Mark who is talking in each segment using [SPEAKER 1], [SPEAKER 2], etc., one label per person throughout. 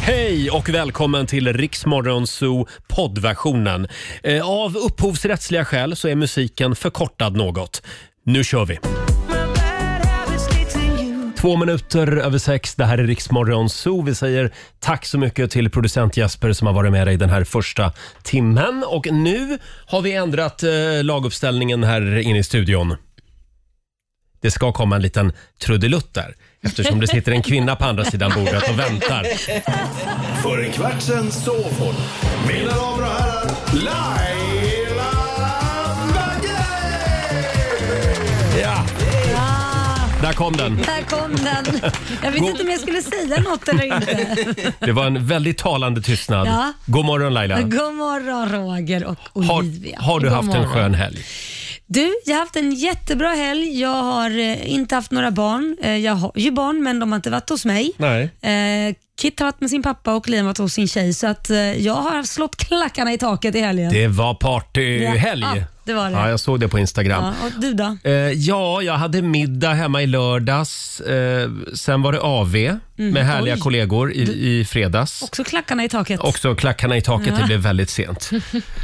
[SPEAKER 1] Hej och välkommen till Riksmorgon Zoo poddversionen. Eh, Av upphovsrättsliga skäl så är musiken förkortad något. Nu kör vi! Två minuter över sex, det här är Riksmorgon Zoo. Vi säger tack så mycket till producent Jesper som har varit med dig den här första timmen. Och nu har vi ändrat eh, laguppställningen här inne i studion. Det ska komma en liten trudelutt där eftersom det sitter en kvinna på andra sidan bordet och väntar.
[SPEAKER 2] För en kvart sen sov hon. Mina damer och herrar, Laila Bagge!
[SPEAKER 1] Ja, där kom den.
[SPEAKER 3] Där kom den. Jag visste
[SPEAKER 1] God-
[SPEAKER 3] inte om jag skulle säga något eller inte.
[SPEAKER 1] Det var en väldigt talande tystnad.
[SPEAKER 3] Ja.
[SPEAKER 1] God morgon Laila.
[SPEAKER 3] God morgon Roger och Olivia.
[SPEAKER 1] Har, har du
[SPEAKER 3] God
[SPEAKER 1] haft en
[SPEAKER 3] morgon.
[SPEAKER 1] skön helg?
[SPEAKER 3] Du, jag har haft en jättebra helg. Jag har eh, inte haft några barn. Eh, jag har ju barn, men de har inte varit hos mig.
[SPEAKER 1] Nej.
[SPEAKER 3] Eh, Kit har varit med sin pappa och Liam har varit hos sin tjej, så att eh, jag har slått klackarna i taket i helgen.
[SPEAKER 1] Det var partyhelg.
[SPEAKER 3] Ja, det var det.
[SPEAKER 1] Ja, jag såg det på Instagram.
[SPEAKER 3] Ja, och du då?
[SPEAKER 1] Eh, ja, jag hade middag hemma i lördags. Eh, sen var det AV med
[SPEAKER 3] Mm.
[SPEAKER 1] härliga
[SPEAKER 3] oj.
[SPEAKER 1] kollegor i, i fredags.
[SPEAKER 3] Också klackarna i taket.
[SPEAKER 1] Också klackarna i taket, det blev väldigt sent.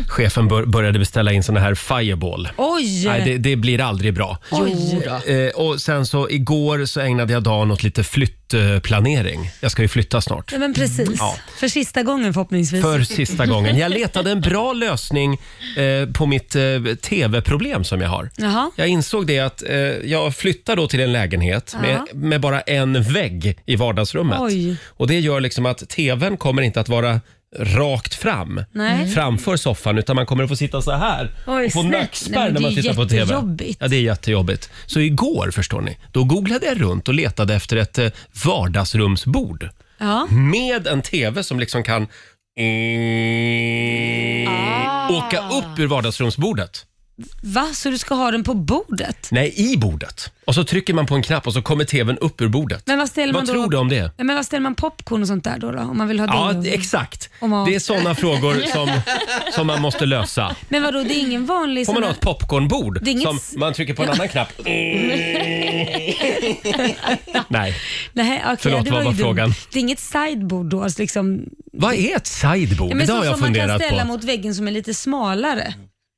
[SPEAKER 1] Chefen bör, började beställa in såna här fireball.
[SPEAKER 3] Oj!
[SPEAKER 1] Nej, det, det blir aldrig bra.
[SPEAKER 3] Oj.
[SPEAKER 1] Eh, och sen så igår så ägnade jag dagen åt lite flyttplanering. Jag ska ju flytta snart.
[SPEAKER 3] Ja, men precis. För sista gången förhoppningsvis.
[SPEAKER 1] För sista gången. Jag letade en bra lösning eh, på mitt eh, tv-problem som jag har.
[SPEAKER 3] Jaha.
[SPEAKER 1] Jag insåg det att eh, jag flyttar då till en lägenhet med, med bara en vägg i vardagsrummet.
[SPEAKER 3] Oj.
[SPEAKER 1] Och Det gör liksom att tvn kommer inte att vara rakt fram
[SPEAKER 3] Nej.
[SPEAKER 1] framför soffan utan man kommer att få sitta så här
[SPEAKER 3] Oj,
[SPEAKER 1] och få
[SPEAKER 3] snett. Nej,
[SPEAKER 1] nackspärr
[SPEAKER 3] men
[SPEAKER 1] när
[SPEAKER 3] det
[SPEAKER 1] man
[SPEAKER 3] är
[SPEAKER 1] tittar på tv.
[SPEAKER 3] jättejobbigt.
[SPEAKER 1] Ja, det är jättejobbigt. Så igår förstår ni, då googlade jag runt och letade efter ett eh, vardagsrumsbord
[SPEAKER 3] Ja.
[SPEAKER 1] med en tv som liksom kan
[SPEAKER 3] Ah.
[SPEAKER 1] åka upp ur vardagsrumsbordet.
[SPEAKER 3] Va? Så du ska ha den på bordet?
[SPEAKER 1] Nej, i bordet. Och så trycker man på en knapp och så kommer tvn upp ur bordet.
[SPEAKER 3] Men vad ställer
[SPEAKER 1] Vad
[SPEAKER 3] man då?
[SPEAKER 1] tror du om det?
[SPEAKER 3] Ja, Men vad ställer man popcorn och sånt där då? då om man vill ha
[SPEAKER 1] Ja,
[SPEAKER 3] det?
[SPEAKER 1] exakt.
[SPEAKER 3] Om man-
[SPEAKER 1] Det är såna frågor som, som man måste lösa.
[SPEAKER 3] Men vadå, det är ingen vanlig...
[SPEAKER 1] Får
[SPEAKER 3] sån
[SPEAKER 1] man ha
[SPEAKER 3] här-
[SPEAKER 1] ett popcornbord
[SPEAKER 3] Det är inget
[SPEAKER 1] som
[SPEAKER 3] s-
[SPEAKER 1] man trycker på en annan knapp? Nej.
[SPEAKER 3] Nej, okej,
[SPEAKER 1] Förlåt,
[SPEAKER 3] det
[SPEAKER 1] vad
[SPEAKER 3] ju
[SPEAKER 1] var
[SPEAKER 3] dumt.
[SPEAKER 1] frågan?
[SPEAKER 3] Det är inget sideboard då? Alltså liksom...
[SPEAKER 1] Vad är ett sideboard?
[SPEAKER 3] ja, men
[SPEAKER 1] det
[SPEAKER 3] så
[SPEAKER 1] har jag
[SPEAKER 3] som man kan
[SPEAKER 1] funderat
[SPEAKER 3] ställa
[SPEAKER 1] på.
[SPEAKER 3] mot väggen som är lite smalare.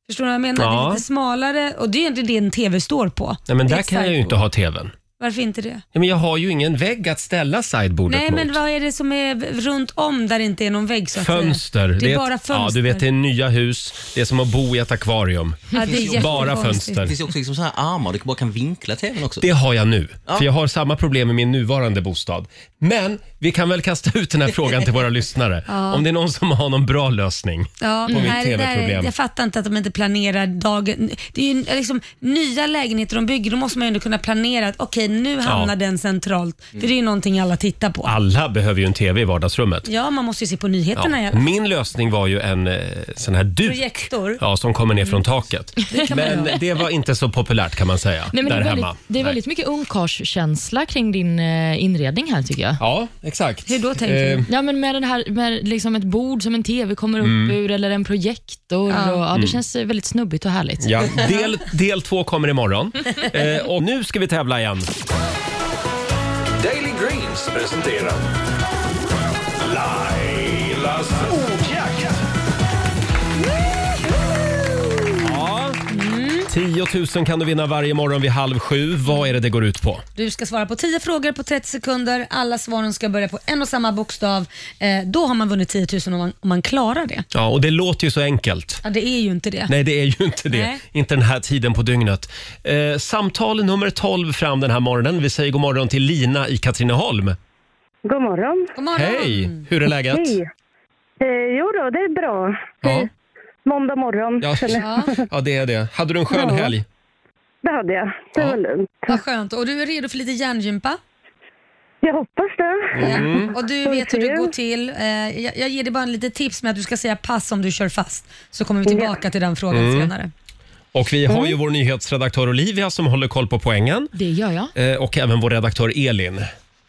[SPEAKER 3] Förstår du vad jag menar? Det
[SPEAKER 1] Ja.
[SPEAKER 3] är lite smalare och det är egentligen det en TV står på.
[SPEAKER 1] Nej, men
[SPEAKER 3] Det är
[SPEAKER 1] där
[SPEAKER 3] ett
[SPEAKER 1] kan jag ju
[SPEAKER 3] sideboard.
[SPEAKER 1] inte ha tvn.
[SPEAKER 3] Varför inte det?
[SPEAKER 1] Ja, men jag har ju ingen vägg att ställa sideboardet
[SPEAKER 3] Nej,
[SPEAKER 1] mot.
[SPEAKER 3] men vad är det som är runt om där det inte är någon vägg så att säga?
[SPEAKER 1] Fönster.
[SPEAKER 3] Det är
[SPEAKER 1] ett-
[SPEAKER 3] bara fönster.
[SPEAKER 1] Ja, du vet, det är nya hus. Det är som att bo i ett akvarium.
[SPEAKER 3] Ja, det är
[SPEAKER 1] Bara
[SPEAKER 3] jättekonstigt.
[SPEAKER 1] fönster.
[SPEAKER 4] Det finns ju också liksom så här armar, du bara kan vinkla tvn också.
[SPEAKER 1] Det har jag nu, för jag har samma problem med min nuvarande bostad. Men vi kan väl kasta ut den här frågan till våra lyssnare. Om det är någon som har någon bra lösning.
[SPEAKER 3] Ja,
[SPEAKER 1] mitt
[SPEAKER 3] nej, det där,
[SPEAKER 1] TV-problem.
[SPEAKER 3] är- jag fattar inte att de inte planerar dagen. Det är ju liksom nya lägenheter de bygger, då måste man ju ändå kunna planera att okej, nu hamnar
[SPEAKER 1] Ja. Mm.
[SPEAKER 3] den centralt. För det är ju någonting alla tittar på.
[SPEAKER 1] Alla behöver ju en TV i vardagsrummet.
[SPEAKER 3] Ja, man måste ju se på nyheterna.
[SPEAKER 1] Ja.
[SPEAKER 3] Ja.
[SPEAKER 1] Min lösning var ju en eh, sån här duk
[SPEAKER 3] Projektor.
[SPEAKER 1] ja, som kommer ner
[SPEAKER 3] Mm.
[SPEAKER 1] från taket.
[SPEAKER 5] kan man
[SPEAKER 1] Men
[SPEAKER 5] göra.
[SPEAKER 1] det var inte så populärt kan man säga,
[SPEAKER 5] Nej, men
[SPEAKER 1] där
[SPEAKER 5] det är väldigt,
[SPEAKER 1] hemma.
[SPEAKER 5] det är väldigt mycket ungkarlskänsla kring din eh, inredning här tycker jag.
[SPEAKER 1] Ja, exakt. Eh,
[SPEAKER 3] Hur då tänker du?
[SPEAKER 5] Ja, men med, den här, med liksom ett bord som en TV kommer upp
[SPEAKER 1] Mm.
[SPEAKER 5] ur eller en projektor. Och, ja, det känns eh, väldigt snubbigt och härligt.
[SPEAKER 1] Ja, del, del två kommer imorgon. Eh, och nu ska vi tävla igen.
[SPEAKER 2] Daily Greens presenterar Lailas ordjakt.
[SPEAKER 1] 10 000 kan du vinna varje morgon vid halv sju. Vad är det det går ut på?
[SPEAKER 3] Du ska svara på 10 frågor på 30 sekunder. Alla svaren ska börja på en och samma bokstav. Eh, då har man vunnit 10 000 om man, om man klarar det.
[SPEAKER 1] Ja, och det låter ju så enkelt.
[SPEAKER 3] Ja, det är ju inte det.
[SPEAKER 1] Nej, det är ju inte det.
[SPEAKER 3] Nej.
[SPEAKER 1] Inte den här tiden på dygnet. Eh, samtal nummer 12 fram den här morgonen. Vi säger god morgon till Lina i Katrineholm.
[SPEAKER 6] God morgon.
[SPEAKER 3] God morgon.
[SPEAKER 1] Hej! Hur är läget?
[SPEAKER 6] Hej. Eh, jo då, det är bra.
[SPEAKER 1] Ja.
[SPEAKER 6] Måndag morgon,
[SPEAKER 1] Ja.
[SPEAKER 3] Ja,
[SPEAKER 1] ja, det är det. Hade du en skön
[SPEAKER 6] Ja.
[SPEAKER 1] helg?
[SPEAKER 6] det hade jag. Det
[SPEAKER 1] Ja.
[SPEAKER 6] var lugnt.
[SPEAKER 3] vad skönt. Och du är redo för lite hjärngympa?
[SPEAKER 6] Jag hoppas det.
[SPEAKER 1] Mm.
[SPEAKER 3] Ja, Och du vet hur det går till. Eh, Jag, jag ger dig bara en litet tips med att du ska säga pass om du kör fast. Så kommer vi tillbaka till den frågan
[SPEAKER 1] Mm.
[SPEAKER 3] senare.
[SPEAKER 1] Och vi har
[SPEAKER 6] Mm.
[SPEAKER 1] ju vår nyhetsredaktör Olivia som håller koll på poängen.
[SPEAKER 5] Det gör jag.
[SPEAKER 1] Eh, och även vår redaktör Elin.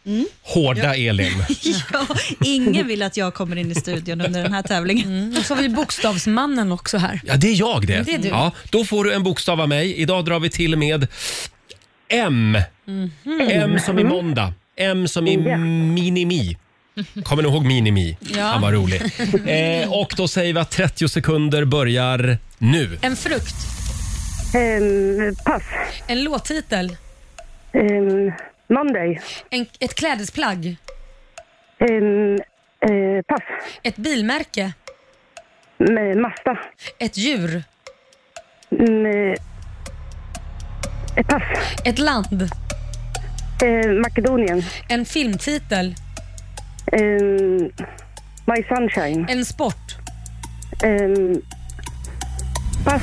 [SPEAKER 3] Mm.
[SPEAKER 1] Hårda Elin.
[SPEAKER 7] Ja, ingen vill att jag kommer in i studion under den här tävlingen.
[SPEAKER 3] Och så har Mm. vi bokstavsmannen också här.
[SPEAKER 1] Ja, det är jag det.
[SPEAKER 3] Det är du.
[SPEAKER 1] Ja, då får du en bokstav av mig. Idag drar vi till med
[SPEAKER 3] Mhm. Mm.
[SPEAKER 1] M. M som i måndag. M som i minimi. Kommer ni ihåg Minimi?
[SPEAKER 3] Ja.
[SPEAKER 1] Han var rolig. Eh, och då säger vi att 30 sekunder börjar nu.
[SPEAKER 3] En frukt.
[SPEAKER 6] Ehm, pass.
[SPEAKER 3] En låttitel.
[SPEAKER 6] Ehm, Monday.
[SPEAKER 3] En, ett klädesplagg.
[SPEAKER 6] Ehm, eh, pass.
[SPEAKER 3] Ett bilmärke.
[SPEAKER 6] M- Masta.
[SPEAKER 3] Ett djur.
[SPEAKER 6] Mm, eh, eh, pass.
[SPEAKER 3] Ett land.
[SPEAKER 6] Ehm, Makedonien.
[SPEAKER 3] En filmtitel.
[SPEAKER 6] Ehm, my sunshine.
[SPEAKER 3] En sport.
[SPEAKER 6] Ehm, pass.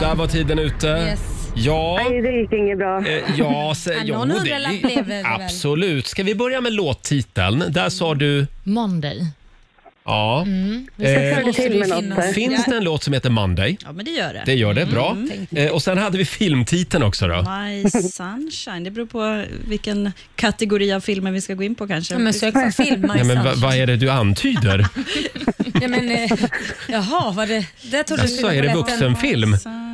[SPEAKER 1] Där var tiden ute.
[SPEAKER 3] Yes.
[SPEAKER 1] Ja.
[SPEAKER 6] Nej, det gick inget bra.
[SPEAKER 1] Eh, Ja, se,
[SPEAKER 3] Ja,
[SPEAKER 1] jo,
[SPEAKER 3] någon hundralapp blev det väl?
[SPEAKER 1] Absolut. Ska vi börja med låttiteln? Där sa du...
[SPEAKER 5] Monday.
[SPEAKER 1] Ja.
[SPEAKER 3] Mm.
[SPEAKER 6] Jag
[SPEAKER 1] Eh,
[SPEAKER 6] hörde till med något där.
[SPEAKER 1] finns det en låt som heter Monday?
[SPEAKER 7] Ja, men det gör det.
[SPEAKER 1] Det gör det, bra. Eh, och sen hade vi filmtiteln också då.
[SPEAKER 7] My sunshine. Det beror på vilken kategori av filmer vi ska gå in på kanske.
[SPEAKER 3] Ja, men sök på film, My
[SPEAKER 1] Ja, men va-
[SPEAKER 3] Sunshine.
[SPEAKER 1] vad är det du antyder?
[SPEAKER 3] Ja, men, eh, jaha, var det... Där tog du
[SPEAKER 1] Så är det
[SPEAKER 3] rätten.
[SPEAKER 1] vuxenfilm?
[SPEAKER 7] Sunshine.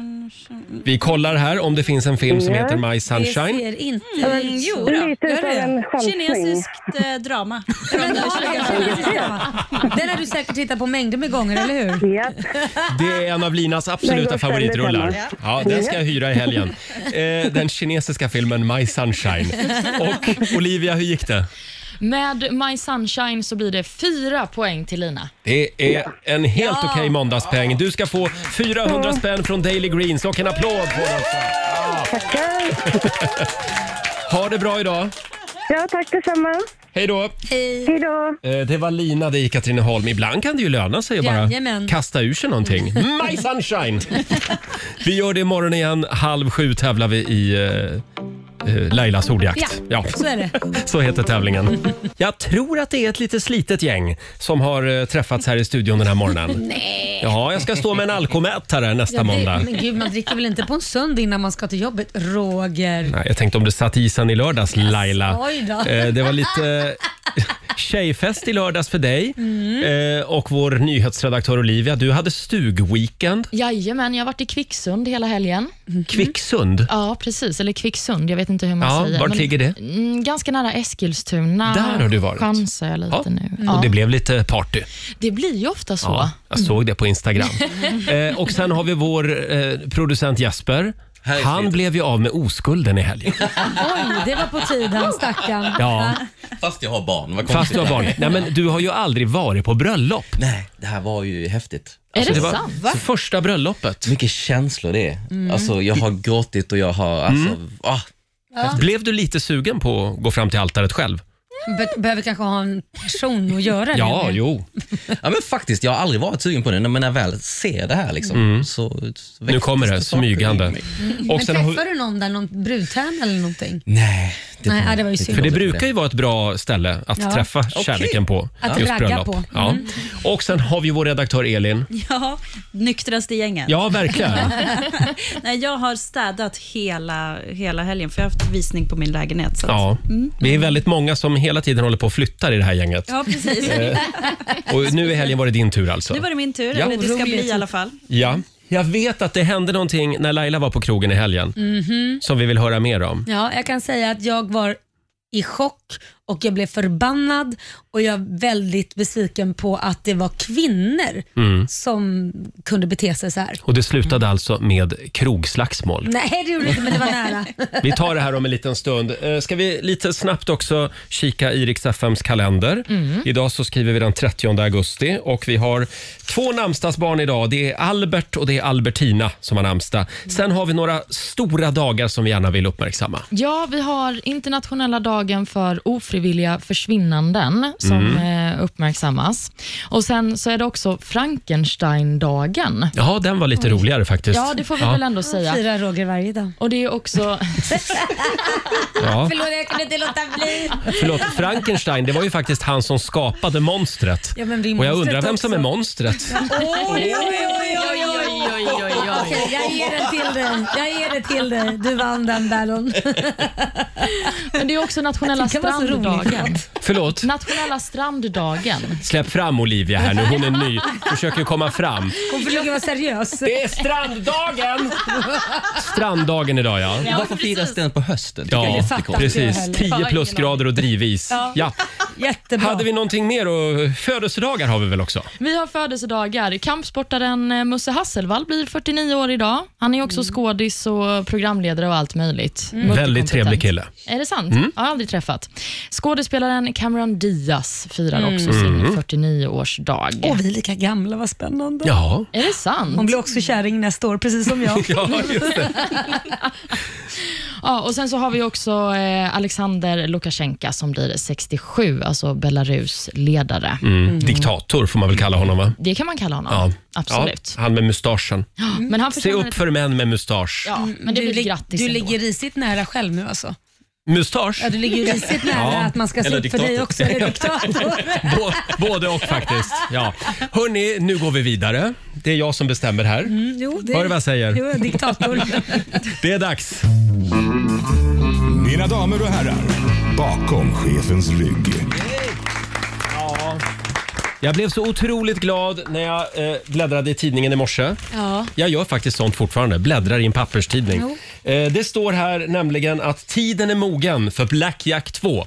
[SPEAKER 1] Vi kollar här om det finns en film som heter My
[SPEAKER 3] Det
[SPEAKER 1] Sunshine.
[SPEAKER 3] ser inte...
[SPEAKER 7] Mm, jo, då.
[SPEAKER 6] Lite
[SPEAKER 3] gör
[SPEAKER 6] utav
[SPEAKER 3] det.
[SPEAKER 6] en chansning.
[SPEAKER 7] Kinesiskt eh, drama.
[SPEAKER 3] Men, ja, det kanske är. Den har du säkert tittat på mängder med gånger, eller hur?
[SPEAKER 6] Ja.
[SPEAKER 1] Det är en av Linas
[SPEAKER 6] Den
[SPEAKER 1] absoluta
[SPEAKER 6] går
[SPEAKER 1] favoritrullar.
[SPEAKER 6] ständigt
[SPEAKER 1] Ja, den ska jag hyra i helgen. Eh, den kinesiska filmen My Sunshine. Och Olivia, hur gick det?
[SPEAKER 5] Med My Sunshine så blir det fyra poäng till Lina.
[SPEAKER 1] Det är en helt okej måndagspeng. Du ska få 400 spänn från Daily Greens och en applåd på den.
[SPEAKER 6] Tackar.
[SPEAKER 1] Ha det bra idag.
[SPEAKER 6] Ja, tack detsamma.
[SPEAKER 1] Hej då.
[SPEAKER 6] Hej då.
[SPEAKER 1] Eh, Det var Lina det i Katrineholm. Ibland kan det ju löna sig att bara
[SPEAKER 3] Jajamän. Mm.
[SPEAKER 1] kasta ur sig någonting. My sunshine! Vi gör det imorgon igen. Halv sju tävlar vi i eh, eh, Lailas ordjakt. Ja.
[SPEAKER 3] Så är det.
[SPEAKER 1] Så heter tävlingen. Jag tror att det är ett lite slitet gäng som har eh, träffats här i studion den här morgonen. Nej. Ja, jag ska stå med en alkomätare nästa
[SPEAKER 3] Ja,
[SPEAKER 1] måndag.
[SPEAKER 3] det men gud, man dricker väl inte på en söndag innan man ska till jobbet, Roger?
[SPEAKER 1] Nej, jag tänkte om det satt i sen i lördags, Laila.
[SPEAKER 3] oj då.
[SPEAKER 1] Eh, det var lite tjejfest i lördags för dig.
[SPEAKER 5] Mm.
[SPEAKER 1] Eh, och vår nyhetsredaktör Olivia, du hade stugweekend.
[SPEAKER 5] Mhm. Jajamän, jag har varit i Kvicksund hela helgen.
[SPEAKER 1] Kvicksund.
[SPEAKER 5] Ja, precis. Eller Kvicksund, jag vet inte hur man
[SPEAKER 1] Ja,
[SPEAKER 5] säger.
[SPEAKER 1] vart
[SPEAKER 5] men-
[SPEAKER 1] ligger det?
[SPEAKER 5] Mm, ganska nära Eskilstuna.
[SPEAKER 1] Där har du varit.
[SPEAKER 5] Chansar jag lite
[SPEAKER 1] Ja.
[SPEAKER 5] nu. Ja.
[SPEAKER 1] Och det
[SPEAKER 5] det,
[SPEAKER 1] blev lite party.
[SPEAKER 5] blir ju ofta så.
[SPEAKER 1] Ja, jag såg det på Instagram. Eh, och sen har vi vår eh, producent Jasper.
[SPEAKER 4] Här är
[SPEAKER 1] Han
[SPEAKER 4] Peter.
[SPEAKER 1] blev ju av med oskulden i helgen.
[SPEAKER 3] Oj, det var på tiden, stackarn.
[SPEAKER 1] Ja,
[SPEAKER 4] Fast jag har barn, vad
[SPEAKER 1] fast
[SPEAKER 4] konstigt.
[SPEAKER 1] du har barn. Nej, men du har ju aldrig varit på bröllop.
[SPEAKER 4] Nej, det här var ju häftigt. Alltså,
[SPEAKER 5] Är det,
[SPEAKER 1] Alltså, Det var
[SPEAKER 5] sant?
[SPEAKER 1] första bröllopet.
[SPEAKER 4] Mycket känslor det är. Alltså, jag har gråtit och jag har... Alltså, ah,
[SPEAKER 1] Alltså, Blev du lite sugen på att gå fram till altaret själv?
[SPEAKER 3] Be- behöver kanske ha en person att göra det
[SPEAKER 1] Ja,
[SPEAKER 3] med.
[SPEAKER 1] jo.
[SPEAKER 4] ja, men faktiskt, jag har aldrig varit sugen på det, men när jag väl ser det här liksom, så... så
[SPEAKER 1] Nu kommer det,
[SPEAKER 4] väcktes saker i
[SPEAKER 1] smygande.
[SPEAKER 4] mig.
[SPEAKER 1] Och
[SPEAKER 3] Men
[SPEAKER 1] sen har,
[SPEAKER 3] träffar du någon där, någon brudtärna eller någonting?
[SPEAKER 4] Nej,
[SPEAKER 3] Nej, ja, det var ju synd.
[SPEAKER 1] för det
[SPEAKER 4] var
[SPEAKER 1] brukar ju vara ett bra ställe att
[SPEAKER 3] Ja.
[SPEAKER 1] träffa kärleken på.
[SPEAKER 3] Att
[SPEAKER 1] just
[SPEAKER 3] ragga
[SPEAKER 1] bröllop.
[SPEAKER 3] på.
[SPEAKER 1] Ja. Och sen har vi vår redaktör Elin.
[SPEAKER 7] Ja, nyktraste gänget.
[SPEAKER 1] Ja, verkligen.
[SPEAKER 7] Nej, jag har städat hela, hela helgen, för jag har haft visning på min lägenhet. Så. att-
[SPEAKER 1] Ja. Vi är väldigt många som hela tiden håller på och flyttar i det här gänget.
[SPEAKER 7] ja, precis.
[SPEAKER 1] Och nu i helgen var det din tur alltså.
[SPEAKER 7] Nu var det min tur,
[SPEAKER 1] Eh. Ja.
[SPEAKER 7] eller det ska bli i alla fall.
[SPEAKER 1] Ja. Jag vet att det hände någonting när Laila var på krogen i helgen som vi vill höra mer om.
[SPEAKER 3] Ja, jag kan säga att jag var i chock och jag blev förbannad och jag är väldigt besviken på att det var kvinnor
[SPEAKER 1] Mm.
[SPEAKER 3] som kunde bete sig så här.
[SPEAKER 1] Och det slutade alltså med krogslagsmål.
[SPEAKER 3] Nej, det gjorde det inte, men det var nära.
[SPEAKER 1] Vi tar det här om en liten stund. Eh, Ska vi lite snabbt också kika i Rix FMs kalender.
[SPEAKER 5] Mm.
[SPEAKER 1] Idag så skriver vi den 30 augusti och vi har två namnsdagsbarn idag. Det är Albert och det är Albertina som har namnsdag.
[SPEAKER 5] Mm.
[SPEAKER 1] Sen har vi några stora dagar som vi gärna vill uppmärksamma.
[SPEAKER 5] Ja, vi har internationella dagen för ofrivilliga försvinnanden som
[SPEAKER 1] Mm.
[SPEAKER 5] eh, uppmärksammas. Och Sen så är det också Frankenstein-dagen.
[SPEAKER 1] Ja, den var lite roligare faktiskt.
[SPEAKER 5] Ja, det får vi väl ändå säga.
[SPEAKER 3] Fyra Roger varje dag.
[SPEAKER 5] Och det är också...
[SPEAKER 1] Ja.
[SPEAKER 3] Förlåt, jag kunde inte låta bli.
[SPEAKER 1] Förlåt, Frankenstein, det var ju faktiskt han som skapade monstret.
[SPEAKER 3] Ja, men det är
[SPEAKER 1] Och jag
[SPEAKER 3] monstret
[SPEAKER 1] undrar vem som är
[SPEAKER 3] också.
[SPEAKER 1] monstret.
[SPEAKER 3] Oj, oj, oj, oj, oj. Okej, jag ger den till dig. Jag ger det till dig. Du vann den battle.
[SPEAKER 5] Men det är också nationella
[SPEAKER 3] Jag tycker det var så roligt
[SPEAKER 5] stranddagen.
[SPEAKER 1] Förlåt?
[SPEAKER 5] Nationella stranddagen.
[SPEAKER 1] Släpp fram Olivia här nu, hon är ny. Försöker komma fram.
[SPEAKER 3] Hon försöker vara seriös.
[SPEAKER 1] Det är stranddagen! Stranddagen idag ja.
[SPEAKER 4] Varför firas den på hösten? Tycker jag är
[SPEAKER 1] Ja,
[SPEAKER 4] jättekonstigt.
[SPEAKER 1] precis.
[SPEAKER 3] Jag
[SPEAKER 1] 10 plusgrader och drivis. Ja.
[SPEAKER 3] Jättebra.
[SPEAKER 1] Hade vi någonting mer? Och födelsedagar har vi väl också?
[SPEAKER 5] Vi har födelsedagar. Kampsportaren eh, Musse Hasselvall blir 49 år idag. Han är
[SPEAKER 3] Mm.
[SPEAKER 5] också skådis och programledare och allt möjligt.
[SPEAKER 1] Väldigt trevlig kille.
[SPEAKER 5] Är det sant?
[SPEAKER 1] Mm.
[SPEAKER 5] Jag har aldrig träffat. Skådespelaren Cameron Diaz firar också sin
[SPEAKER 1] Mm.
[SPEAKER 5] 49-årsdag.
[SPEAKER 3] Mm. Åh, vi är lika gamla, vad spännande.
[SPEAKER 1] Ja.
[SPEAKER 5] Är det sant?
[SPEAKER 3] Hon blir också kärring nästa år, precis som jag.
[SPEAKER 1] Ja, just det.
[SPEAKER 5] Ja, och sen så har vi också eh, Alexander Lukasjenko som blir 67, alltså Belarus ledare.
[SPEAKER 1] Mm. Diktator får man väl kalla honom va?
[SPEAKER 5] Det kan man kalla honom.
[SPEAKER 1] Ja.
[SPEAKER 5] Absolut.
[SPEAKER 1] Ja, han med mustaschen.
[SPEAKER 5] Men han
[SPEAKER 1] Se
[SPEAKER 5] förtjänar
[SPEAKER 1] upp
[SPEAKER 5] ett-
[SPEAKER 1] för män med mustasch.
[SPEAKER 5] Ja, men det
[SPEAKER 3] Mm, du
[SPEAKER 5] blir ett
[SPEAKER 3] lig-
[SPEAKER 5] grattis
[SPEAKER 3] Du
[SPEAKER 5] ändå.
[SPEAKER 3] ligger risigt nära själv nu alltså.
[SPEAKER 1] Mustasch?
[SPEAKER 3] Ja, du ligger ju risigt nära
[SPEAKER 1] Ja,
[SPEAKER 3] att man ska se
[SPEAKER 4] eller
[SPEAKER 3] upp för dig
[SPEAKER 4] diktator.
[SPEAKER 3] också. Eller diktator.
[SPEAKER 1] Bå, både och faktiskt. Ja. Hörni, nu går vi vidare. Det är jag som bestämmer här.
[SPEAKER 3] Jo, det
[SPEAKER 1] Hör du vad jag säger?
[SPEAKER 3] Jo, diktator.
[SPEAKER 1] Det är dags.
[SPEAKER 2] Mina damer och herrar, bakom chefens rygg.
[SPEAKER 1] Jag blev så otroligt glad när jag eh, bläddrade i tidningen i morse.
[SPEAKER 3] Ja.
[SPEAKER 1] Jag gör faktiskt sånt fortfarande, bläddrar i en papperstidning.
[SPEAKER 3] Jo.
[SPEAKER 1] Eh, det står här nämligen att tiden är mogen för Black Jack 2.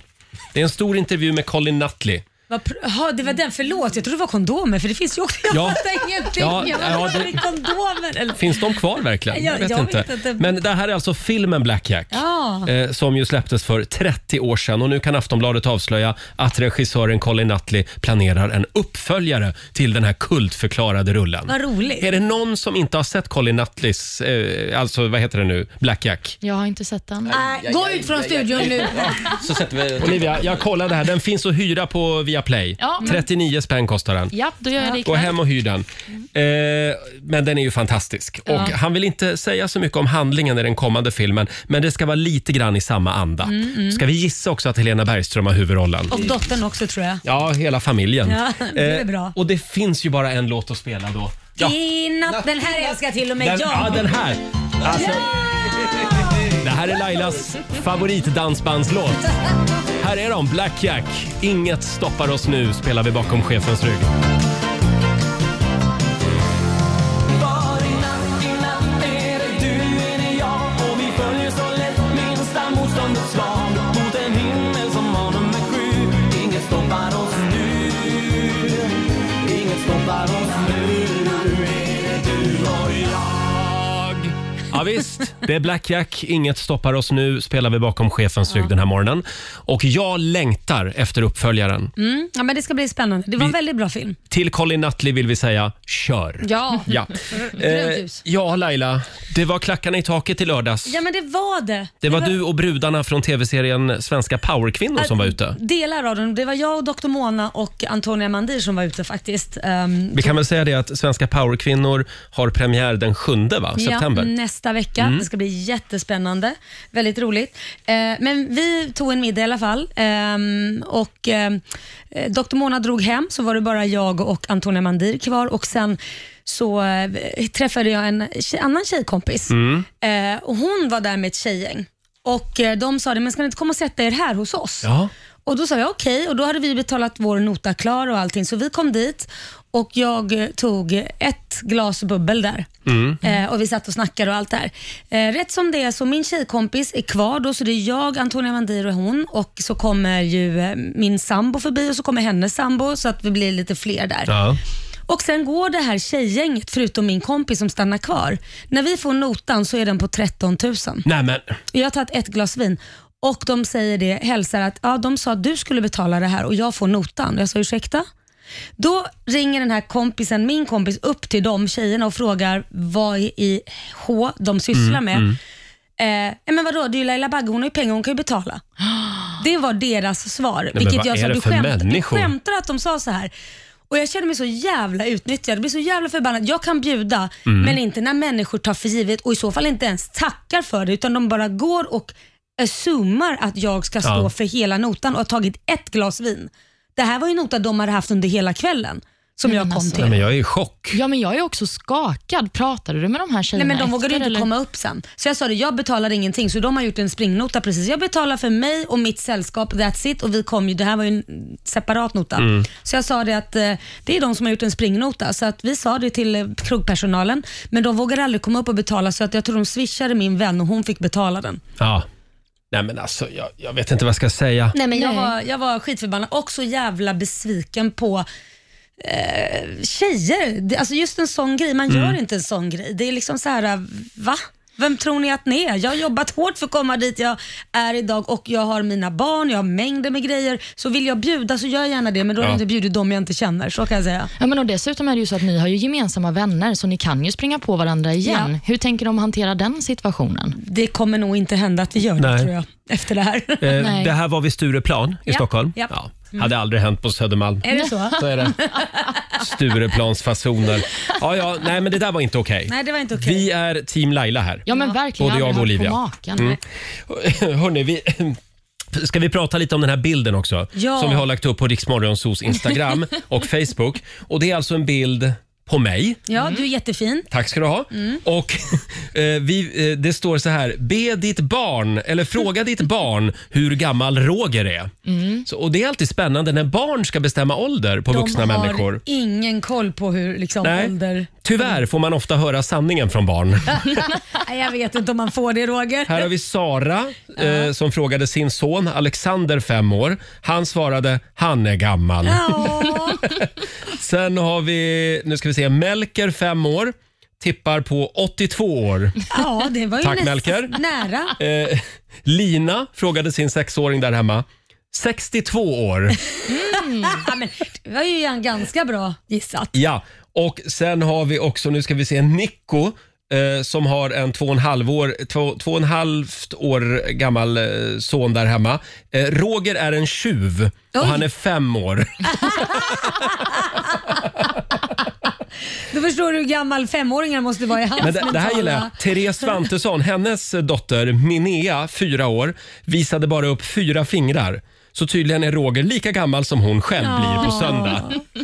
[SPEAKER 1] Det är en stor intervju med Colin Nutley.
[SPEAKER 3] Vad pr- Jaha, det var den. Förlåt, jag trodde det var kondomer för det finns ju också. Jag
[SPEAKER 1] Ja.
[SPEAKER 3] fattar ingenting.
[SPEAKER 1] Ja,
[SPEAKER 3] jag
[SPEAKER 1] ja,
[SPEAKER 3] fattar
[SPEAKER 1] det-
[SPEAKER 3] det... kondomer. Eller...
[SPEAKER 1] Finns de kvar verkligen?
[SPEAKER 3] Jag-
[SPEAKER 1] Jag vet,
[SPEAKER 3] jag vet
[SPEAKER 1] inte.
[SPEAKER 3] inte.
[SPEAKER 1] Men det här är alltså filmen Black Jack
[SPEAKER 3] Ja.
[SPEAKER 1] eh, som ju släpptes för 30 år sedan och nu kan Aftonbladet avslöja att regissören Colin Nutley planerar en uppföljare till den här kultförklarade rullen.
[SPEAKER 3] Vad roligt.
[SPEAKER 1] Är det någon som inte har sett Colin Nutleys, eh, alltså vad heter det nu, Black Jack?
[SPEAKER 5] Jag har inte sett den.
[SPEAKER 3] Nej, Äh, gå ut från studion nu.
[SPEAKER 4] Så sätter vi...
[SPEAKER 1] Olivia, jag kollade här. Den finns att hyra på Viaplay.
[SPEAKER 5] Ja, men-
[SPEAKER 1] 39 spänn kostar den.
[SPEAKER 5] Ja, då gör jag det
[SPEAKER 1] Gå
[SPEAKER 5] ikväll.
[SPEAKER 1] hem och hyr den. Eh, men den är ju fantastisk. Och Han vill inte säga så mycket om handlingen i den kommande filmen, men det ska vara lite grann i samma anda. Ska vi gissa också att Helena Bergström har huvudrollen?
[SPEAKER 3] Mm, Och dottern också tror jag.
[SPEAKER 1] Ja, hela familjen.
[SPEAKER 3] Ja, det är
[SPEAKER 1] Eh,
[SPEAKER 3] bra.
[SPEAKER 1] och det finns ju bara en låt att spela då. Ja,
[SPEAKER 3] I natt, den här älskar till och med
[SPEAKER 1] den, ja,
[SPEAKER 3] jag.
[SPEAKER 1] den här. Alltså, det här är Lailas favoritdansbandslåt. Här är de, Black Jack. Inget stoppar oss nu, spelar vi bakom chefens rygg. Ja, visst, det är Black Jack. Inget stoppar oss nu, spelar vi bakom chefens rygg den här morgonen. Och jag längtar efter uppföljaren.
[SPEAKER 3] Mm, ja, men det ska bli spännande. Det var en väldigt bra film.
[SPEAKER 1] Till Colin Nutley vill vi säga, kör!
[SPEAKER 3] Ja.
[SPEAKER 1] Ja.
[SPEAKER 3] Grönt
[SPEAKER 1] Eh,
[SPEAKER 3] ljus.
[SPEAKER 1] ja, Laila. Det var klackarna i taket i lördags.
[SPEAKER 3] Ja, men det var Äh, det.
[SPEAKER 1] Det var du och brudarna från tv-serien Svenska powerkvinnor som var ute.
[SPEAKER 3] Delar av den. Det var jag, och Dr Mona och Antonia Mandir som var ute faktiskt. Ehm,
[SPEAKER 1] Vi kan väl säga det att Svenska powerkvinnor har premiär den 7 va? september. Mm.
[SPEAKER 3] Ja, nästa vecka. Det ska bli jättespännande. Väldigt roligt. Eh, men vi tog en middag i alla fall. Ehm, och, eh, Dr. Mona drog hem, så var det bara jag och Antonia Mandir kvar. Och sen så eh, träffade jag en tje- annan tjejkompis.
[SPEAKER 1] Mm.
[SPEAKER 3] Eh, och hon var där med ett tjejgäng. Och eh, de sa det, men ska ni inte komma och sätta er här hos oss?
[SPEAKER 1] Ja.
[SPEAKER 3] Och Då sa jag okej och då hade vi betalat vår nota klar och allting så vi kom dit och jag eh, tog ett glas bubbel där eh, och vi satt och snackade och allt där. Eh, rätt som det är så min tjejkompis är kvar då så det är jag, Antonia Mandir och hon och så kommer ju eh, min sambo förbi och så kommer hennes sambo så att vi blir lite fler där.
[SPEAKER 1] Ja.
[SPEAKER 3] Och Sen går det här tjejgänget, förutom min kompis som stannar kvar. När vi får notan så är den på 13 000.
[SPEAKER 1] Nej, men,
[SPEAKER 3] Jag har tagit ett glas vin och de säger det, hälsar att ja, de sa att du skulle betala det här och jag får notan. Jag sa ursäkta? Då ringer den här kompisen, min kompis, upp till de tjejerna och frågar vad i H de sysslar
[SPEAKER 1] Mm,
[SPEAKER 3] med. Eh, "Ja, men vadå, det är ju Laila Bagge, hon har ju pengar, hon kan ju betala. Det var deras svar.
[SPEAKER 1] men
[SPEAKER 3] vilket
[SPEAKER 1] vad
[SPEAKER 3] jag
[SPEAKER 1] är
[SPEAKER 3] sa,
[SPEAKER 1] det
[SPEAKER 3] du,
[SPEAKER 1] för
[SPEAKER 3] skämt, du
[SPEAKER 1] människor?"
[SPEAKER 3] skämtar att de sa så här. Och Jag känner mig så jävla utnyttjad. Jag blir så jävla förbannad. Jag kan bjuda, men inte när människor tar för givet och i så fall inte ens tackar för det, utan de bara går och assumar att jag ska stå
[SPEAKER 1] Ja.
[SPEAKER 3] för hela notan och har tagit ett glas vin. Det här var ju en nota de hade haft under hela kvällen. som
[SPEAKER 5] Nej,
[SPEAKER 3] jag
[SPEAKER 5] men
[SPEAKER 3] kom
[SPEAKER 5] alltså.
[SPEAKER 1] Nej,
[SPEAKER 3] till.
[SPEAKER 1] men jag är i chock.
[SPEAKER 5] Ja, men jag är också skakad. Pratade du med de här
[SPEAKER 3] Nej,
[SPEAKER 5] tjejerna
[SPEAKER 3] men de vågade
[SPEAKER 5] efter,
[SPEAKER 3] ju inte
[SPEAKER 5] eller?
[SPEAKER 3] komma upp sen. Så jag sa det, jag betalar ingenting. Så de har gjort en springnota precis. Jag betalar för mig och mitt sällskap, that's it. Och vi kom ju, det här var ju en separat nota. Så jag sa det att eh, det är de som har gjort en springnota. Så att vi sa det till eh, krogpersonalen, men de vågade aldrig komma upp och betala. Så att jag tror de swishade min vän och hon fick betala den.
[SPEAKER 1] Ja. Nej men alltså, jag, jag vet inte vad jag ska säga.
[SPEAKER 3] Nej, men jag,
[SPEAKER 5] Nej.
[SPEAKER 3] var, jag var skitförbannad och så jävla besviken på eh, tjejer. Det, alltså just en sån grej, man
[SPEAKER 1] Mm.
[SPEAKER 3] gör inte en sån grej. Det är liksom så här, va? Vem tror ni att ni är? Jag har jobbat hårt för att komma dit jag är idag och jag har mina barn, jag har mängder med grejer. Så vill jag bjuda så gör jag gärna det, men då har
[SPEAKER 1] Ja.
[SPEAKER 3] jag inte bjudit dem jag inte känner. Så kan jag säga.
[SPEAKER 5] Ja, men och dessutom är det ju så att ni har ju gemensamma vänner, så ni kan ju springa på varandra igen.
[SPEAKER 3] Ja.
[SPEAKER 5] Hur tänker de hantera den situationen?
[SPEAKER 3] Det kommer nog inte hända att vi gör
[SPEAKER 1] Nej.
[SPEAKER 3] det tror jag, efter det här.
[SPEAKER 1] Eh,
[SPEAKER 5] Nej.
[SPEAKER 1] det här var vid Stureplan i
[SPEAKER 3] Ja,
[SPEAKER 1] Stockholm.
[SPEAKER 3] ja. Mm.
[SPEAKER 1] Ja. Hade aldrig hänt på Södermalm.
[SPEAKER 3] är det så?
[SPEAKER 1] Så är det. Stureplansfasoner. Ja, ja, nej men det där var inte okej.
[SPEAKER 3] Nej, det var inte okej.
[SPEAKER 1] Vi är team Laila här.
[SPEAKER 5] Ja, men verkligen.
[SPEAKER 1] Både
[SPEAKER 5] har
[SPEAKER 1] jag och
[SPEAKER 5] aldrig
[SPEAKER 1] Olivia. Mm.
[SPEAKER 5] hört på maken.
[SPEAKER 1] Hörni, vi... Ska vi prata lite om den här bilden också?
[SPEAKER 3] Ja.
[SPEAKER 1] Som vi har lagt upp på Riksmorgonsos Instagram och Facebook. Och Det är alltså en bild på mig.
[SPEAKER 3] Ja, du är jättefin.
[SPEAKER 1] Tack ska du ha.
[SPEAKER 3] Mm.
[SPEAKER 1] Och eh, vi, eh, Det står så här. Be ditt barn, eller fråga ditt barn hur gammal Roger är. Så, och Det är alltid spännande när barn ska bestämma ålder på vuxna
[SPEAKER 3] Mm. de har
[SPEAKER 1] människor.
[SPEAKER 3] ingen koll på hur liksom,
[SPEAKER 1] Nej.
[SPEAKER 3] ålder...
[SPEAKER 1] Tyvärr får man ofta höra sanningen från barn.
[SPEAKER 3] Nej, jag vet inte om man får det Roger.
[SPEAKER 1] Här har vi Sara eh, som frågade sin son Alexander, fem år. Han svarade han är gammal.
[SPEAKER 3] Ja.
[SPEAKER 1] Sen har vi, nu ska vi se, Melker, fem år. Tippar på 82 år.
[SPEAKER 3] ja, det var ju
[SPEAKER 1] Tack,
[SPEAKER 3] nästan
[SPEAKER 1] Melker.
[SPEAKER 3] nära.
[SPEAKER 1] Eh, Lina frågade sin sexåring där hemma. 62 år.
[SPEAKER 3] Ja, men, det var ju en ganska bra gissat.
[SPEAKER 1] Ja, och sen har vi också, nu ska vi se, Nico eh, som har en två och en halv år, två, två och en halvt år gammal eh, son där hemma. Eh, Roger är en tjuv och
[SPEAKER 3] Oj.
[SPEAKER 1] han är fem år.
[SPEAKER 3] Då förstår du hur gammal femåringar måste vara i hans
[SPEAKER 1] Men det, det här
[SPEAKER 3] mentala-
[SPEAKER 1] gillar jag. Therese Svantesson, hennes dotter Minea, fyra år, visade bara upp fyra fingrar. Så tydligen är Roger lika gammal som hon själv blir på söndag.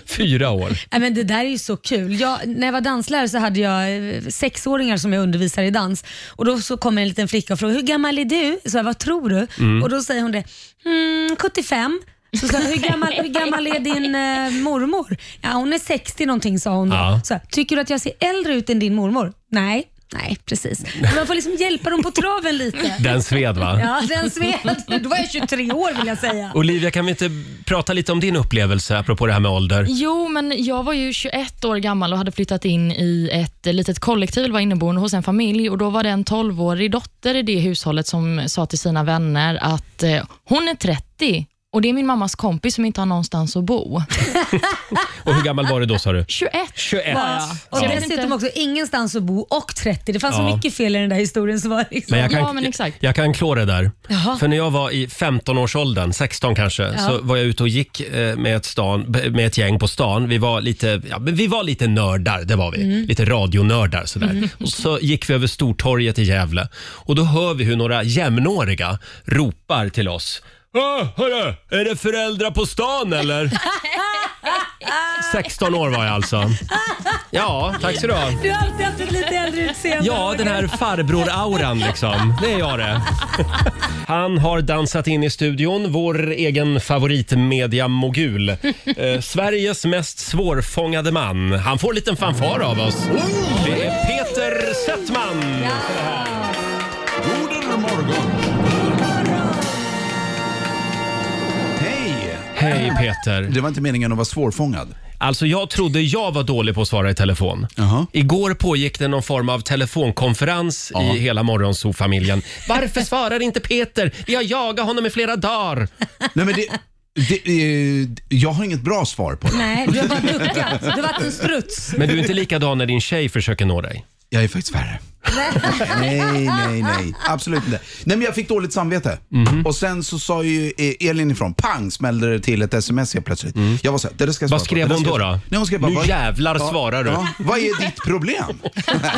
[SPEAKER 1] Fyra år.
[SPEAKER 3] Nej, men det där är ju så kul. Jag, när jag var danslärare så hade jag eh, sexåringar som jag undervisar i dans. Och Då så kom en liten flicka och frågade hur gammal är du? Så jag, vad tror du? Och Då säger hon det, mm, 75. Så sa jag, hur gammal, hur gammal är din eh, mormor? Ja, hon är 60 någonting sa hon då.
[SPEAKER 1] Ja.
[SPEAKER 3] Så, jag, Tycker du att jag ser äldre ut än din mormor? Nej. Nej, precis. Men man får liksom hjälpa dem på traven lite.
[SPEAKER 1] Den sved va?
[SPEAKER 3] Ja, den sved. Då var jag 23 år vill jag säga.
[SPEAKER 1] Olivia, kan vi inte prata lite om din upplevelse apropå det här med ålder?
[SPEAKER 5] Jo, men jag var ju 21 år gammal och hade flyttat in i ett litet kollektiv, var inneboende hos en familj och då var det en 12-årig dotter i det hushållet som sa till sina vänner att eh, hon är 30 och det är min mammas kompis som inte har någonstans att bo.
[SPEAKER 1] Och hur gammal var du då sa du?
[SPEAKER 5] 21.
[SPEAKER 1] 21.
[SPEAKER 3] Och
[SPEAKER 5] Ja.
[SPEAKER 3] dessutom också ingenstans att bo och 30. Det fanns
[SPEAKER 1] Ja.
[SPEAKER 3] så mycket fel i den där historien. Så var det liksom.
[SPEAKER 1] Men jag kan,
[SPEAKER 5] Ja, men exakt.
[SPEAKER 1] jag kan klå det där.
[SPEAKER 3] Jaha.
[SPEAKER 1] För när jag var i 15-årsåldern, 16 kanske, så var jag ute och gick eh, med ett, stan, b- med ett gäng på stan. Vi var lite, ja, men vi var lite nördar, det var vi.
[SPEAKER 5] Mm.
[SPEAKER 1] Lite radionördar sådär. Och så gick vi över Stortorget i Gävle och då hör vi hur några jämnåriga ropar till oss. Åh, hörru, är det föräldrar på stan eller? 16 år var jag alltså. Ja, tack så du ha.
[SPEAKER 3] Du har alltid haft ett lite äldre utseende.
[SPEAKER 1] Ja, den här farbror-auran liksom. Det är jag det. Han har dansat in i studion, vår egen favoritmedia-mogul. Eh, Sveriges mest svårfångade man. Han får en liten fanfar av oss. Det är Peter Settman!
[SPEAKER 2] God morgon! Hej!
[SPEAKER 1] Hej Peter!
[SPEAKER 2] Det var inte meningen att vara svårfångad.
[SPEAKER 1] Alltså jag trodde jag var dålig på att svara i telefon.
[SPEAKER 2] Jaha.
[SPEAKER 1] Igår pågick det någon form av telefonkonferens i hela Morgonzoo-familjen. Varför svarar inte Peter? Vi har jagat honom i flera dagar.
[SPEAKER 2] Nej, men det, det, eh, jag har inget bra svar på det.
[SPEAKER 3] Nej, du har bara duckat. Du har varit en struts.
[SPEAKER 1] Men du är inte likadan när din tjej försöker nå dig.
[SPEAKER 2] Jag är faktiskt värre.
[SPEAKER 8] Nej, nej, nej. Absolut inte. Nej, men jag fick dåligt samvete.
[SPEAKER 1] Mhm.
[SPEAKER 8] Och sen så sa ju eh, Elin ifrån. Pang smällde det till ett sms helt plötsligt. Jag var så här, det där ska jag
[SPEAKER 1] Mm. Vad
[SPEAKER 8] svara på,
[SPEAKER 1] skrev
[SPEAKER 8] det där
[SPEAKER 1] hon då,
[SPEAKER 8] ska jag svara-
[SPEAKER 1] då?
[SPEAKER 8] Nej, hon skrev bara,
[SPEAKER 1] Nu
[SPEAKER 8] vad-
[SPEAKER 1] jävlar svarar du.
[SPEAKER 8] vad är ditt problem?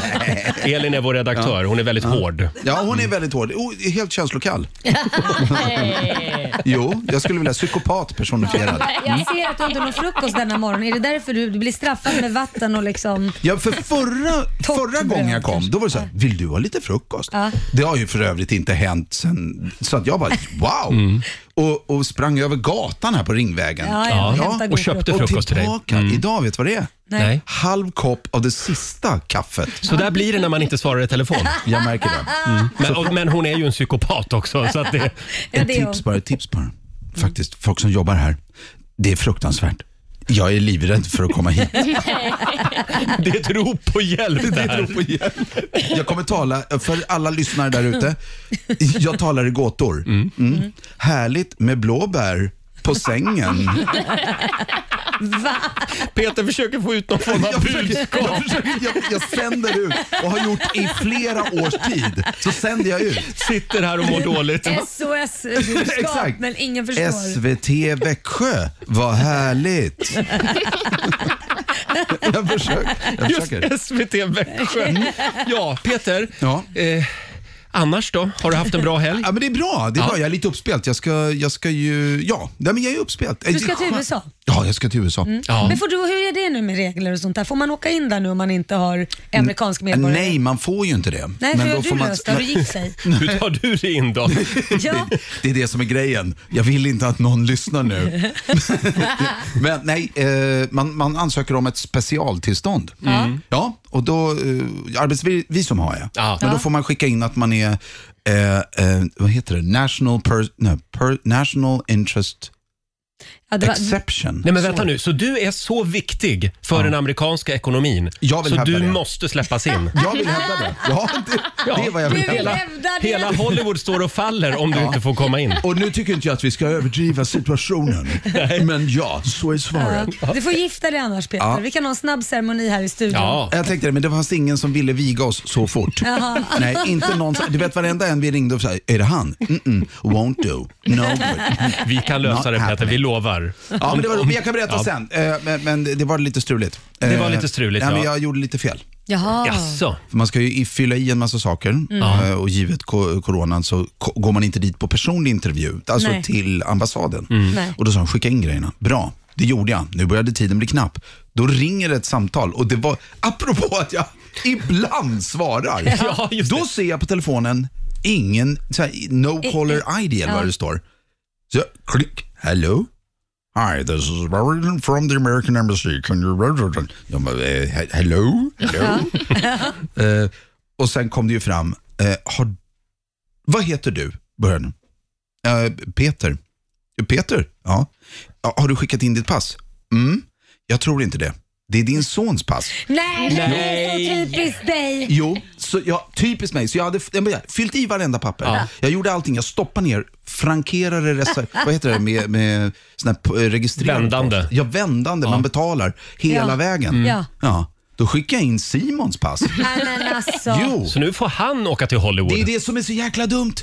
[SPEAKER 1] Elin är vår redaktör, hon är väldigt hård.
[SPEAKER 8] Ja, hon är väldigt hård. Oh, helt känslokall. Jo, jag skulle vilja psykopat personifierad.
[SPEAKER 3] Jag ser att du inte har någon frukost denna morgon. Är det därför du blir straffad med vatten och liksom...
[SPEAKER 8] Ja, för förra, förra
[SPEAKER 3] Tortbröd
[SPEAKER 8] gången jag kom,
[SPEAKER 3] kanske.
[SPEAKER 8] då var det så här, vill du ha lite frukost?
[SPEAKER 3] Ja.
[SPEAKER 8] Det har ju för övrigt inte hänt sen, så att jag bara, wow!
[SPEAKER 1] Mm.
[SPEAKER 8] Och, och sprang över gatan här på Ringvägen.
[SPEAKER 3] Ja, ja,
[SPEAKER 1] Ja,
[SPEAKER 3] hämta
[SPEAKER 1] och
[SPEAKER 3] god
[SPEAKER 1] köpte
[SPEAKER 3] frukost.
[SPEAKER 8] Och
[SPEAKER 1] frukost till dig. Mm.
[SPEAKER 8] tillbaka, idag, vet du vad det är?
[SPEAKER 3] Nej.
[SPEAKER 1] Nej.
[SPEAKER 8] Halv kopp av det sista kaffet.
[SPEAKER 1] Så där blir det när man inte svarar i telefon. Mm.
[SPEAKER 8] Jag märker det.
[SPEAKER 1] Men, och, men hon är ju en psykopat också. Så att det,
[SPEAKER 3] Ja,
[SPEAKER 8] Ett
[SPEAKER 3] det är
[SPEAKER 8] tips bara, ett tips bara. Faktiskt, folk som jobbar här, det är fruktansvärt. Jag är livrädd för att komma hit.
[SPEAKER 1] det är ett rop på hjälp det
[SPEAKER 8] Det
[SPEAKER 1] här.
[SPEAKER 8] tror på hjälp. Jag kommer tala, för alla lyssnare där ute, jag talar i gåtor. Mm. Härligt med blåbär på sängen.
[SPEAKER 3] Va?
[SPEAKER 1] Peter försöker få ut någon form av
[SPEAKER 8] Jag,
[SPEAKER 1] budskap.
[SPEAKER 8] försöker, jag, försöker, jag, jag sänder ut och har gjort i flera års tid. Så sänder jag ut.
[SPEAKER 1] Sitter här och mår dåligt.
[SPEAKER 8] Exakt.
[SPEAKER 3] SOS-budskap, eh, men ingen förstår.
[SPEAKER 8] SVT Växjö, vad härligt. Jag försöker. Jag försöker.
[SPEAKER 1] Just SVT Växjö. Ja, Peter.
[SPEAKER 8] Ja.
[SPEAKER 1] Eh, annars då? Har du haft en bra helg?
[SPEAKER 8] Ja, men det är bra. Det är bra. Jag är lite uppspelt. Jag ska, jag ska ju... Ja, Nej, men jag är uppspelt.
[SPEAKER 3] Du ska till USA.
[SPEAKER 8] Ja, jag ska till USA.
[SPEAKER 1] Ja.
[SPEAKER 3] Men får du, hur är det nu med regler och sånt där? Får man åka in där nu om man inte har amerikansk medborgare?
[SPEAKER 8] Nej, man får ju inte det.
[SPEAKER 3] Nej, för du
[SPEAKER 8] man-
[SPEAKER 3] löst det. Har du gift sig?
[SPEAKER 1] Hur tar du dig in då?
[SPEAKER 3] Ja.
[SPEAKER 8] Det är det som är grejen. Jag vill inte att någon lyssnar nu. Men nej, eh, man, man ansöker om ett specialtillstånd. Mm. Ja, och då, eh, arbetsvisum har jag.
[SPEAKER 1] Ja.
[SPEAKER 8] Men då får man skicka in att man är, eh, eh, vad heter det, national, per, nej, per, national interest
[SPEAKER 3] Ja, det var,
[SPEAKER 8] exception.
[SPEAKER 1] Nej men vänta nu, så du är så viktig för den amerikanska ekonomin
[SPEAKER 8] Jag vill
[SPEAKER 1] så du
[SPEAKER 8] hävda det.
[SPEAKER 1] måste släppas in?
[SPEAKER 8] Jag vill hävda det. Ja, det, det är vad jag vill
[SPEAKER 3] Du vill
[SPEAKER 8] hävda.
[SPEAKER 3] hävda det.
[SPEAKER 1] Hela Hollywood står och faller om du inte får komma in.
[SPEAKER 8] Och nu tycker inte jag att vi ska överdriva situationen. Men ja, så är svaret.
[SPEAKER 3] ja. Du får gifta dig annars Peter.
[SPEAKER 8] Ja.
[SPEAKER 3] Vi kan ha en snabb ceremoni här i studion.
[SPEAKER 1] Ja.
[SPEAKER 8] Jag tänkte det, men det fanns ingen som ville viga oss så fort.
[SPEAKER 3] Jaha.
[SPEAKER 8] Nej, inte någon. Du vet varenda en vi ringde och sa, är det han? Mm-mm, won't do. No way.
[SPEAKER 1] Vi kan
[SPEAKER 8] Not
[SPEAKER 1] lösa det Peter, vi
[SPEAKER 8] happening.
[SPEAKER 1] lovar.
[SPEAKER 8] Ja, men, det var, men jag kan berätta
[SPEAKER 1] Ja.
[SPEAKER 8] sen. Eh, Men, men det var lite struligt. Eh,
[SPEAKER 1] Det var lite struligt,
[SPEAKER 8] nej, men
[SPEAKER 1] ja.
[SPEAKER 8] Jag gjorde lite fel.
[SPEAKER 3] Jaha.
[SPEAKER 1] Jaså?
[SPEAKER 8] För man ska ju i- fylla i en massa saker Eh, och givet ko- coronan så ko- går man inte dit på personlig intervju, alltså
[SPEAKER 3] Nej.
[SPEAKER 8] till ambassaden.
[SPEAKER 3] Nej.
[SPEAKER 8] Och då sa de, skicka in grejerna. Bra, det gjorde jag. Nu började tiden bli knapp. Då ringer ett samtal och det var, apropå att jag ibland svarar,
[SPEAKER 1] Ja, just det.
[SPEAKER 8] då ser jag på telefonen ingen, så här, no caller ID eller vad det står. Så jag, klick, hello? Hi, this is Warren from the American Embassy. Can you... Jag bara, eh, he- hello? hello? Eh, och sen kom det ju fram, eh, har, vad heter du? Började den. eh, Peter. Peter? Ja. ja. Har du skickat in ditt pass? Mm. Jag tror inte det. Det är din sons pass.
[SPEAKER 3] Nej, det
[SPEAKER 1] Nej.
[SPEAKER 3] är så typiskt dig.
[SPEAKER 8] Jo, så jag, typiskt mig. Så jag hade f- jag menar, fyllt i varenda papper. Jag gjorde allting. Jag stoppade ner, frankerade, resa, vad heter det, med, med sån här eh, registrering.
[SPEAKER 1] Vändande.
[SPEAKER 8] Ja, vändande. Man betalar hela
[SPEAKER 3] Ja. Mm.
[SPEAKER 8] vägen.
[SPEAKER 3] Ja.
[SPEAKER 8] Ja. Då skickade jag in Simons pass.
[SPEAKER 3] Nej men alltså.
[SPEAKER 8] Jo.
[SPEAKER 1] Så nu får han åka till Hollywood.
[SPEAKER 8] Det är det som är så jäkla dumt.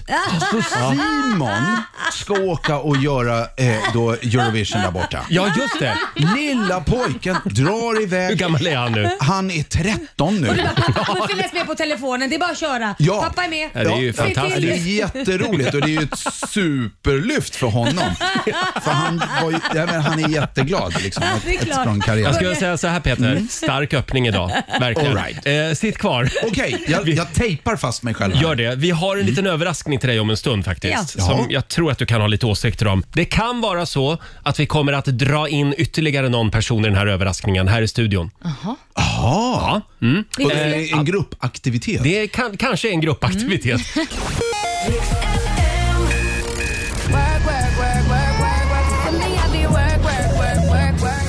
[SPEAKER 8] Så Simon ska åka och göra eh, då Eurovision där borta.
[SPEAKER 1] Ja, just det.
[SPEAKER 8] Lilla pojken drar
[SPEAKER 1] Hur
[SPEAKER 8] iväg.
[SPEAKER 1] gammal är han nu?
[SPEAKER 8] Han är 13 nu.
[SPEAKER 3] Pappa kommer finnas med på telefonen. Det är bara att köra.
[SPEAKER 8] Ja.
[SPEAKER 3] Pappa är med.
[SPEAKER 1] Ja, det är ju
[SPEAKER 8] Ja,
[SPEAKER 1] fantastiskt.
[SPEAKER 8] Det är jätteroligt och det är ju ett superlyft för honom. För han, var ju, ja, men han är jätteglad liksom. Att,
[SPEAKER 3] Det är
[SPEAKER 8] ett
[SPEAKER 3] klart.
[SPEAKER 8] språng karriär.
[SPEAKER 1] Jag skulle säga så här Peter, stark öppning idag. Verkligen.
[SPEAKER 8] Mm. All right.
[SPEAKER 1] Eh, sitt kvar.
[SPEAKER 8] Okej, jag, jag tejpar fast mig själv. här.
[SPEAKER 1] Gör det. Vi har en liten överraskning till dig om en stund faktiskt.
[SPEAKER 8] Mm. Ja.
[SPEAKER 1] Som
[SPEAKER 8] Ja.
[SPEAKER 1] jag tror att du kan ha lite åsikter om. Det kan vara så att vi kommer att dra in ytterligare någon person i den här överraskningen här i studion.
[SPEAKER 8] Ja. Och det är en gruppaktivitet.
[SPEAKER 1] Mm. Eh, Det kan, kanske är en gruppaktivitet.
[SPEAKER 9] Riks-FM.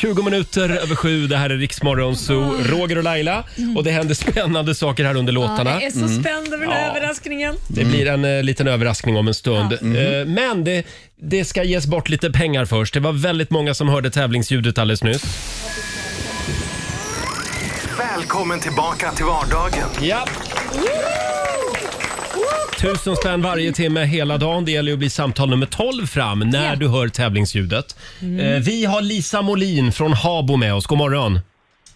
[SPEAKER 1] 20 minuter över sju. Det här är Riksmorgon Zoo. Roger och Laila. Och det händer spännande saker här under låtarna.
[SPEAKER 3] Jag är så spänd över den här överraskningen.
[SPEAKER 1] Det blir en eh, liten överraskning om en stund. Eh, men det, det ska ges bort lite pengar först. Det var väldigt många som hörde tävlingsljudet alldeles nyss.
[SPEAKER 2] Välkommen tillbaka till vardagen.
[SPEAKER 1] Ja. Tusen spänn varje timme hela dagen. Det gäller ju att bli samtal nummer 12 fram när du hör tävlingsljudet. Eh, Vi har Lisa Molin från Habo med oss. God morgon.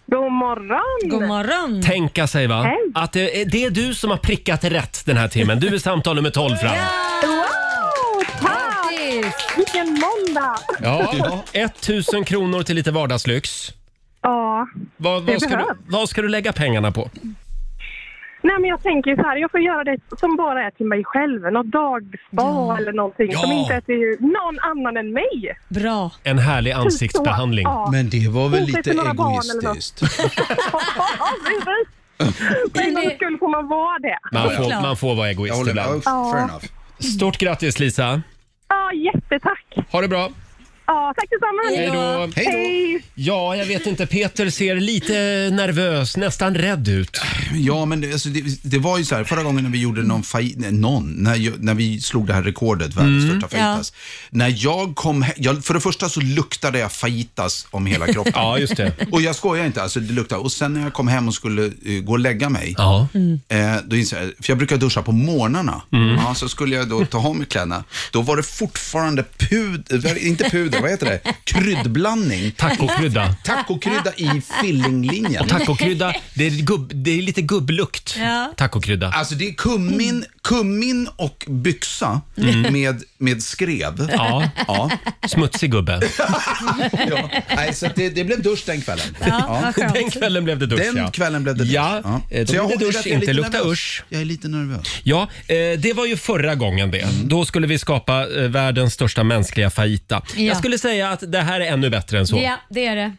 [SPEAKER 6] God morgon!
[SPEAKER 3] God morgon.
[SPEAKER 1] Tänka sig va?
[SPEAKER 6] Hej.
[SPEAKER 1] Att det är, det är du som har prickat rätt den här timmen. Du är samtal nummer 12 fram.
[SPEAKER 6] Wow, tack! Vilken måndag!
[SPEAKER 1] Ja. 1000 kronor till lite vardagslyx.
[SPEAKER 6] Ja.
[SPEAKER 1] Vad, vad, ska du,
[SPEAKER 6] behövs.
[SPEAKER 1] vad ska du lägga pengarna på?
[SPEAKER 6] Nej, men jag tänker så här, jag får göra det som bara är till mig själv. Något dagspa eller någonting som
[SPEAKER 1] Ja.
[SPEAKER 6] inte är till någon annan än mig.
[SPEAKER 3] Bra.
[SPEAKER 1] En härlig ansiktsbehandling.
[SPEAKER 6] Så, ja.
[SPEAKER 8] Men det var väl
[SPEAKER 6] Fortsätt
[SPEAKER 8] lite
[SPEAKER 6] med några barn eller något.
[SPEAKER 8] egoistiskt?
[SPEAKER 6] Ja, precis. På en gångs skull får man vara det.
[SPEAKER 1] Man
[SPEAKER 3] Ja,
[SPEAKER 1] får,
[SPEAKER 3] klart.
[SPEAKER 1] man får vara
[SPEAKER 8] Jag
[SPEAKER 1] egoist
[SPEAKER 8] håller med.
[SPEAKER 1] ibland.
[SPEAKER 8] Oh, Fair enough.
[SPEAKER 1] Stort grattis Lisa.
[SPEAKER 6] Ja, jättetack.
[SPEAKER 1] Ha det bra.
[SPEAKER 6] Ja, tack detsamma.
[SPEAKER 1] Hej då.
[SPEAKER 8] Hej då.
[SPEAKER 6] Hej.
[SPEAKER 1] Ja, jag vet inte. Peter ser lite nervös, nästan rädd ut.
[SPEAKER 8] Ja, men det, alltså, det, det var ju så här, förra gången när vi gjorde någon fight, nej, någon, när, jag, när vi slog det här rekordet, världens
[SPEAKER 1] Mm.
[SPEAKER 8] största fajitas. När jag kom he- jag, för det första så luktade jag fajitas om hela kroppen.
[SPEAKER 1] Ja, just det.
[SPEAKER 8] Och jag skojar inte, alltså det luktade. Och sen när jag kom hem och skulle eh, gå och lägga mig,
[SPEAKER 1] Ja. Mm.
[SPEAKER 8] eh, då insåg jag, för jag brukar duscha på morgnarna, ja, så skulle jag då ta av mig kläderna. Då var det fortfarande puder, inte puder, vad heter det? Kryddblandning.
[SPEAKER 1] Tacokrydda.
[SPEAKER 8] Tacokrydda i fillinglinjen.
[SPEAKER 1] Tacokrydda, det är, gubb, det är lite gubblukt.
[SPEAKER 3] Ja.
[SPEAKER 1] Tacokrydda.
[SPEAKER 8] Alltså det är kummin, kummin och byxa med, med skrev.
[SPEAKER 1] Mm. Ja,
[SPEAKER 8] Ja.
[SPEAKER 1] smutsig gubbe.
[SPEAKER 8] ja. Nej, så att det, det blev dusch den kvällen.
[SPEAKER 3] Ja, vad
[SPEAKER 1] Den
[SPEAKER 3] skönt.
[SPEAKER 1] kvällen blev det dusch,
[SPEAKER 8] Den
[SPEAKER 1] ja.
[SPEAKER 8] kvällen blev det dusch.
[SPEAKER 1] Ja, eh, då
[SPEAKER 8] Så jag
[SPEAKER 1] blev det
[SPEAKER 8] håller
[SPEAKER 1] dusch,
[SPEAKER 8] att jag är
[SPEAKER 1] inte
[SPEAKER 8] lite
[SPEAKER 1] lukta
[SPEAKER 8] nervös.
[SPEAKER 1] usch.
[SPEAKER 8] Jag är lite nervös.
[SPEAKER 1] Ja, eh, det var ju förra gången det.
[SPEAKER 8] Mm.
[SPEAKER 1] Då skulle vi skapa eh, världens största mänskliga fajita.
[SPEAKER 3] Ja.
[SPEAKER 1] Jag skulle säga att det här är ännu bättre än så. Mm.
[SPEAKER 3] Ja, det är det.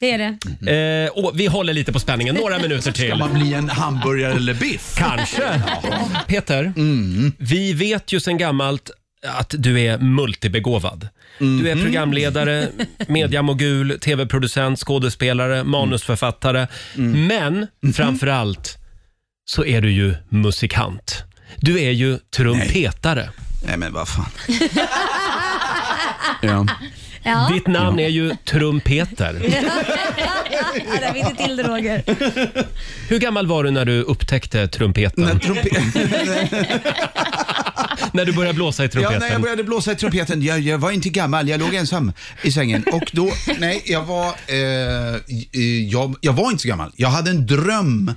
[SPEAKER 3] Det är det.
[SPEAKER 1] Eh, och vi håller lite på spänningen, några minuter
[SPEAKER 8] Ska
[SPEAKER 1] till.
[SPEAKER 8] man bli en hamburgare eller biff?
[SPEAKER 1] Kanske. Peter,
[SPEAKER 8] Mm.
[SPEAKER 1] vi vet ju sedan gammalt att du är multibegåvad. Du
[SPEAKER 8] Mm.
[SPEAKER 1] är programledare, mediamogul, tv-producent, skådespelare, manusförfattare.
[SPEAKER 8] Mm.
[SPEAKER 1] Men
[SPEAKER 8] Mm-hmm.
[SPEAKER 1] framför allt så är du ju musikant. Du är ju trumpetare.
[SPEAKER 8] Nej men vad fan. ja.
[SPEAKER 3] Ja.
[SPEAKER 1] Ditt namn är ju Trumpeter.
[SPEAKER 3] Ja, där fick du till det, Roger.
[SPEAKER 1] Hur gammal var du när du upptäckte trumpeten?
[SPEAKER 8] När trumpe-
[SPEAKER 1] När du började blåsa i
[SPEAKER 8] ja,
[SPEAKER 1] trumpeten?
[SPEAKER 8] när jag började blåsa i trumpeten, jag, jag var inte gammal, jag låg ensam i sängen. Och då, nej, jag var, eh, eh, jag, jag var inte så gammal. Jag hade en dröm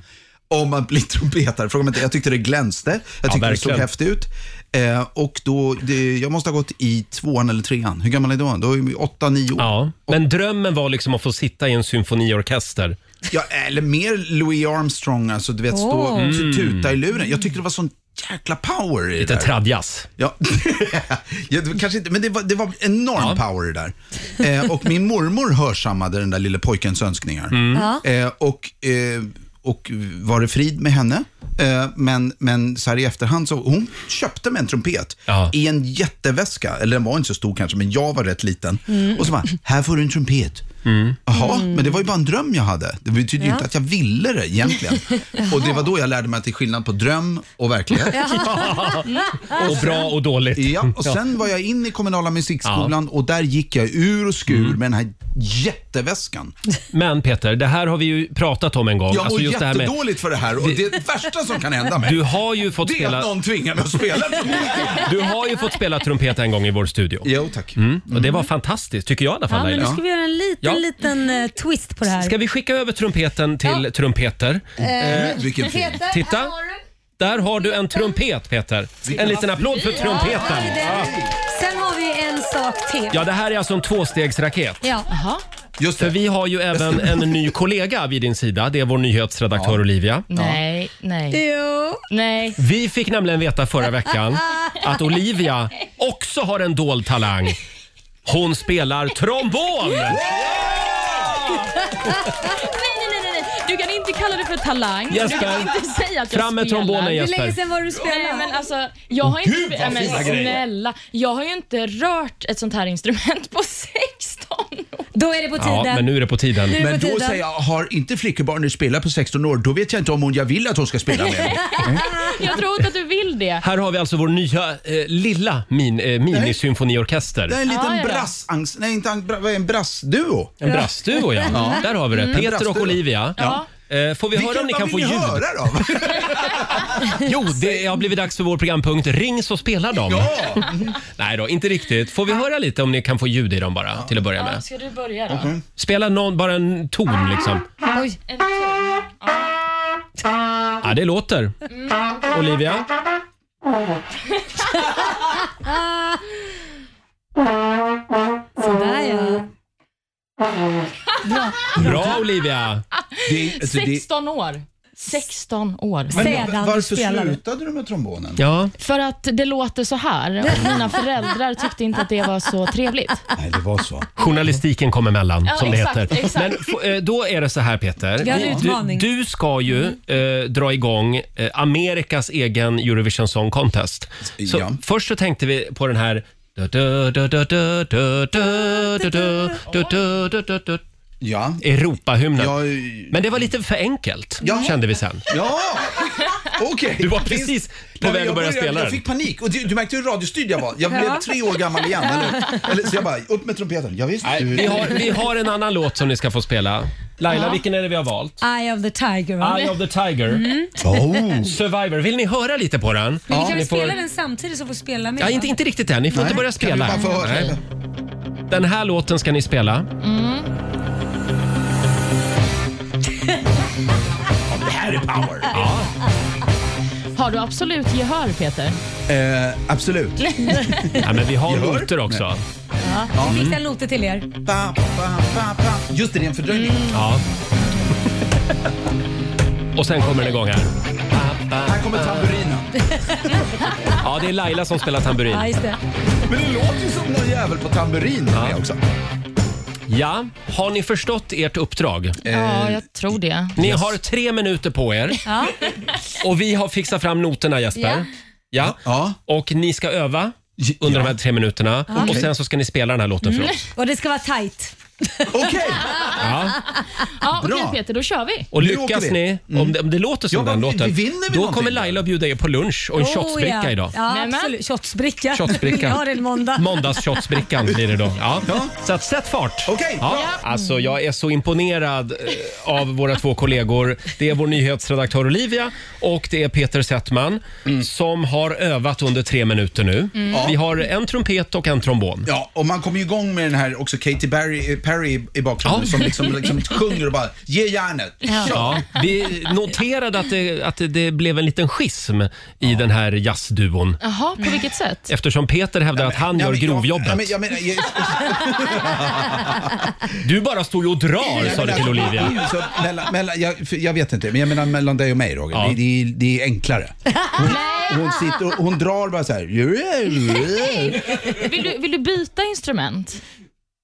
[SPEAKER 8] om att bli trumpetare. Fråga mig inte, jag tyckte det glänste, jag tyckte det såg
[SPEAKER 1] verkligen.
[SPEAKER 8] häftigt ut. Eh, och då, det, jag måste ha gått i tvåan eller trean. Hur gammal är jag då? Då är jag åtta, nio år.
[SPEAKER 1] Ja, men drömmen var liksom att få sitta i en symfoniorkester.
[SPEAKER 8] Ja, eller mer Louis Armstrong, alltså du vet, stå
[SPEAKER 1] Oh.
[SPEAKER 8] och tuta i luren. Jag tyckte det var sån jäkla power i det
[SPEAKER 1] Mm. Lite
[SPEAKER 8] där.
[SPEAKER 1] tradjas.
[SPEAKER 8] Ja, ja det var kanske inte, men det var, det var enorm power det där. Eh, och min mormor hörsammade den där lille pojkens önskningar.
[SPEAKER 3] Ja.
[SPEAKER 8] Eh, och, eh, och var det frid med henne. Eh, men, men så här i efterhand så, hon köpte mig en trumpet
[SPEAKER 1] Ja.
[SPEAKER 8] i en jätteväska. Eller den var inte så stor kanske, men jag var rätt liten. Och så bara, här får du en trumpet. Jaha, men det var ju bara en dröm jag hade. Det betyder ju inte att jag ville det egentligen. och det var då jag lärde mig att det är skillnad på dröm och verklighet.
[SPEAKER 1] Och bra och dåligt.
[SPEAKER 8] Ja, och sen var jag in i kommunala musikskolan och där gick jag ur och skur
[SPEAKER 1] Mm.
[SPEAKER 8] med den här jätteväskan.
[SPEAKER 1] Men Peter, det här har vi ju pratat om en gång. Alltså,
[SPEAKER 8] Jag mår
[SPEAKER 1] just det här med-
[SPEAKER 8] jättedåligt för det här och det värsta som kan hända mig,
[SPEAKER 1] du har ju fått
[SPEAKER 8] det är att
[SPEAKER 1] spela,
[SPEAKER 8] någon tvingar mig att spela trumpet.
[SPEAKER 1] du har ju fått spela trumpet en gång i vår studio.
[SPEAKER 8] Jo, tack. Mm.
[SPEAKER 1] Och det var fantastiskt, tycker jag i alla fall
[SPEAKER 3] Mm. Ja, men nu
[SPEAKER 1] Laila.
[SPEAKER 3] ska vi göra en liten,
[SPEAKER 1] Ja.
[SPEAKER 3] liten eh, twist på det här.
[SPEAKER 1] Ska vi skicka över trumpeten till trumpeter?
[SPEAKER 8] Eh, Vilken fin.
[SPEAKER 9] Peter,
[SPEAKER 1] Titta.
[SPEAKER 9] här har du.
[SPEAKER 1] Där har du en trumpet Peter. En liten applåd för
[SPEAKER 3] Ja, det
[SPEAKER 1] trumpeten.
[SPEAKER 3] är den. Sen har vi en sak till.
[SPEAKER 1] Ja, det här är alltså en tvåstegsraket.
[SPEAKER 3] Ja.
[SPEAKER 5] Jaha.
[SPEAKER 8] Just
[SPEAKER 1] För
[SPEAKER 8] det.
[SPEAKER 1] vi har ju även en ny kollega vid din sida. Det är vår nyhetsredaktör Olivia.
[SPEAKER 5] Nej, nej,
[SPEAKER 3] Jo.
[SPEAKER 5] nej.
[SPEAKER 1] Vi fick nämligen veta förra veckan att Olivia också har en dold talang. Hon spelar trombon!
[SPEAKER 5] Nej, nej, nej, nej. Du kan inte kalla det för talang.
[SPEAKER 1] Jesper,
[SPEAKER 5] Du kan inte säga att jag
[SPEAKER 1] fram med
[SPEAKER 5] spelar.
[SPEAKER 1] trombonen,
[SPEAKER 5] Nej,
[SPEAKER 1] Jesper.
[SPEAKER 3] Hur länge sen var du spelade?
[SPEAKER 5] men alltså, jag har inte...
[SPEAKER 2] Gud, vad
[SPEAKER 5] Nej, men
[SPEAKER 2] fina grejer.
[SPEAKER 5] snälla. Jag har ju inte rört ett sånt här instrument på 16 år.
[SPEAKER 3] Då är det på
[SPEAKER 1] Ja,
[SPEAKER 3] tiden.
[SPEAKER 1] men nu är det på tiden.
[SPEAKER 3] Nu är det
[SPEAKER 8] Men
[SPEAKER 3] på
[SPEAKER 8] då
[SPEAKER 3] tiden.
[SPEAKER 8] säger jag, har inte flickebarnet spelat på 16 år, då vet jag inte om hon jag vill att hon ska spela med mig.
[SPEAKER 5] Jag tror inte att du vill det.
[SPEAKER 1] Här har vi alltså vår nya eh, lilla min, eh, minisymfoniorkester.
[SPEAKER 8] Det är en liten
[SPEAKER 5] Ja, ja, ja.
[SPEAKER 8] brass... Nej, inte ang- bra- vad är en brassduo.
[SPEAKER 1] En brassduo ja. Där har vi det.
[SPEAKER 8] Mm. En
[SPEAKER 1] Peter och
[SPEAKER 8] brassduo.
[SPEAKER 1] Olivia.
[SPEAKER 5] Ja.
[SPEAKER 1] Eh, får vi höra om ni kan få
[SPEAKER 8] vill
[SPEAKER 1] ljud?
[SPEAKER 8] ni höra då?
[SPEAKER 1] Jo, det har blivit dags för vår programpunkt Ring så spelar de.
[SPEAKER 8] Ja!
[SPEAKER 1] Nej då, inte riktigt. Får vi höra lite om ni kan få ljud i dem bara till att börja med?
[SPEAKER 5] Ska du börja då?
[SPEAKER 1] Spela någon, bara en ton liksom.
[SPEAKER 3] Oj,
[SPEAKER 5] En ton.
[SPEAKER 1] Ja, det låter.
[SPEAKER 3] Mm.
[SPEAKER 1] Olivia?
[SPEAKER 3] sådär ja.
[SPEAKER 1] Bra Olivia!
[SPEAKER 8] Det, är- alltså, det,
[SPEAKER 5] 16 år. 16 år.
[SPEAKER 8] men
[SPEAKER 3] Sedan
[SPEAKER 8] varför
[SPEAKER 3] spelar du.
[SPEAKER 8] slutade du med trombonen?
[SPEAKER 1] Ja,
[SPEAKER 5] För att det låter så här och mina föräldrar tyckte inte att det var så trevligt.
[SPEAKER 8] Nej, det var så.
[SPEAKER 1] journalistiken kom emellan
[SPEAKER 5] Ja,
[SPEAKER 1] som det
[SPEAKER 5] exakt,
[SPEAKER 1] heter.
[SPEAKER 5] exakt.
[SPEAKER 1] Men f- eh, då är det så här Peter.
[SPEAKER 3] Vi har en
[SPEAKER 1] Du,
[SPEAKER 3] utmaning. Mm.
[SPEAKER 1] du ska ju eh, dra igång eh, Amerikas egen Eurovision Song Contest. Så
[SPEAKER 8] Ja.
[SPEAKER 1] först så tänkte vi på den här
[SPEAKER 8] Ja.
[SPEAKER 1] Europahymnen.
[SPEAKER 8] Jag,
[SPEAKER 1] Men det var lite för enkelt,
[SPEAKER 8] eh, Ja.
[SPEAKER 1] kände vi sen.
[SPEAKER 8] ja, okej.
[SPEAKER 1] Du var precis på
[SPEAKER 8] Nej, men
[SPEAKER 1] väg
[SPEAKER 8] jag
[SPEAKER 1] att börja
[SPEAKER 8] började-
[SPEAKER 1] spela
[SPEAKER 8] Jag
[SPEAKER 1] den.
[SPEAKER 8] fick panik. Och du, du märkte hur radiostyrd jag var. Jag blev
[SPEAKER 3] Ja.
[SPEAKER 8] tre år gammal igen. Eller, eller, så jag bara, upp med trumpeten. Jag visste
[SPEAKER 1] Nej,
[SPEAKER 8] du,
[SPEAKER 1] vi, har, vi har en annan låt som ni ska få spela. Laila, vilken är det vi har valt?
[SPEAKER 3] Eye of the tiger va?
[SPEAKER 1] Eye of the Tiger,
[SPEAKER 8] Oh.
[SPEAKER 1] Survivor. Vill ni höra lite på den?
[SPEAKER 3] Men vi kan
[SPEAKER 1] Ni
[SPEAKER 3] väl
[SPEAKER 1] får-
[SPEAKER 3] spela den samtidigt så får spela med?
[SPEAKER 1] Ja,
[SPEAKER 3] va?
[SPEAKER 1] inte, inte riktigt än. Ni får
[SPEAKER 8] Nej,
[SPEAKER 1] inte börja
[SPEAKER 8] kan
[SPEAKER 1] spela.
[SPEAKER 8] vi bara få höra?
[SPEAKER 1] Nej. Den här låten ska ni spela.
[SPEAKER 8] Det här är power.
[SPEAKER 5] Har du absolut gehör Peter?
[SPEAKER 8] Eh, absolut.
[SPEAKER 1] Ja, men vi har
[SPEAKER 8] Jag hör.
[SPEAKER 1] noter också.
[SPEAKER 3] Fixa en noter till er.
[SPEAKER 1] Mm.
[SPEAKER 8] Pa, pa, pa, pa. Just det, det är en fördröjning.
[SPEAKER 1] Ja. Och sen kommer den igång här.
[SPEAKER 8] Här kommer tamburinen.
[SPEAKER 1] Ja, det är Laila som spelar tamburin.
[SPEAKER 3] Ja, just det.
[SPEAKER 8] Men det låter ju som någon jävel på tamburinen med också.
[SPEAKER 1] Ja, har ni förstått ert uppdrag?
[SPEAKER 8] Eh,
[SPEAKER 5] Ja, jag tror det.
[SPEAKER 1] Ni har tre minuter på er.
[SPEAKER 3] Ja.
[SPEAKER 1] Och vi har fixat fram noterna Jesper. Ja.
[SPEAKER 8] Ja.
[SPEAKER 1] Och ni ska öva under de här tre minuterna. Och sen så ska ni spela den här låten för oss.
[SPEAKER 3] Och det ska vara tight.
[SPEAKER 8] Okej,
[SPEAKER 1] Ja.
[SPEAKER 5] Ja, okej
[SPEAKER 8] Bra.
[SPEAKER 5] Peter, då kör vi.
[SPEAKER 1] Och
[SPEAKER 8] Nu
[SPEAKER 1] lyckas
[SPEAKER 8] åker vi. Mm.
[SPEAKER 1] ni, om, det, om det låter som
[SPEAKER 8] Ja,
[SPEAKER 1] den
[SPEAKER 8] men vi-
[SPEAKER 1] låten,
[SPEAKER 8] vi vinner väl
[SPEAKER 1] då
[SPEAKER 8] någonting
[SPEAKER 1] kommer
[SPEAKER 8] då?
[SPEAKER 1] Laila och bjuda er på lunch och en shotsbricka
[SPEAKER 3] Oh, ja.
[SPEAKER 1] idag.
[SPEAKER 3] Ja,
[SPEAKER 5] Nämen.
[SPEAKER 3] absolut. Shotsbricka.
[SPEAKER 1] Shotsbricka.
[SPEAKER 3] Ja, det är en måndag.
[SPEAKER 1] Måndagsshotbrickan blir det då. Ja. Så att sätt fart!
[SPEAKER 8] Okej.
[SPEAKER 1] Ja. Alltså, jag är så imponerad eh, av våra två kollegor. Det är vår nyhetsredaktör Olivia och det är Peter Settman
[SPEAKER 8] Mm.
[SPEAKER 1] som har övat under tre minuter nu.
[SPEAKER 3] Mm.
[SPEAKER 1] Vi har en trumpet och en trombon.
[SPEAKER 8] Ja, och man kommer ju igång med den här också Katy Perry, Perry i- i bakgrunden
[SPEAKER 1] Ja.
[SPEAKER 8] som liksom, liksom sjunger och bara ge järnet. Ja.
[SPEAKER 1] Ja, vi noterade att det, att det blev en liten schism i den här jazzduon.
[SPEAKER 5] Jaha, på vilket sätt?
[SPEAKER 1] Eftersom Peter hävdar att han gör grovjobbet.
[SPEAKER 8] Jag, men- jag, menar, jag,
[SPEAKER 1] Du bara står ju och drar,
[SPEAKER 8] jag
[SPEAKER 1] sa du
[SPEAKER 8] menar-
[SPEAKER 1] till Olivia.
[SPEAKER 8] Så mellan, mellan, jag, för jag vet inte, men jag menar mellan dig och mig Roger.
[SPEAKER 1] Ja.
[SPEAKER 8] Det, det, är- det är enklare. Hon, hon, sitter och, hon drar bara så här.
[SPEAKER 5] Vill du, vill du byta instrument?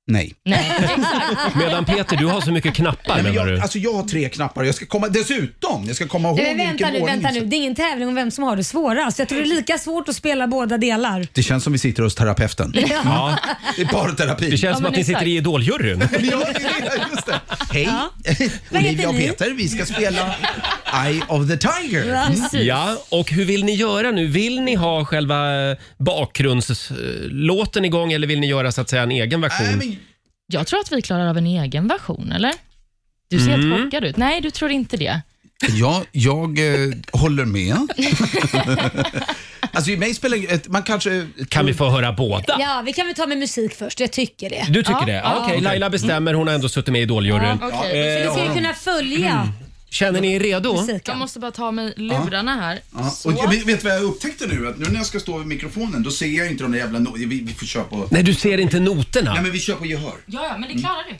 [SPEAKER 8] Nej.
[SPEAKER 1] Medan Peter, du har så mycket knappar
[SPEAKER 8] Nej men
[SPEAKER 1] menar
[SPEAKER 8] jag,
[SPEAKER 1] du?
[SPEAKER 8] alltså jag har tre knappar jag ska komma, dessutom, jag ska komma ihåg
[SPEAKER 3] Men vänta
[SPEAKER 8] vilken
[SPEAKER 3] nu,
[SPEAKER 8] ordning.
[SPEAKER 3] vänta nu. Det är ingen tävling om vem som har det svårast. Jag tror det är lika svårt att spela båda delar.
[SPEAKER 8] Det känns som vi sitter hos terapeuten.
[SPEAKER 1] Ja,
[SPEAKER 8] Det är parterapi.
[SPEAKER 1] det känns som
[SPEAKER 5] men
[SPEAKER 1] att ni
[SPEAKER 5] exakt.
[SPEAKER 1] sitter i idoljuryn.
[SPEAKER 8] Ja, det är det, just det. Hej,
[SPEAKER 3] Vad heter
[SPEAKER 8] Olivia och
[SPEAKER 3] ni?
[SPEAKER 8] Peter. Vi ska spela Eye of the Tiger.
[SPEAKER 5] Precis.
[SPEAKER 1] Ja, och hur vill ni göra nu? Vill ni ha själva eh, bakgrundslåten igång eller vill ni göra så att säga en egen
[SPEAKER 8] Mm. Nej,
[SPEAKER 1] version?
[SPEAKER 8] men,
[SPEAKER 5] Jag tror att vi klarar av en egen version, eller? Du ser helt chockad ut. Nej, du tror inte det.
[SPEAKER 8] ja, jag eh, håller med. alltså, i mig spelar det- ett, man kanske...
[SPEAKER 1] Kan vi få höra båda?
[SPEAKER 3] Ja, vi kan väl ta med musik först. Jag tycker det.
[SPEAKER 1] Du tycker
[SPEAKER 5] Ja,
[SPEAKER 1] det?
[SPEAKER 5] ja.
[SPEAKER 1] Ja, Okej, Laila bestämmer. Hon har ändå suttit med i idoljuryn.
[SPEAKER 5] Okej,
[SPEAKER 3] Vi ska ju kunna
[SPEAKER 1] Mm.
[SPEAKER 3] följa
[SPEAKER 1] Känner ni er redo?
[SPEAKER 5] jag
[SPEAKER 3] musiken.
[SPEAKER 5] måste bara ta mig lurarna här.
[SPEAKER 8] Ja, och jag, vet- vet du vad jag upptäckte nu? Att nu när jag ska stå vid mikrofonen, då ser jag inte de där jävla... No- vi, vi får köra på...
[SPEAKER 1] Nej, du ser inte noterna.
[SPEAKER 8] Nej, men vi kör på gehör.
[SPEAKER 5] Ja, ja, men det klarar du.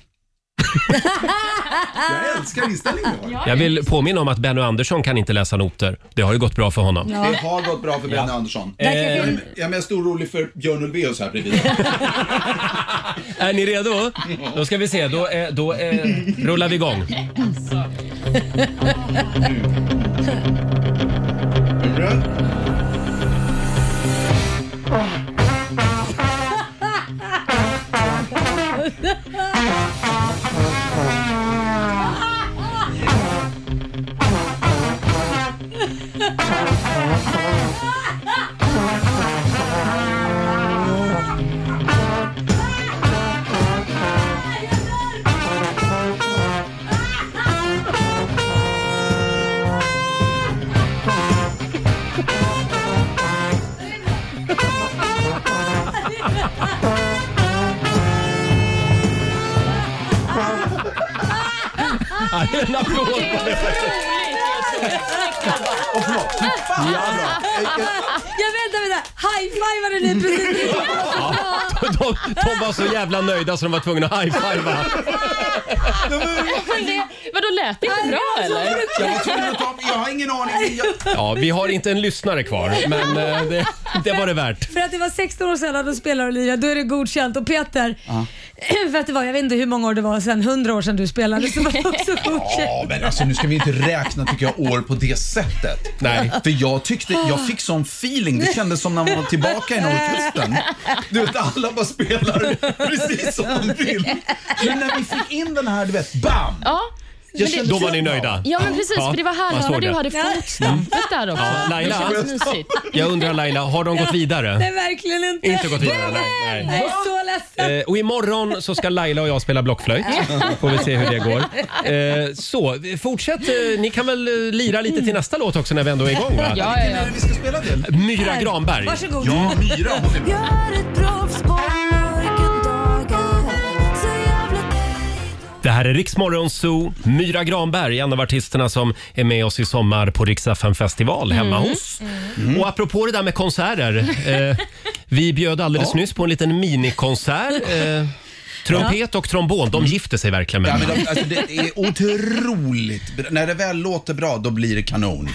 [SPEAKER 8] Jag älskar inställningen du har.
[SPEAKER 1] Jag vill påminna om att Benny Andersson kan inte läsa noter. Det har ju gått bra för honom.
[SPEAKER 8] Det har gått bra för Benny Andersson.
[SPEAKER 3] Där kanske
[SPEAKER 8] Jag
[SPEAKER 3] vi-
[SPEAKER 1] Eh.
[SPEAKER 8] är, jag är mest orolig för Björn Ulvaeus här bredvid.
[SPEAKER 1] Är ni redo? Då ska vi se. Då, eh, då eh, rullar vi igång.
[SPEAKER 8] Åh, förlåt. Fan, vad bra.
[SPEAKER 3] Jag vänta, vänta. High-fivade ni precis?
[SPEAKER 1] De, de var så jävla nöjda så de var tvungna att high-fivea.
[SPEAKER 5] Men det, vadå, lät det inte bra eller?
[SPEAKER 8] Jag var tvungen att ta... Jag har ingen aning. Jag...
[SPEAKER 1] Ja, vi har inte en lyssnare kvar, men eh, det, det var det värt.
[SPEAKER 3] För att det var 16 år sedan du spelade Olivia, då är det godkänt. Och Peter, för att det var, jag vet inte hur många år det var sedan, 100 år sedan du spelade, så var det också godkänt.
[SPEAKER 8] Ja, men alltså nu ska vi inte räkna tycker jag år på det sättet.
[SPEAKER 1] Nej.
[SPEAKER 8] För jag tyckte, jag fick sån feeling. Det kändes som när man var tillbaka i Norrkusten. Du vet, alla bara spelar precis som de vill. Men när vi fick in den här, du vet, bam!
[SPEAKER 5] Ja.
[SPEAKER 8] Jag kände-
[SPEAKER 1] Då var ni nöjda.
[SPEAKER 5] Ja men precis, för det var
[SPEAKER 1] man
[SPEAKER 5] här
[SPEAKER 1] såg
[SPEAKER 5] när du
[SPEAKER 1] det.
[SPEAKER 5] hade fotstampet där också.
[SPEAKER 1] Ja, Laila.
[SPEAKER 5] Det känns mysigt.
[SPEAKER 1] Jag undrar Laila, har de gått vidare?
[SPEAKER 3] Nej, verkligen inte.
[SPEAKER 1] Inte gått vidare, nej. nej.
[SPEAKER 3] Jag är så ledsen.
[SPEAKER 1] Eh, och imorgon så ska Laila och jag spela blockflöjt. Får vi se hur det går. Eh, så, fortsätt. Eh, ni kan väl eh, lira lite till nästa låt också när vi ändå är igång va?
[SPEAKER 5] Ja, ja, ja.
[SPEAKER 8] När vi ska spela till?
[SPEAKER 1] Myra Granberg.
[SPEAKER 3] Varsågod.
[SPEAKER 8] Ja, Myra hon är bra.
[SPEAKER 9] Gör ett proffsbarn mörka dagar Så jävla
[SPEAKER 1] Det här är Riksmorgon Zoo. Myra Granberg, en av artisterna som är med oss i sommar på Riksdagen festival hemma
[SPEAKER 8] Mm.
[SPEAKER 1] hos. Mm. Och apropå det där med konserter. Eh, vi bjöd alldeles nyss på en liten minikonsert. Eh, trumpet och trombon, de gifte sig verkligen med
[SPEAKER 8] Mm. Ja,
[SPEAKER 1] varandra.
[SPEAKER 8] men de, alltså, det är otroligt bra. När det väl låter bra, då blir det kanon.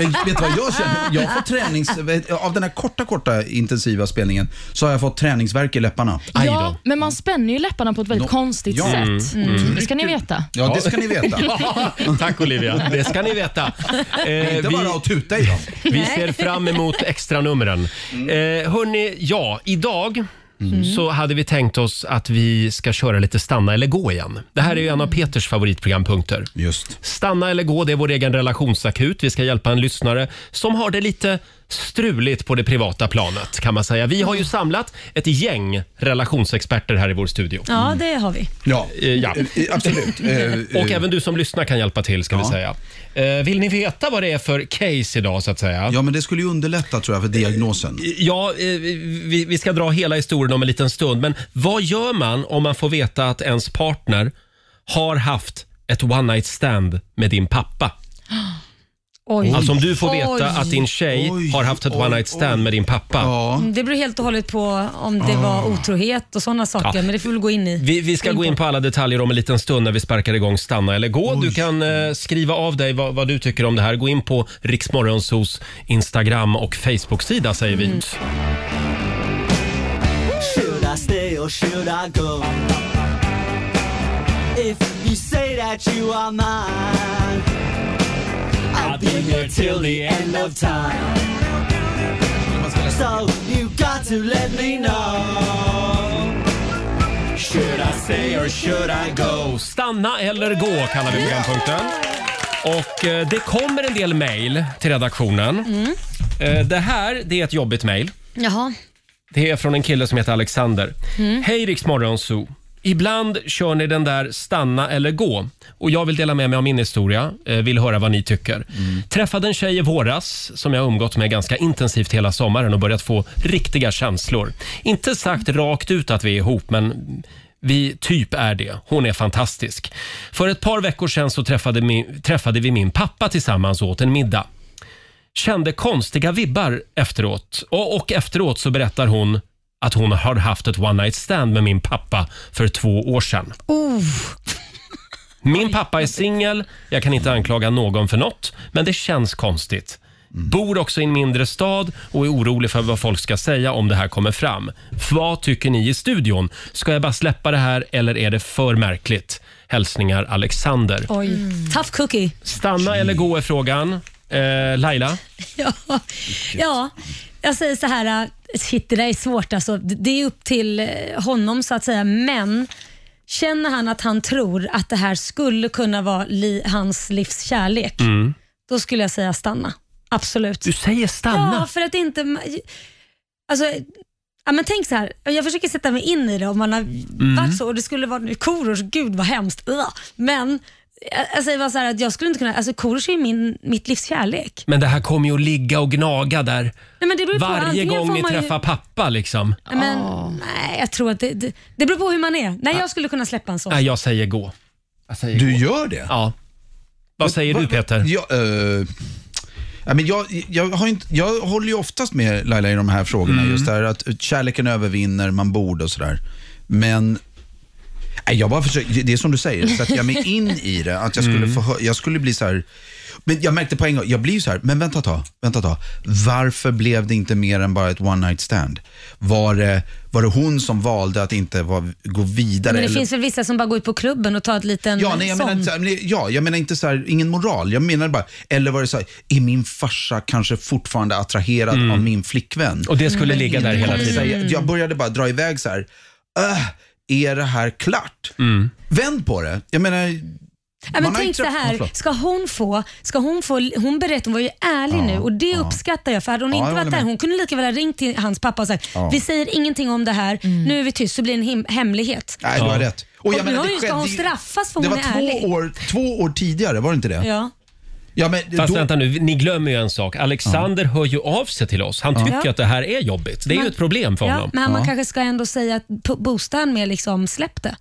[SPEAKER 8] Men vet du vad jag känner? Jag får tränings... Av den här korta, korta intensiva spelningen så har jag fått träningsvärk i läpparna.
[SPEAKER 1] Aj då.
[SPEAKER 5] ja, men man spänner ju läpparna på ett väldigt
[SPEAKER 8] Nå-
[SPEAKER 5] konstigt
[SPEAKER 8] Ja.
[SPEAKER 5] sätt. Mm. Det ska ni veta.
[SPEAKER 8] Ja, det ska ni veta.
[SPEAKER 1] Ja, Tack Olivia, det ska ni veta. Eh,
[SPEAKER 8] Inte bara
[SPEAKER 1] vi,
[SPEAKER 8] att tuta i dem.
[SPEAKER 1] vi ser fram emot extranumren.
[SPEAKER 8] Mm.
[SPEAKER 1] Eh, hörni, ja, idag så hade vi tänkt oss att vi ska köra lite stanna eller gå igen. Det här är ju en
[SPEAKER 8] Mm.
[SPEAKER 1] av Peters favoritprogrampunkter.
[SPEAKER 8] Just.
[SPEAKER 1] Stanna eller gå, det är vår egen relationsakut. Vi ska hjälpa en lyssnare som har det lite struligt på det privata planet kan man säga. Vi har ju samlat ett gäng relationsexperter här i vår studio.
[SPEAKER 3] Ja, det har vi.
[SPEAKER 8] Ja,
[SPEAKER 1] Eh, ja.
[SPEAKER 8] Eh, absolut. Eh,
[SPEAKER 1] Och
[SPEAKER 8] eh,
[SPEAKER 1] även du som lyssnar kan hjälpa till ska vi säga. Eh, Vill ni veta vad det är för case idag så att säga?
[SPEAKER 8] Ja, men det skulle ju underlätta tror jag för diagnosen.
[SPEAKER 1] Ja, eh, vi, vi ska dra hela historien om en liten stund. Men vad gör man om man får veta att ens partner har haft ett one night stand med din pappa?
[SPEAKER 3] Oj.
[SPEAKER 1] Alltså om du får veta
[SPEAKER 3] Oj.
[SPEAKER 1] att din tjej
[SPEAKER 8] Mm. Oj,
[SPEAKER 1] har haft ett
[SPEAKER 8] oj,
[SPEAKER 1] one night stand
[SPEAKER 8] oj.
[SPEAKER 1] med din pappa.
[SPEAKER 8] Ja.
[SPEAKER 3] Det beror helt och hållet på om det var otrohet och sådana saker, men det får vi gå in i.
[SPEAKER 1] Vi, vi ska gå in på alla detaljer om en liten stund när vi sparkar igång Stanna eller gå. Du kan eh, skriva av dig vad, vad du tycker om det här. Gå in på Riksmorgonsos Instagram och Facebook-sida säger vi.
[SPEAKER 8] Mm.
[SPEAKER 10] Should I stay or should I go? If you say that you are mine, I'll be here till the end of time. So you got to let me know. Should I stay or should I go?
[SPEAKER 1] Stanna eller gå kallar vi programpunkten. Och eh, det kommer en del mejl till redaktionen.
[SPEAKER 10] Mm.
[SPEAKER 1] Eh, det här det är ett jobbigt mejl.
[SPEAKER 3] Jaha.
[SPEAKER 1] Det är från en kille som heter Alexander. Hej Rix Morgonzoo. Ibland kör ni den där stanna eller gå. Och Jag vill dela med mig av min historia. Eh, Vill höra vad ni tycker. Träffade en tjej i våras som jag umgått med ganska intensivt hela sommaren och börjat få riktiga känslor. Inte sagt rakt ut att vi är ihop, men vi typ är det. Hon är fantastisk. För ett par veckor sedan så träffade, mi- träffade vi min pappa tillsammans och åt en middag kände konstiga vibbar efteråt. Och, och efteråt så berättar hon att hon har haft ett one night stand med min pappa för två år sedan. Min pappa är singel, jag kan inte anklaga någon för något, men det känns konstigt. Bor också i en mindre stad och är orolig för vad folk ska säga om det här kommer fram. Vad tycker ni i studion? Ska jag bara släppa det här eller är det för märkligt? Hälsningar Alexander.
[SPEAKER 3] Oj. Tough cookie.
[SPEAKER 1] Stanna eller gå är frågan. Eh, Laila?
[SPEAKER 3] Ja. ja, jag säger så här. äh, Shit, det där är svårt. Alltså, det det är upp till eh, honom så att säga, men känner han att han tror att det här skulle kunna vara li- hans livs kärlek, då skulle jag säga stanna. Absolut.
[SPEAKER 1] Du säger stanna.
[SPEAKER 3] Ja, för att inte... ma- Alltså, ja, men tänk så här. Jag försöker sätta mig in i det om man har varit så och det skulle vara nu Korosh, gud vad hemskt. Ugh. Men jag, jag säger bara så här att jag skulle inte kunna, alltså Korosh är ju min, mitt livs kärlek.
[SPEAKER 1] Men det här kommer ju att ligga och gnaga där
[SPEAKER 3] Nej, men det beror på,
[SPEAKER 1] varje
[SPEAKER 3] antingen
[SPEAKER 1] gång
[SPEAKER 3] får
[SPEAKER 1] ni
[SPEAKER 3] man ju-
[SPEAKER 1] träffar pappa. Liksom.
[SPEAKER 3] Nej, Men,
[SPEAKER 8] Ah.
[SPEAKER 3] Nej, jag tror att det, det, det beror på hur man är. Nej, jag skulle kunna släppa en sån.
[SPEAKER 1] Nej, jag säger gå. Jag säger
[SPEAKER 8] Du
[SPEAKER 1] gå.
[SPEAKER 8] gör det?
[SPEAKER 1] Ja. Vad säger du Peter?
[SPEAKER 8] Jag, eh, ja, men jag, jag, har inte, jag håller ju oftast med Laila i de här frågorna.
[SPEAKER 11] Mm.
[SPEAKER 8] Just det här att kärleken övervinner, man borde och sådär. Men nej, jag bara försöker, det är som du säger, sätter jag mig in i det, att jag skulle,
[SPEAKER 1] Mm.
[SPEAKER 8] få, hö- jag skulle bli så här. Men jag märkte på en gång, jag blir ju så här, men vänta ett tag, vänta ett tag. Varför blev det inte mer än bara ett one night stand? Var det, var det hon som valde att inte var, gå vidare?
[SPEAKER 3] Men det
[SPEAKER 8] eller-
[SPEAKER 3] finns väl vissa som bara går ut på klubben och tar ett liten
[SPEAKER 8] Ja, nej, jag
[SPEAKER 3] sång?
[SPEAKER 8] menar inte, så här- men det- ja, jag menar inte så här, ingen moral. Jag menar bara, eller var det så här, är min farsa kanske fortfarande attraherad av min flickvän?
[SPEAKER 1] Mm. Och det skulle ligga där hela tiden.
[SPEAKER 8] Säga,
[SPEAKER 1] Mm.
[SPEAKER 8] jag började bara dra iväg så här, "Öh, är det här klart?
[SPEAKER 1] Mm.
[SPEAKER 8] Vänd på det. Jag menar,
[SPEAKER 3] Ja,
[SPEAKER 8] man
[SPEAKER 3] men
[SPEAKER 8] har
[SPEAKER 3] tänk
[SPEAKER 8] inte
[SPEAKER 3] så
[SPEAKER 8] träffat- Ja,
[SPEAKER 3] här,
[SPEAKER 8] förlåt.
[SPEAKER 3] ska hon få, ska hon få, hon berättar, hon var ju ärlig nu och det uppskattar jag för hade hon
[SPEAKER 8] Ja, jag
[SPEAKER 3] inte varit
[SPEAKER 8] håller
[SPEAKER 3] där,
[SPEAKER 8] med.
[SPEAKER 3] hon kunde lika väl ha ringt till hans pappa och sagt,
[SPEAKER 8] Ja. Mm.
[SPEAKER 3] vi säger ingenting om det här, nu är vi tyst så blir det en hem- hemlighet.
[SPEAKER 8] Nej, du har
[SPEAKER 3] Och,
[SPEAKER 8] rätt.
[SPEAKER 3] och
[SPEAKER 8] jag
[SPEAKER 3] nu
[SPEAKER 8] menar,
[SPEAKER 3] har
[SPEAKER 8] det
[SPEAKER 3] ju- ska
[SPEAKER 8] skedde
[SPEAKER 3] hon
[SPEAKER 8] ju-
[SPEAKER 3] straffas för
[SPEAKER 8] Det
[SPEAKER 3] hon
[SPEAKER 8] var
[SPEAKER 3] är ärlig.
[SPEAKER 8] två år, två år tidigare, var det inte det?
[SPEAKER 3] Ja.
[SPEAKER 8] Ja, men
[SPEAKER 1] Fast
[SPEAKER 8] då-
[SPEAKER 1] vänta nu, ni glömmer ju en sak. Alexander hör ju av sig till oss. Han
[SPEAKER 3] Ja.
[SPEAKER 1] tycker
[SPEAKER 3] Ja.
[SPEAKER 1] att det här är jobbigt. Det är ju
[SPEAKER 3] Man-
[SPEAKER 1] ett problem för
[SPEAKER 3] ja,
[SPEAKER 1] honom.
[SPEAKER 3] men man kanske ska ändå säga, att po- boosta han med liksom, släpp det.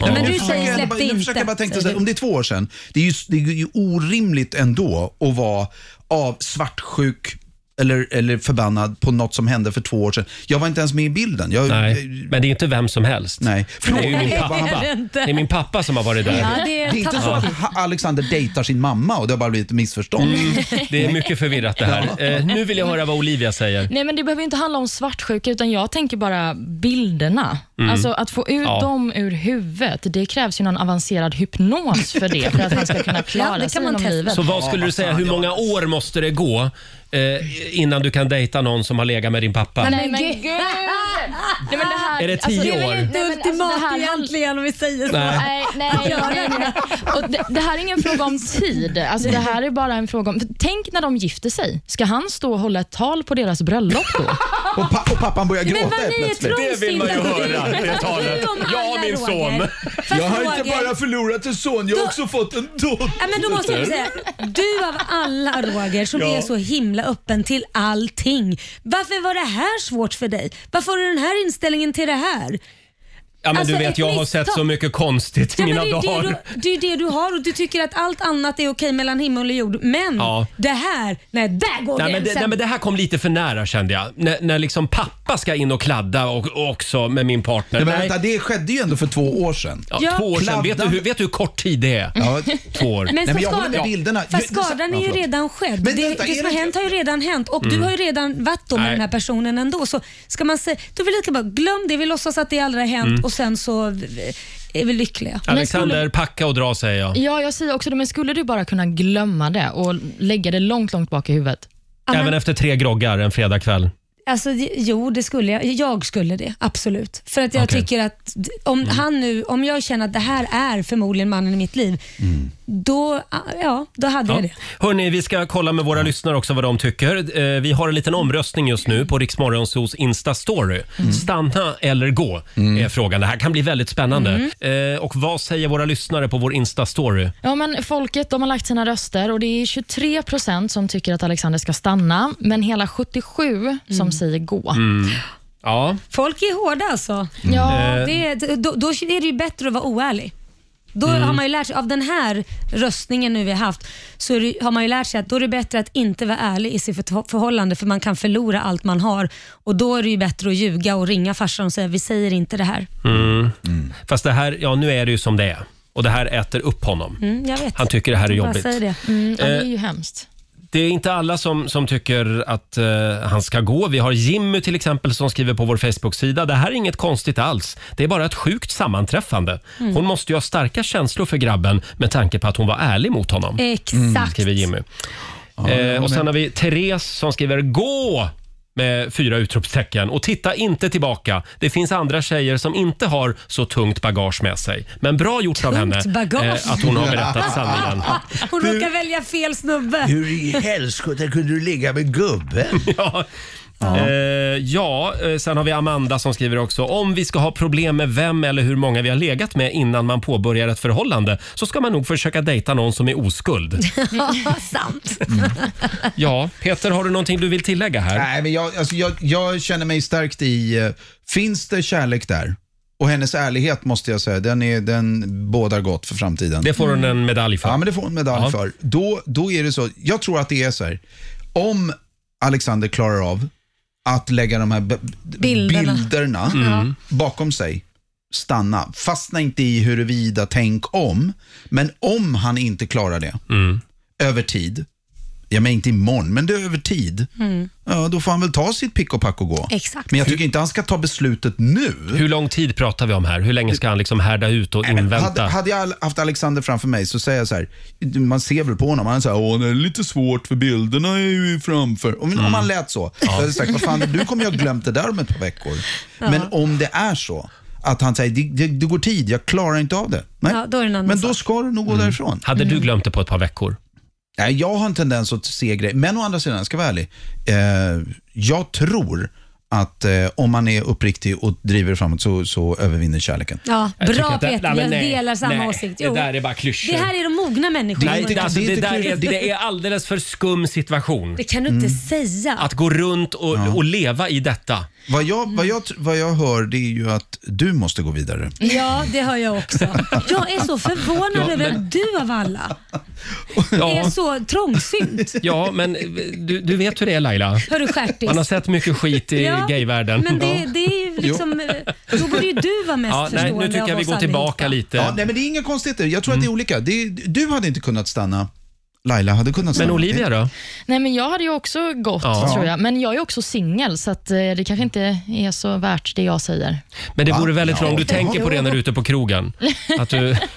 [SPEAKER 8] Ja.
[SPEAKER 3] Men du
[SPEAKER 8] Nu försöker jag
[SPEAKER 3] säger
[SPEAKER 8] ändå
[SPEAKER 3] släpp
[SPEAKER 8] bara-
[SPEAKER 3] det
[SPEAKER 8] nu försöker
[SPEAKER 3] inte.
[SPEAKER 8] jag bara tänka
[SPEAKER 3] säger
[SPEAKER 8] så här,
[SPEAKER 3] du.
[SPEAKER 8] om det är två år sedan, det är ju, det är ju orimligt ändå att vara av svartsjuk eller, eller förbannad på något som hände för två år sedan. Jag var inte ens med i bilden. Jag,
[SPEAKER 1] Nej, men det är inte vem som helst.
[SPEAKER 8] Nej.
[SPEAKER 1] För det är ju min
[SPEAKER 3] Nej,
[SPEAKER 1] pappa.
[SPEAKER 3] det är det inte.
[SPEAKER 1] Det är min pappa som har varit där.
[SPEAKER 3] Ja,
[SPEAKER 8] Det
[SPEAKER 3] det är
[SPEAKER 8] är inte så
[SPEAKER 3] taskigt.
[SPEAKER 8] att Ha- Alexander dejtar sin mamma och det har bara blivit ett missförstånd.
[SPEAKER 1] Mm. Det är mycket förvirrat det här. Eh, nu vill jag höra vad Olivia säger.
[SPEAKER 5] Nej, men det behöver ju inte handla om svartsjuka, utan jag tänker bara bilderna.
[SPEAKER 1] Mm.
[SPEAKER 5] Alltså att få ut
[SPEAKER 1] Ja.
[SPEAKER 5] dem ur huvudet, det krävs ju någon avancerad hypnos för det, för att man ska kunna
[SPEAKER 3] Ja,
[SPEAKER 5] klara
[SPEAKER 3] det kan
[SPEAKER 5] sig
[SPEAKER 3] man
[SPEAKER 5] genom
[SPEAKER 3] testa.
[SPEAKER 5] livet.
[SPEAKER 1] Så vad skulle du säga, hur många år måste det gå eh, innan du kan dejta någon som har legat med din pappa?
[SPEAKER 5] Nej, men gud! Nej, men det här,
[SPEAKER 1] Är alltså, det tio
[SPEAKER 5] det är väl
[SPEAKER 1] år?
[SPEAKER 5] inte
[SPEAKER 3] Det är
[SPEAKER 5] ultimat
[SPEAKER 3] ultimat egentligen om vi säger så.
[SPEAKER 1] Nej.
[SPEAKER 5] Nej, nej, nej, nej. Och det, det här är ingen fråga om tid. Alltså, det här är bara en fråga om... Tänk när de gifter sig. Ska han stå och hålla ett tal på deras bröllop då?
[SPEAKER 8] Och, pa- och pappan börjar
[SPEAKER 3] Men
[SPEAKER 8] gråta
[SPEAKER 3] vad ni är
[SPEAKER 8] plötsligt.
[SPEAKER 1] Det vill man ju
[SPEAKER 3] trångsynta.
[SPEAKER 1] höra,
[SPEAKER 3] Du-
[SPEAKER 1] det talet.
[SPEAKER 3] du om
[SPEAKER 1] Ja,
[SPEAKER 3] alla,
[SPEAKER 1] min son.
[SPEAKER 3] Roger. Fast Roger-
[SPEAKER 8] förlorat en son, jag
[SPEAKER 3] Då-
[SPEAKER 8] fått en dotter.
[SPEAKER 3] Ja, men då måste jag säga, du av alla Roger som
[SPEAKER 8] Ja.
[SPEAKER 3] är så himla öppen till allting. Varför var det här svårt för dig? Varför har du den här inställningen till det här?
[SPEAKER 1] Ja, men
[SPEAKER 3] Alltså,
[SPEAKER 1] du vet,
[SPEAKER 3] ett
[SPEAKER 1] jag har
[SPEAKER 3] misstag.
[SPEAKER 1] sett så mycket konstigt i
[SPEAKER 3] Ja, men
[SPEAKER 1] mina
[SPEAKER 3] det, är
[SPEAKER 1] dagar.
[SPEAKER 3] det, du, det är det du har och du tycker att allt annat är okej mellan himmel och jord. Men
[SPEAKER 1] Ja.
[SPEAKER 3] det här, nej där går
[SPEAKER 1] Nej men, det,
[SPEAKER 3] gränsen.
[SPEAKER 1] nej men det här kom lite för nära kände jag. När, när liksom pappa ska in och kladda och, och också med min partner.
[SPEAKER 8] Nej, men
[SPEAKER 1] Nej,
[SPEAKER 8] vänta, det skedde ju ändå för två år sedan.
[SPEAKER 1] ja,
[SPEAKER 3] Ja.
[SPEAKER 1] Två år sedan. Vet du,
[SPEAKER 8] Kladda.
[SPEAKER 1] hur, vet du hur kort tid det är?
[SPEAKER 8] Ja.
[SPEAKER 1] Två år.
[SPEAKER 3] Men,
[SPEAKER 8] Nej, men jag
[SPEAKER 3] så
[SPEAKER 8] håller med
[SPEAKER 3] skadan,
[SPEAKER 8] bilderna.
[SPEAKER 3] fast
[SPEAKER 8] Ja, det-
[SPEAKER 3] skadan
[SPEAKER 8] ja,
[SPEAKER 3] är ju
[SPEAKER 8] förlåt.
[SPEAKER 3] redan skedd.
[SPEAKER 8] Men
[SPEAKER 3] det,
[SPEAKER 8] vänta,
[SPEAKER 3] det
[SPEAKER 8] är
[SPEAKER 3] som
[SPEAKER 8] det
[SPEAKER 3] har
[SPEAKER 8] inte- Mm.
[SPEAKER 3] hänt har ju redan hänt och du har ju redan varit då
[SPEAKER 1] Nej.
[SPEAKER 3] med den här personen ändå. Så ska man säga, då vill jag lika bara glöm det, vi låtsas att det aldrig har hänt
[SPEAKER 8] Mm.
[SPEAKER 3] och sen så är vi lyckliga.
[SPEAKER 1] Alexander, packa och dra säger jag.
[SPEAKER 5] Ja, jag säger också det, men skulle du bara kunna glömma det och lägga det långt, långt bak i huvudet?
[SPEAKER 3] Ja,
[SPEAKER 1] Även
[SPEAKER 3] men,
[SPEAKER 1] efter tre groggar en fredagkväll.
[SPEAKER 3] alltså, jo, det skulle jag. Jag skulle det, absolut. För att jag
[SPEAKER 1] Okej.
[SPEAKER 3] tycker att d- om,
[SPEAKER 8] Mm.
[SPEAKER 3] han nu, om jag känner att det här är förmodligen mannen i mitt liv,
[SPEAKER 8] Mm.
[SPEAKER 3] då, ja, då hade
[SPEAKER 1] Ja.
[SPEAKER 3] jag det.
[SPEAKER 1] Hörni, vi ska kolla med våra lyssnare också vad de tycker. Eh, Vi har en liten omröstning just nu på Riksmorgonsos Insta-story. Stanna eller gå är frågan. Det här kan bli väldigt spännande. Eh, Och vad säger våra lyssnare på vår Insta-story?
[SPEAKER 5] Ja, men folket de har lagt sina röster och det är 23 procent som tycker att Alexander ska stanna, men hela 77 som säger gå.
[SPEAKER 1] Ja.
[SPEAKER 3] Folk är hårda alltså.
[SPEAKER 5] Ja,
[SPEAKER 1] Mm. Eh,
[SPEAKER 3] Det, är- då, då är det ju bättre att vara oärlig. Då
[SPEAKER 1] Mm.
[SPEAKER 3] har man ju lärt sig, av den här röstningen nu vi har haft, så är det, har man ju lärt sig att då är det bättre att inte vara ärlig i sitt förto- förhållande för man kan förlora allt man har. Och Då är det ju bättre att ljuga och ringa farsan och säga vi säger inte det
[SPEAKER 1] Mm.
[SPEAKER 3] här.
[SPEAKER 1] Fast det här, ja nu är det ju som det är. Och det här äter upp honom.
[SPEAKER 3] Mm, jag vet.
[SPEAKER 1] Han tycker det här är
[SPEAKER 3] Jag bara
[SPEAKER 1] jobbigt.
[SPEAKER 3] säger det.
[SPEAKER 5] mm, ja, det är
[SPEAKER 1] eh,
[SPEAKER 5] ju hemskt.
[SPEAKER 1] Det är inte alla som, som tycker att eh, han ska gå. Vi har Jimmy till exempel som skriver på vår Facebook-sida. Det här är inget konstigt alls. Det är bara ett sjukt sammanträffande.
[SPEAKER 3] Mm.
[SPEAKER 1] Hon måste ju ha starka känslor för grabben med tanke på att hon var ärlig mot honom.
[SPEAKER 3] Mm. Exakt.
[SPEAKER 1] Skriver Jimmy. eh, och sen har vi Therese som skriver gå med fyra utropstecken och titta inte tillbaka. Det finns andra tjejer som inte har så tungt bagage med sig. Men bra gjort av
[SPEAKER 3] Tungt
[SPEAKER 1] henne eh,
[SPEAKER 3] bagage.
[SPEAKER 1] att hon har berättat sanningen.
[SPEAKER 3] Hon råkar välja fel snubbe.
[SPEAKER 11] Hur i helskotta kunde du ligga med gubben?
[SPEAKER 1] Ja. Eh, ja, eh, sen har vi Amanda som skriver också. Om vi ska ha problem med vem eller hur många vi har legat med innan man påbörjar ett förhållande så ska man nog försöka dejta någon som är oskuld. Mm.
[SPEAKER 3] Ja, sant.
[SPEAKER 1] Ja, Peter, har du någonting du vill tillägga här?
[SPEAKER 8] Nej, men jag, alltså, jag, jag känner mig starkt i, eh, finns det kärlek där? Och hennes ärlighet måste jag säga, den, är, den bådar gott för framtiden.
[SPEAKER 1] Det får hon en medalj för.
[SPEAKER 8] Ja, men det får hon en medalj
[SPEAKER 1] Ja.
[SPEAKER 8] för. Då, då är det så, jag tror att det är så här, om Alexander klarar av att lägga de här b-
[SPEAKER 3] Bilderna.
[SPEAKER 8] bilderna, bilderna
[SPEAKER 3] Mm.
[SPEAKER 8] bakom sig, stanna. Fastna inte i huruvida, tänk om. Men om han inte klarar det,
[SPEAKER 1] Mm.
[SPEAKER 8] över tid, ja men inte imorgon, men det är över tid, ja, då får han väl ta sitt pick och pack och gå.
[SPEAKER 3] Mm. Exakt.
[SPEAKER 8] Men jag tycker inte han ska ta beslutet nu.
[SPEAKER 1] Hur lång tid pratar vi om här? Hur länge ska han liksom härda ut och invänta?
[SPEAKER 8] Hade, hade jag haft Alexander framför mig så säger jag så här, man ser väl på honom, han är så här, åh det är lite svårt för bilderna är ju framför. Om,
[SPEAKER 1] Mm.
[SPEAKER 8] om han lät så, då hade jag sagt, vad fan, du kommer ju ha glömt det där om ett par veckor.
[SPEAKER 3] Ja.
[SPEAKER 8] Men om det är så, att han säger, det, det, det går tid, jag klarar inte av det. Nej.
[SPEAKER 3] Ja, då är det en annan
[SPEAKER 8] Men då
[SPEAKER 3] sak.
[SPEAKER 8] ska du nog
[SPEAKER 1] Mm.
[SPEAKER 8] gå därifrån.
[SPEAKER 1] Hade du glömt det på ett par veckor?
[SPEAKER 8] Nej, jag har en tendens att se grejer. Men å andra sidan, jag ska vara ärlig. Eh, jag tror att eh, om man är uppriktig och driver framåt så, så övervinner kärleken.
[SPEAKER 3] Ja,
[SPEAKER 8] Jag tycker
[SPEAKER 3] bra
[SPEAKER 8] att det-
[SPEAKER 3] Peter,
[SPEAKER 8] nej, men
[SPEAKER 3] jag
[SPEAKER 8] nej,
[SPEAKER 3] delar samma
[SPEAKER 1] nej,
[SPEAKER 3] åsikt.
[SPEAKER 1] det där är bara klyschor.
[SPEAKER 3] Det här är de mogna människorna.
[SPEAKER 1] Nej, det, alltså, det,
[SPEAKER 3] det,
[SPEAKER 1] där är, det är alldeles för skum situation.
[SPEAKER 3] kan du inte säga.
[SPEAKER 1] Att gå runt och, och leva i detta.
[SPEAKER 8] Vad jag, vad, jag, vad jag hör det är ju att du måste gå vidare.
[SPEAKER 3] Ja, det hör jag också. Jag är så förvånad
[SPEAKER 1] Ja,
[SPEAKER 3] över
[SPEAKER 1] men-
[SPEAKER 3] att du av alla är
[SPEAKER 1] Ja,
[SPEAKER 3] så trångsynt.
[SPEAKER 1] ja men eh, du, du vet hur det är Laila.
[SPEAKER 3] Hör du stjärtis?
[SPEAKER 1] Man har sett mycket skit i
[SPEAKER 3] Ja,
[SPEAKER 1] gayvärlden.
[SPEAKER 3] Men det, det är ju
[SPEAKER 1] Jo.
[SPEAKER 3] liksom, eh, då borde ju du vara mest
[SPEAKER 1] Ja, nej, nu
[SPEAKER 3] förstående
[SPEAKER 1] tycker jag
[SPEAKER 3] av
[SPEAKER 1] vi
[SPEAKER 3] oss
[SPEAKER 1] går tillbaka
[SPEAKER 3] allihopa.
[SPEAKER 1] lite.
[SPEAKER 8] Ja, nej, men det Mm. är inga konstigheter. Jag tror att det är olika. Det, är- du hade inte kunnat stanna. Laila hade kunnat stanna.
[SPEAKER 1] Olivia då?
[SPEAKER 5] Nej, men jag hade ju också gått,
[SPEAKER 1] Ja.
[SPEAKER 5] tror jag. Men jag är också singel, så att, eh, det kanske inte är så värt det jag säger.
[SPEAKER 1] Men det vore väldigt
[SPEAKER 5] Ja.
[SPEAKER 1] bra om du tänker på det när du är ute på krogen. Att du,
[SPEAKER 8] tycker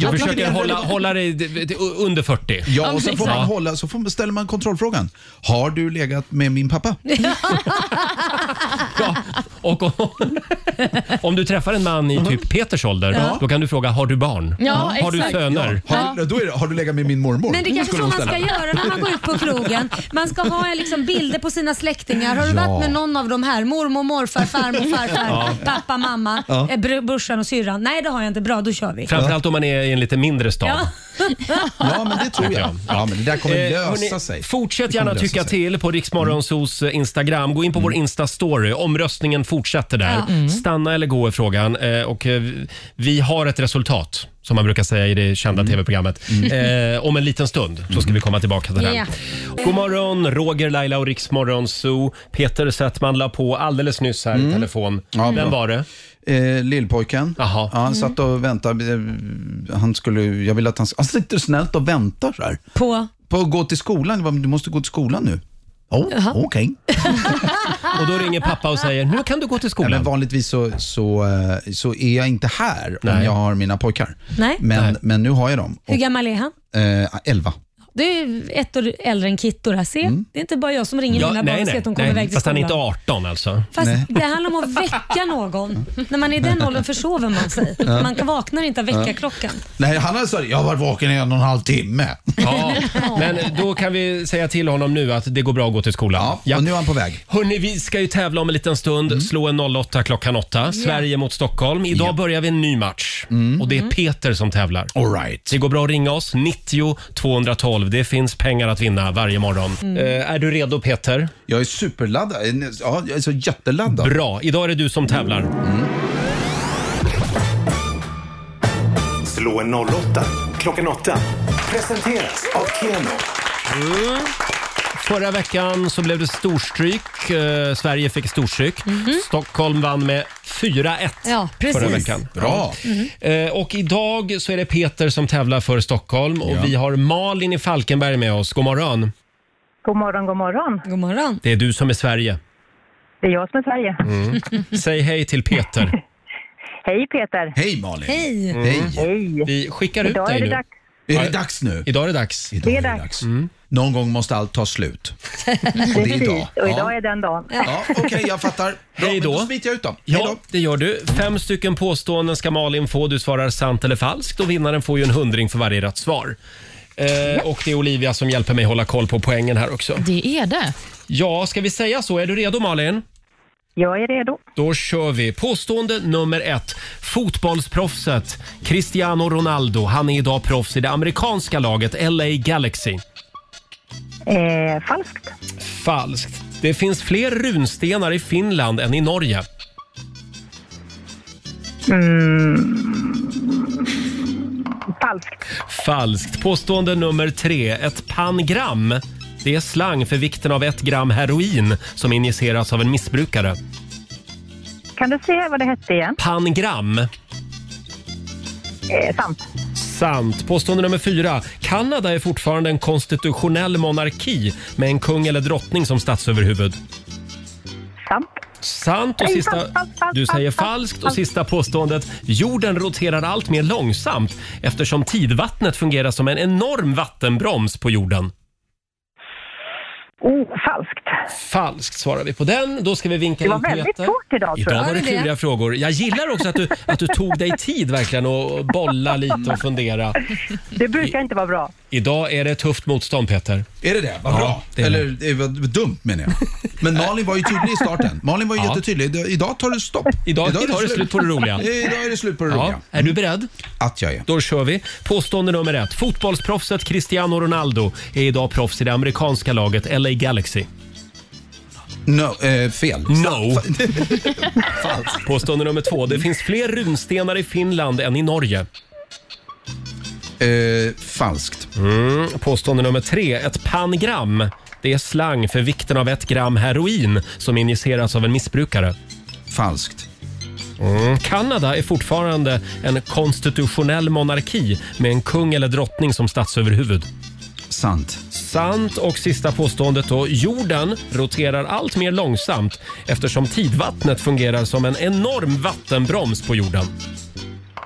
[SPEAKER 1] jag
[SPEAKER 8] det
[SPEAKER 1] försöker
[SPEAKER 8] är
[SPEAKER 1] hålla,
[SPEAKER 8] väldigt-
[SPEAKER 1] hålla dig d- d- under 40.
[SPEAKER 8] Ja, och så får man hålla, så får, man- ställer man kontrollfrågan. Har du legat med min pappa?
[SPEAKER 1] Och om, om du träffar en man i typ Peters ålder,
[SPEAKER 8] Ja.
[SPEAKER 1] då kan du fråga har du barn?
[SPEAKER 8] Ja,
[SPEAKER 1] har du
[SPEAKER 8] exakt.
[SPEAKER 1] söner?
[SPEAKER 8] Ja, har- då är det, har du legat med min mormor?
[SPEAKER 3] Men det är kanske
[SPEAKER 8] Skulle
[SPEAKER 3] så man
[SPEAKER 8] hon
[SPEAKER 3] ska
[SPEAKER 8] ställa.
[SPEAKER 3] göra när man går ut på krogen. Man ska ha eh, liksom bilder på sina släktingar. Har du
[SPEAKER 8] Ja.
[SPEAKER 3] varit med någon av de här? Mormor, morfar, farmor, farfar,
[SPEAKER 1] Ja.
[SPEAKER 3] pappa, mamma,
[SPEAKER 1] Ja.
[SPEAKER 3] eh, br- brorsan och syrran. Nej, det har jag inte. Bra, då kör vi.
[SPEAKER 1] Framförallt om man är i en lite mindre stad.
[SPEAKER 3] Ja.
[SPEAKER 8] Ja, men det tror jag. Ja, Eh, men det där kommer lösa sig.
[SPEAKER 1] Eh, Fortsätt
[SPEAKER 8] Det kommer
[SPEAKER 1] gärna
[SPEAKER 8] lösa
[SPEAKER 1] tycka
[SPEAKER 8] sig. Mm.
[SPEAKER 1] till på Riksmorgonsos eh, Instagram. Gå in på vår Insta-story. Omröstningen fortsätter där.
[SPEAKER 2] Ja. Mm.
[SPEAKER 1] Stanna eller gå är frågan. Eh, Och eh, vi har ett resultat, som man brukar säga i det
[SPEAKER 8] Mm.
[SPEAKER 1] kända tv-programmet. Eh, om en liten stund så ska vi komma tillbaka till den.
[SPEAKER 2] Ja.
[SPEAKER 1] God morgon, Roger, Laila och Riksmorgonso. Peter Settman la på alldeles nyss här i telefon. Vem
[SPEAKER 8] Mm. bra.
[SPEAKER 1] var det?
[SPEAKER 8] Eh, lillpojken.
[SPEAKER 1] Jaha.
[SPEAKER 8] Ja, han satt och väntade. Eh, Han skulle, jag vill att han, han sitter snällt och väntar så här.
[SPEAKER 3] På?
[SPEAKER 8] På att gå till skolan. Jag bara, Du måste gå till skolan nu. Oh, Okej.
[SPEAKER 1] Och då ringer pappa och säger, nu kan du gå till skolan.
[SPEAKER 8] men vanligtvis så, så, eh, så är jag inte här om
[SPEAKER 1] Nej.
[SPEAKER 8] jag har mina pojkar.
[SPEAKER 3] Nej.
[SPEAKER 8] Men, men nu har jag dem.
[SPEAKER 3] Hur gammal är han?
[SPEAKER 8] Eh, elva.
[SPEAKER 3] Du är ju ett år äldre än Kitto. där. Se,
[SPEAKER 8] Mm.
[SPEAKER 3] det är inte bara jag som ringer
[SPEAKER 1] Ja,
[SPEAKER 3] mina barn och ser att de kommer iväg till
[SPEAKER 1] Fast han är inte
[SPEAKER 3] skolan.
[SPEAKER 1] 18 alltså.
[SPEAKER 3] Fast det handlar om att väcka någon. När man är i den åldern försover man sig.
[SPEAKER 8] Ja.
[SPEAKER 3] Man kan vakna inte av
[SPEAKER 8] Ja.
[SPEAKER 3] väckarklockan.
[SPEAKER 8] Nej, han har sagt jag har varit vaken i en och en halv timme.
[SPEAKER 1] Ja, men då kan vi säga till honom nu att det går bra att gå till skolan. Ja,
[SPEAKER 8] och nu Mm. är han på väg.
[SPEAKER 1] Hörni, vi ska ju tävla om en liten stund. Slå en 08 klockan 8. Sverige mot Stockholm. Idag börjar vi en ny match
[SPEAKER 8] Mm.
[SPEAKER 1] och det är Peter som tävlar.
[SPEAKER 8] All right.
[SPEAKER 1] Det går bra att ringa oss. 90 212. Det finns pengar att vinna varje morgon.
[SPEAKER 8] Mm.
[SPEAKER 1] Eh, är du redo Peter?
[SPEAKER 8] Jag är superladdad. Eh, Ja, jag är så jätteladdad.
[SPEAKER 1] Bra. Idag är det du som tävlar.
[SPEAKER 2] Slå en 08 klockan 8. Presenteras av Keno.
[SPEAKER 1] Mm. Förra veckan så blev det storstryk. Eh, Sverige fick storstryk. Stockholm vann med 4-1
[SPEAKER 3] Ja, precis.
[SPEAKER 1] förra veckan.
[SPEAKER 8] Bra.
[SPEAKER 3] Mm.
[SPEAKER 1] Eh, Och idag så är det Peter som tävlar för Stockholm och vi har Malin i Falkenberg med oss. God morgon.
[SPEAKER 6] God morgon, god morgon.
[SPEAKER 3] God morgon.
[SPEAKER 1] Det är du som är Sverige.
[SPEAKER 6] Det är jag som är Sverige.
[SPEAKER 1] Mm. Säg hej till Peter.
[SPEAKER 6] Hej Peter!
[SPEAKER 8] Hej Malin!
[SPEAKER 3] Hej!
[SPEAKER 1] Mm. Vi skickar ut
[SPEAKER 6] Idag
[SPEAKER 1] dig
[SPEAKER 6] är det
[SPEAKER 1] nu.
[SPEAKER 6] dags.
[SPEAKER 8] Är det dags nu?
[SPEAKER 1] Idag är det dags.
[SPEAKER 6] Det är dags.
[SPEAKER 8] Någon gång måste allt ta slut.
[SPEAKER 6] Precis,
[SPEAKER 8] Och det är idag.
[SPEAKER 6] och idag
[SPEAKER 8] Ja.
[SPEAKER 6] är den dagen.
[SPEAKER 8] Ja, Okej, jag fattar. Bra,
[SPEAKER 1] Hej då.
[SPEAKER 8] Men då smiter jag ut dem. Hej
[SPEAKER 1] Ja, det gör du. Fem stycken påståenden ska Malin få. Du svarar sant eller falskt och vinnaren får ju en hundring för varje rätt svar. Eh, och det är Olivia som hjälper mig hålla koll på poängen här också.
[SPEAKER 5] Det är det.
[SPEAKER 1] Ja, ska vi säga så? Är du redo Malin?
[SPEAKER 6] Jag är redo.
[SPEAKER 1] Då kör vi. Påstående nummer ett. Fotbollsproffset Cristiano Ronaldo, han är idag proffs i det amerikanska laget LA Galaxy.
[SPEAKER 6] Eh, falskt.
[SPEAKER 1] Falskt. Det finns fler runstenar i Finland än i Norge.
[SPEAKER 6] Falskt.
[SPEAKER 1] Falskt. Påstående nummer tre. Ett pangram. Det är slang för vikten av ett gram heroin som injiceras av en missbrukare.
[SPEAKER 6] Kan du säga vad det hette igen?
[SPEAKER 1] Pangram.
[SPEAKER 6] Eh, sant.
[SPEAKER 1] Sant. Påstående nummer fyra. Kanada är fortfarande en konstitutionell monarki med en kung eller drottning som statsöverhuvud.
[SPEAKER 6] Sant.
[SPEAKER 1] Sant och
[SPEAKER 6] Nej,
[SPEAKER 1] sista...
[SPEAKER 6] falskt, falskt, falskt,
[SPEAKER 1] Du säger
[SPEAKER 6] falskt,
[SPEAKER 1] falskt och
[SPEAKER 6] falskt.
[SPEAKER 1] sista påståendet. Jorden roterar allt mer långsamt eftersom tidvattnet fungerar som en enorm vattenbroms på jorden.
[SPEAKER 6] Oh, falskt.
[SPEAKER 1] Falskt svarar vi på den. Då ska vi vinka
[SPEAKER 6] Det var
[SPEAKER 1] in Peter.
[SPEAKER 6] väldigt svårt idag, tror jag.
[SPEAKER 1] Idag var det
[SPEAKER 6] Var det det?
[SPEAKER 1] kluriga frågor. Jag gillar också att du, att du tog dig tid verkligen och bolla lite och fundera.
[SPEAKER 6] Det brukar inte vara bra.
[SPEAKER 1] Idag är det ett tufft motstånd Peter.
[SPEAKER 8] Är det det? Vad bra.
[SPEAKER 1] det är
[SPEAKER 8] Eller det var dumt menar jag. Men Malin var ju tydlig i starten. Malin var ju
[SPEAKER 1] Ja.
[SPEAKER 8] jättetydlig. Idag- Idag tar det stopp.
[SPEAKER 1] Idag, idag, är det slut på det roliga.
[SPEAKER 8] Idag är det slut på det roliga.
[SPEAKER 1] Är du beredd?
[SPEAKER 8] Att jag är.
[SPEAKER 1] Då kör vi. Påstående nummer ett. Fotbollsproffset Cristiano Ronaldo är idag proffs i det amerikanska laget LA Galaxy.
[SPEAKER 8] No, eh, fel.
[SPEAKER 1] No. Falskt. Påstående nummer två. Det finns fler runstenar i Finland än i Norge.
[SPEAKER 8] eh, falskt.
[SPEAKER 1] Mm. Påstående nummer tre. Ett pangram. Det är slang för vikten av ett gram heroin som injiceras av en missbrukare.
[SPEAKER 8] Falskt.
[SPEAKER 1] Mm. Kanada är fortfarande en konstitutionell monarki med en kung eller drottning som statsöverhuvud.
[SPEAKER 8] Sant.
[SPEAKER 1] Sant. Och sista påståendet då. Jorden roterar allt mer långsamt eftersom tidvattnet fungerar som en enorm vattenbroms på jorden.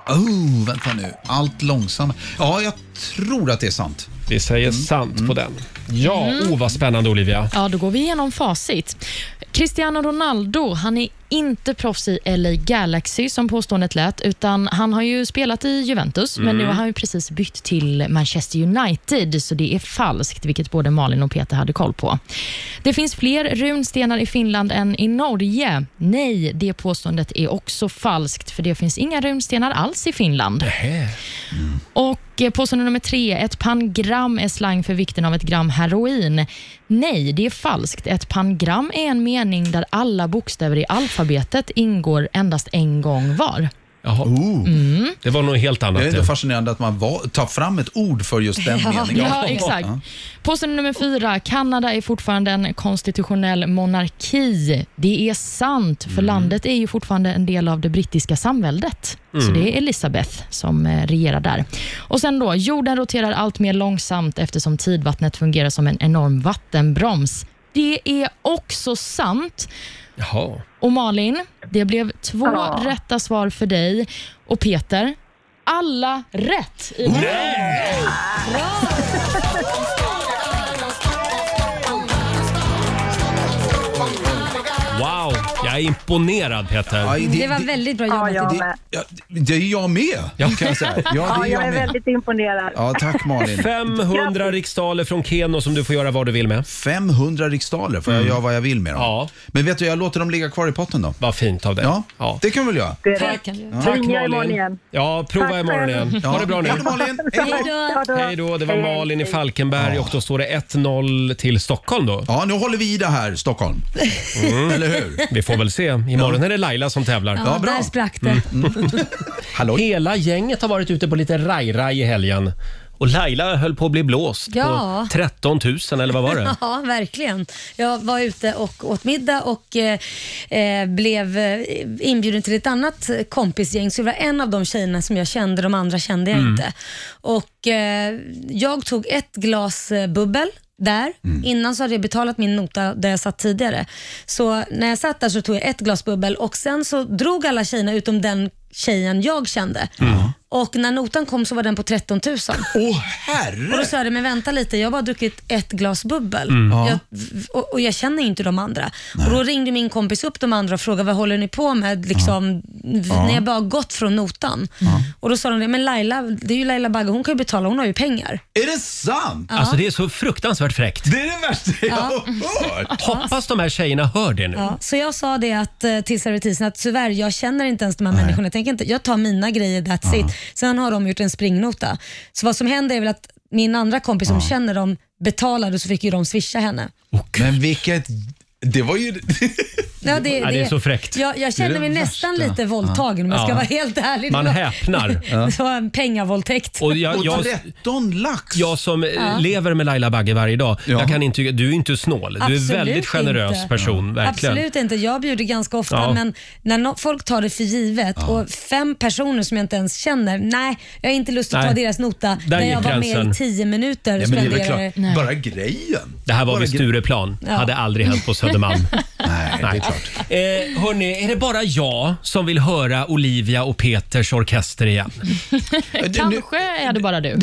[SPEAKER 8] Oh, vänta nu. Allt långsammare. Ja, jag tror att det är sant.
[SPEAKER 1] Vi säger sant på den. Ja,
[SPEAKER 5] Mm.
[SPEAKER 1] oh vad spännande Olivia.
[SPEAKER 5] Ja, då går vi igenom facit. Cristiano Ronaldo, han är inte proffs i LA Galaxy som påståendet lät, utan han har ju spelat i Juventus, men
[SPEAKER 12] Mm.
[SPEAKER 5] nu har han ju precis bytt till Manchester United, så det är falskt, vilket både Malin och Peter hade koll på. Det finns fler runstenar i Finland än i Norge. Nej, det påståendet är också falskt, för det finns inga runstenar alls i Finland. Och eh, påstående nummer tre, ett pangram är slang för vikten av ett gram heroin. Nej, det är falskt. Ett pangram är en mening där alla bokstäver i alfabetet ingår endast en gång var.
[SPEAKER 1] Jaha. Det var nog helt annat.
[SPEAKER 8] Det Oh. är ändå
[SPEAKER 1] Mm. det.
[SPEAKER 8] fascinerande att man va- tar fram ett ord för just den
[SPEAKER 5] Ja,
[SPEAKER 8] meningen.
[SPEAKER 5] ja, exakt.
[SPEAKER 8] Ja.
[SPEAKER 5] Påstående nummer fyra, Kanada är fortfarande en konstitutionell monarki. Det är sant, för landet är ju fortfarande en del av det brittiska samväldet. Så
[SPEAKER 12] Mm.
[SPEAKER 5] det är Elisabeth som eh, regerar där. Och sen då, jorden roterar allt mer långsamt eftersom tidvattnet fungerar som en enorm vattenbroms. Det är också sant.
[SPEAKER 1] Jaha.
[SPEAKER 5] Och Malin, det blev två
[SPEAKER 12] Ja.
[SPEAKER 5] rätta svar för dig. Och Peter, alla rätt i den här omgången.
[SPEAKER 1] Wow, jag är imponerad Peter.
[SPEAKER 3] Det var väldigt bra jobbat.
[SPEAKER 6] jag
[SPEAKER 3] idag.
[SPEAKER 6] med.
[SPEAKER 8] Det är jag med, kan jag säga. Ja, det
[SPEAKER 6] Ja,
[SPEAKER 8] är jag
[SPEAKER 6] jag är
[SPEAKER 8] med.
[SPEAKER 6] väldigt imponerad.
[SPEAKER 8] Ja, tack Malin.
[SPEAKER 1] 500 riksdaler från Keno som du får göra vad du vill med.
[SPEAKER 8] 500 riksdaler får jag
[SPEAKER 1] Mm.
[SPEAKER 8] göra vad jag vill med dem. Men vet du, jag låter dem ligga kvar i potten då.
[SPEAKER 1] Vad fint av dig.
[SPEAKER 8] Ja, det kan vi väl göra.
[SPEAKER 1] Tack, tack Malin. Ja, prova
[SPEAKER 8] Tack
[SPEAKER 1] imorgon
[SPEAKER 8] själv.
[SPEAKER 1] igen.
[SPEAKER 8] Ja.
[SPEAKER 1] Ha det bra nu.
[SPEAKER 8] Ha det, Malin. Hej då.
[SPEAKER 1] Hej då. Hej då. Det var
[SPEAKER 8] Hej,
[SPEAKER 1] Malin i Falkenberg och då står det 1-0 till Stockholm då.
[SPEAKER 8] Ja, nu håller vi i det här Stockholm.
[SPEAKER 1] Mm.
[SPEAKER 8] Eller hur?
[SPEAKER 1] Vi får väl se. Imorgon är det Laila som tävlar.
[SPEAKER 3] Ja, Där sprack
[SPEAKER 8] Mm.
[SPEAKER 3] det.
[SPEAKER 1] Hela gänget har varit ute på lite raj-raj i helgen. Och Laila höll på att bli blåst
[SPEAKER 3] Ja.
[SPEAKER 1] på 13 000 eller vad var det?
[SPEAKER 3] Ja, verkligen. Jag var ute och åt middag och eh, eh, blev eh, inbjuden till ett annat kompisgäng. Så det var en av de tjejerna som jag kände, de andra kände jag
[SPEAKER 12] Mm.
[SPEAKER 3] inte. Och eh, jag tog ett glas eh, bubbel där. Innan så hade jag betalat min nota där jag satt tidigare. Så när jag satt där så tog jag ett glas bubbel och sen så drog alla tjejerna utom den tjejen jag kände. Och när notan kom så var den på 13 000.
[SPEAKER 8] Åh herre!
[SPEAKER 3] Och då sa jag, det, men vänta lite, jag har bara druckit ett glas bubbel.
[SPEAKER 12] Mm. Ja.
[SPEAKER 3] Jag, och, och jag känner ju inte de andra. Och då ringde min kompis upp de andra och frågade, vad håller ni på med? Liksom, v-
[SPEAKER 12] Ja.
[SPEAKER 3] När jag bara har gått från notan. Och då sa de, det, men Laila, det är ju Laila Bagge, hon kan ju betala, hon har ju pengar.
[SPEAKER 8] Är det sant?
[SPEAKER 3] Ja.
[SPEAKER 1] Alltså det är så fruktansvärt fräckt.
[SPEAKER 8] Det är det värsta
[SPEAKER 3] jag Ja. har hört.
[SPEAKER 1] Hoppas de här tjejerna hör det nu.
[SPEAKER 3] Ja, så jag sa det att, eh, till servitrisen att tyvärr, jag känner inte ens de här människorna. Jag, tänker inte, jag tar mina grejer, that's it. Sen har de gjort en springnota. Så vad som händer är väl att min andra kompis som känner dem betalade och så fick ju de swisha henne.
[SPEAKER 8] Men vilket... Det var ju...
[SPEAKER 3] Ja, det,
[SPEAKER 1] Ja, det är så fräckt.
[SPEAKER 3] Jag,
[SPEAKER 1] Det är
[SPEAKER 3] jag känner
[SPEAKER 1] det
[SPEAKER 3] mig nästan
[SPEAKER 1] värsta.
[SPEAKER 3] lite våldtagen om jag ska
[SPEAKER 1] Ja.
[SPEAKER 3] vara helt ärlig.
[SPEAKER 1] Man
[SPEAKER 3] Det var-
[SPEAKER 1] häpnar.
[SPEAKER 3] Det var en pengavåldtäkt.
[SPEAKER 1] Och jag, jag,
[SPEAKER 8] lax!
[SPEAKER 1] Jag som eh,
[SPEAKER 3] Ja.
[SPEAKER 1] lever med Laila Bagge varje dag, jag kan intyga, du är inte snål. Du
[SPEAKER 3] Absolut
[SPEAKER 1] är en väldigt generös
[SPEAKER 3] inte.
[SPEAKER 1] person, verkligen.
[SPEAKER 3] Absolut inte. Jag bjuder ganska ofta,
[SPEAKER 1] Ja.
[SPEAKER 3] men när no- folk tar det för givet och fem personer som jag inte ens känner, nej, jag har inte lust att
[SPEAKER 1] Nej.
[SPEAKER 3] ta deras nota
[SPEAKER 1] Där
[SPEAKER 3] när
[SPEAKER 1] gick
[SPEAKER 3] jag var med
[SPEAKER 1] gränsen.
[SPEAKER 3] i tio minuter.
[SPEAKER 1] Ja, men det är väl
[SPEAKER 3] spenderade-
[SPEAKER 1] klart. Bara
[SPEAKER 8] grejen.
[SPEAKER 1] Det här var
[SPEAKER 8] Bara
[SPEAKER 1] vid
[SPEAKER 8] gre-
[SPEAKER 1] Stureplan.
[SPEAKER 3] Ja.
[SPEAKER 1] Hade aldrig hänt på Södermalm.
[SPEAKER 8] Nej,
[SPEAKER 1] det är klart. Eh, hörni, är det bara jag som vill höra Olivia och Peters orkester igen?
[SPEAKER 5] Kanske är det bara du.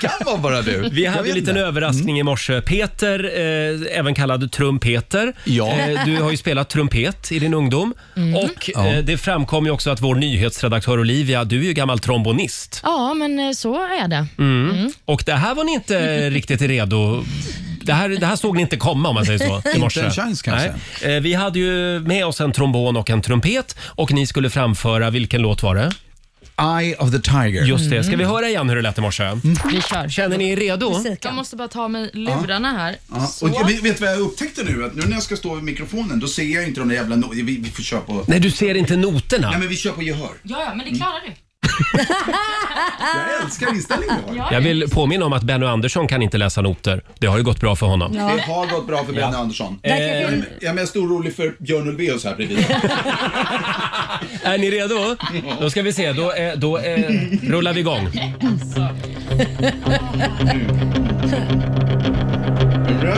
[SPEAKER 8] kan vara bara du.
[SPEAKER 1] Vi hade en liten överraskning i morse. Peter, eh, även kallad Trumpeter. Eh, du har ju spelat trumpet i din ungdom.
[SPEAKER 3] Mm.
[SPEAKER 1] Och
[SPEAKER 5] Ja.
[SPEAKER 1] eh, det framkom ju också att vår nyhetsredaktör Olivia, du är ju gammal trombonist.
[SPEAKER 5] Ja, men eh, så är det.
[SPEAKER 1] Mm. Och det här var ni inte riktigt redo. Det här, det här såg ni inte komma om man säger så i
[SPEAKER 8] Inte
[SPEAKER 1] morse.
[SPEAKER 8] en chans, kanske.
[SPEAKER 1] Nej. Eh, Vi hade ju med oss en trombon och en trumpet och ni skulle framföra, vilken låt var det?
[SPEAKER 8] Eye of the Tiger.
[SPEAKER 1] Just det, ska
[SPEAKER 8] Mm.
[SPEAKER 1] vi höra igen hur det lät i morse?
[SPEAKER 5] Vi kör.
[SPEAKER 1] Känner ni er redo?
[SPEAKER 5] Jag måste bara ta mig lurarna här.
[SPEAKER 8] Ja, och jag vet vet du vad jag upptäckte nu? Att nu när jag ska stå vid mikrofonen, då ser jag inte de där jävla... No- vi, vi får köra på...
[SPEAKER 1] Nej, du ser inte noterna.
[SPEAKER 8] Nej, men vi kör på gehör.
[SPEAKER 5] Ja, ja, men det klarar
[SPEAKER 1] Mm.
[SPEAKER 5] du.
[SPEAKER 8] Jag älskar inställningen du har.
[SPEAKER 1] Jag vill påminna om att Benny Andersson kan inte läsa noter. Det har ju gått bra för honom.
[SPEAKER 8] Det har gått bra för Benny
[SPEAKER 1] Ja.
[SPEAKER 8] Andersson.
[SPEAKER 3] Eh.
[SPEAKER 1] Där kan
[SPEAKER 8] Jag
[SPEAKER 1] vi-
[SPEAKER 8] är- jag är mest orolig för Björn Ulvaeus här bredvid.
[SPEAKER 1] Är ni redo? Då ska vi se, då, eh, då eh, rullar vi igång.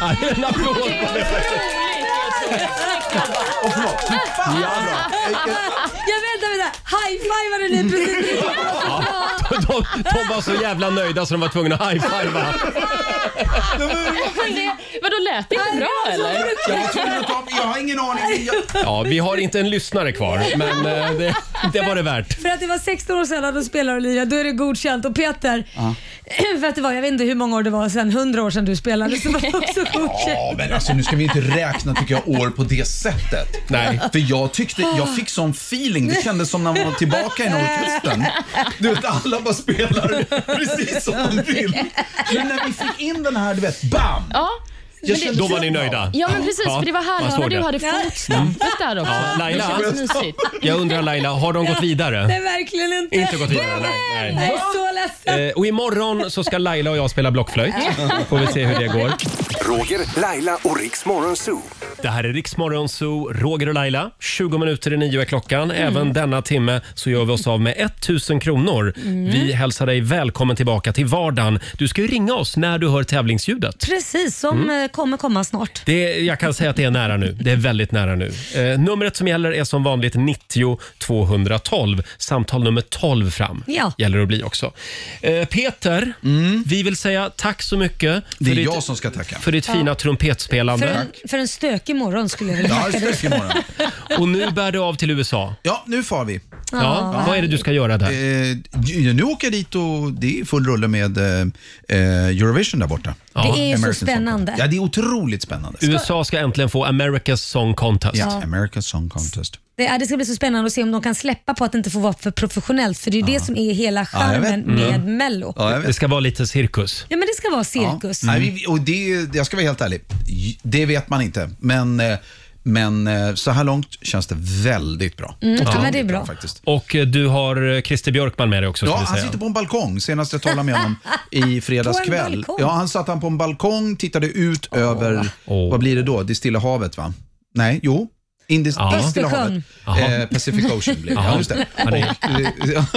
[SPEAKER 1] Ja, det är en applåd på det.
[SPEAKER 8] Och förlåt. Fan, vad bra.
[SPEAKER 3] Jag vänta, vänta. High-fivade ni precis?
[SPEAKER 1] Ja, de, de, de var så jävla nöjda så de var tvungna att high-fivea.
[SPEAKER 5] Men det, vadå, lät det inte bra eller?
[SPEAKER 8] Jag var tvungen att ta... Jag har ingen aning. Jag...
[SPEAKER 1] Ja, vi har inte en lyssnare kvar, men eh, det, det var det värt.
[SPEAKER 3] För att det var 16 år sedan du spelade Olivia, då är det godkänt. Och Peter,
[SPEAKER 8] Ja.
[SPEAKER 3] för att det var, jag vet inte hur många år det var sedan, 100 år sedan du spelade, så var det också
[SPEAKER 8] Ja,
[SPEAKER 3] godkänt.
[SPEAKER 8] men alltså nu ska vi inte räkna tycker jag år på det sättet.
[SPEAKER 1] Nej.
[SPEAKER 8] För jag tyckte, jag fick sån feeling. Det kändes som när man var tillbaka i den orkestern. Du vet, alla bara spelar precis som de vill. Men när vi fick in den här, du vet, bam!
[SPEAKER 5] Ja.
[SPEAKER 8] Jag
[SPEAKER 5] men
[SPEAKER 8] kände- Då var ni nöjda.
[SPEAKER 5] Ja, men precis.
[SPEAKER 1] Ja,
[SPEAKER 5] för det var
[SPEAKER 1] man
[SPEAKER 5] härligt
[SPEAKER 1] såg
[SPEAKER 5] när du
[SPEAKER 1] det. Mm.
[SPEAKER 5] hade fotstampet där också.
[SPEAKER 1] Ja, Laila.
[SPEAKER 5] Det känns mysigt.
[SPEAKER 1] Jag undrar Laila, har de gått
[SPEAKER 3] Nej,
[SPEAKER 1] vidare?
[SPEAKER 3] verkligen inte.
[SPEAKER 1] Inte gått vidare, nej.
[SPEAKER 3] Jag
[SPEAKER 1] nej.
[SPEAKER 3] är så ledsen.
[SPEAKER 1] Eh, och imorgon så ska Laila och jag spela blockflöjt. Får vi se hur det går.
[SPEAKER 2] Roger, Laila och Riks Morgonzoo.
[SPEAKER 1] Det här är Riksmorgon Zoo, Roger och Laila. 20 minuter i nio är klockan.
[SPEAKER 5] Mm.
[SPEAKER 1] Även denna timme så gör vi oss av med 1000 kronor.
[SPEAKER 5] Mm.
[SPEAKER 1] Vi hälsar dig välkommen tillbaka till vardagen. Du ska ju ringa oss när du hör tävlingsljudet.
[SPEAKER 3] Precis, som
[SPEAKER 1] Mm.
[SPEAKER 3] eh, kommer komma snart.
[SPEAKER 1] Det, jag kan säga att det är nära nu. Det är väldigt nära nu. Eh, numret som gäller är som vanligt 90 212. Samtal nummer 12 fram
[SPEAKER 3] Ja.
[SPEAKER 1] gäller det att bli också. Eh, Peter, vi vill säga tack så mycket för,
[SPEAKER 8] Mm. Det är
[SPEAKER 1] ditt,
[SPEAKER 8] jag som ska tacka.
[SPEAKER 1] för ditt fina
[SPEAKER 3] För
[SPEAKER 1] trumpetspelande.
[SPEAKER 3] en, för en stökig morgon skulle jag vilja
[SPEAKER 8] Ja,
[SPEAKER 3] tacka dig.
[SPEAKER 8] det är imorgon.
[SPEAKER 1] Och nu bär det av till USA.
[SPEAKER 8] Ja, nu far vi.
[SPEAKER 1] Ja, Vad är det du ska göra där?
[SPEAKER 8] Eh, ju- nu åker jag dit och det är full rulle med eh, eh, Eurovision där borta.
[SPEAKER 1] Ja.
[SPEAKER 3] Det är ju så
[SPEAKER 8] American Song
[SPEAKER 3] spännande.
[SPEAKER 8] Contest. Ja, det är otroligt spännande.
[SPEAKER 1] USA ska äntligen få America's Song Contest.
[SPEAKER 8] Ja. American Song Contest.
[SPEAKER 3] Det, är, det ska bli så spännande att se om de kan släppa på att det inte får vara för professionellt, för det är ju det som är hela
[SPEAKER 8] jag vet.
[SPEAKER 3] charmen
[SPEAKER 1] Mm.
[SPEAKER 3] med Mello. Ja.
[SPEAKER 8] Ja, jag vet.
[SPEAKER 1] Det ska vara lite cirkus.
[SPEAKER 3] men det ska vara cirkus.
[SPEAKER 8] Nej, vi- och det, jag ska vara helt ärlig, det vet man inte. Men, eh, men eh, så här långt känns det väldigt bra.
[SPEAKER 3] Mm, ja,
[SPEAKER 8] Otroligt
[SPEAKER 3] men det är bra.
[SPEAKER 8] faktiskt.
[SPEAKER 1] Och eh, du har eh, Christer Björkman med dig också. ska
[SPEAKER 8] Ja,
[SPEAKER 1] vi
[SPEAKER 8] han
[SPEAKER 1] säga.
[SPEAKER 8] sitter på en balkong. Senast jag talade med honom i fredags
[SPEAKER 3] På en
[SPEAKER 8] kväll.
[SPEAKER 3] balkong?
[SPEAKER 8] Ja, han satt han på en balkong, tittade ut över, vad blir det då? Det Stilla havet va? Nej, jo. Indis,
[SPEAKER 1] Ja.
[SPEAKER 8] det Stilla
[SPEAKER 3] Östersjön.
[SPEAKER 8] havet.
[SPEAKER 1] Jaha.
[SPEAKER 8] Eh, Pacific Ocean blir det.
[SPEAKER 1] Jaha.
[SPEAKER 8] Ja, just det.
[SPEAKER 1] Han är-
[SPEAKER 8] Och,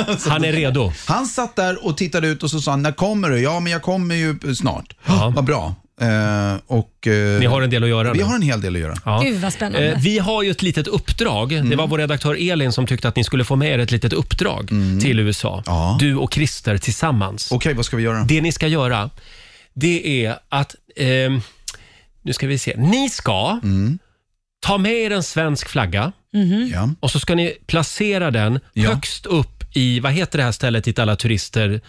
[SPEAKER 8] eh,
[SPEAKER 1] Han är redo.
[SPEAKER 8] Han satt där och tittade ut och så sa han, när kommer du? Ja, men jag kommer ju snart.
[SPEAKER 1] Ja.
[SPEAKER 8] Vad bra. Eh, och,
[SPEAKER 1] Ni har en del att göra
[SPEAKER 8] Vi
[SPEAKER 1] nu.
[SPEAKER 8] har en hel del att göra.
[SPEAKER 1] Ja.
[SPEAKER 3] Gud, vad spännande.
[SPEAKER 1] Eh, Vi har ju ett litet uppdrag. Det
[SPEAKER 3] Mm.
[SPEAKER 1] var vår redaktör Elin som tyckte att ni skulle få med er ett litet uppdrag
[SPEAKER 3] Mm.
[SPEAKER 1] till USA. Du Mm. och Christer tillsammans. Okej,
[SPEAKER 8] vad ska vi göra?
[SPEAKER 1] Det ni ska göra, det är att... ehm, nu ska vi se. Ni ska
[SPEAKER 3] Mm.
[SPEAKER 1] ta med er en svensk flagga och så ska ni placera den högst upp i, vad heter det här stället dit alla turister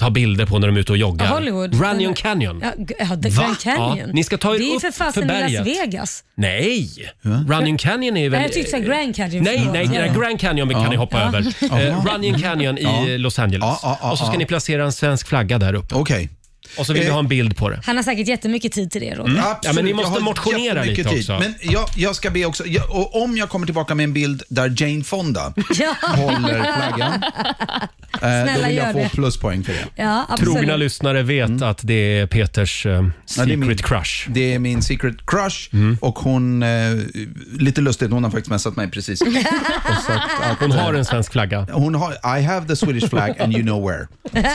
[SPEAKER 1] tar bilder på när de är ute och joggar?
[SPEAKER 3] Hollywood.
[SPEAKER 1] Runyon Canyon.
[SPEAKER 3] Ja, g- ja det-
[SPEAKER 1] Va?
[SPEAKER 3] Grand Canyon.
[SPEAKER 1] Ja, ni ska ta er
[SPEAKER 3] det är ju
[SPEAKER 1] upp
[SPEAKER 3] för
[SPEAKER 1] för
[SPEAKER 3] fasen i
[SPEAKER 1] berget.
[SPEAKER 3] Las Vegas.
[SPEAKER 1] Nej! Runyon Canyon är väl...
[SPEAKER 3] Nej, jag tyckte att Grand Canyon.
[SPEAKER 1] Nej, nej,
[SPEAKER 3] Ja.
[SPEAKER 1] nej, Grand Canyon kan
[SPEAKER 8] Ja.
[SPEAKER 1] ni hoppa
[SPEAKER 8] Ja.
[SPEAKER 1] över.
[SPEAKER 8] Ja.
[SPEAKER 1] Eh, Runyon Canyon i
[SPEAKER 8] Ja.
[SPEAKER 1] Los Angeles.
[SPEAKER 8] Ja, ja, ja,
[SPEAKER 1] och så ska
[SPEAKER 8] ja.
[SPEAKER 1] ni placera en svensk flagga där uppe.
[SPEAKER 8] Okej.
[SPEAKER 1] Och så vill vi
[SPEAKER 8] Eh.
[SPEAKER 1] ha en bild på det.
[SPEAKER 3] Han har säkert jättemycket tid till det, Roger.
[SPEAKER 1] Mm. Ja, men ni
[SPEAKER 8] Jag
[SPEAKER 1] måste
[SPEAKER 8] har
[SPEAKER 1] motionera
[SPEAKER 8] jättemycket
[SPEAKER 1] lite också.
[SPEAKER 8] Men jag, jag ska be också, jag, och om jag kommer tillbaka med en bild där Jane Fonda håller flaggan, eh, då
[SPEAKER 3] Snälla,
[SPEAKER 8] vill
[SPEAKER 3] gör
[SPEAKER 8] jag få
[SPEAKER 3] det.
[SPEAKER 8] pluspoäng för det.
[SPEAKER 3] Ja, absolut.
[SPEAKER 1] Trogna lyssnare vet att det är Peters eh,
[SPEAKER 8] Mm. Ja,
[SPEAKER 1] secret
[SPEAKER 8] det är min-
[SPEAKER 1] crush. Mm.
[SPEAKER 8] Det är min secret crush och hon, eh, lite lustigt, hon har faktiskt messat mig precis. Och sagt att, eh,
[SPEAKER 1] Hon har en svensk flagga.
[SPEAKER 8] Hon har, I have the Swedish flag and you know where.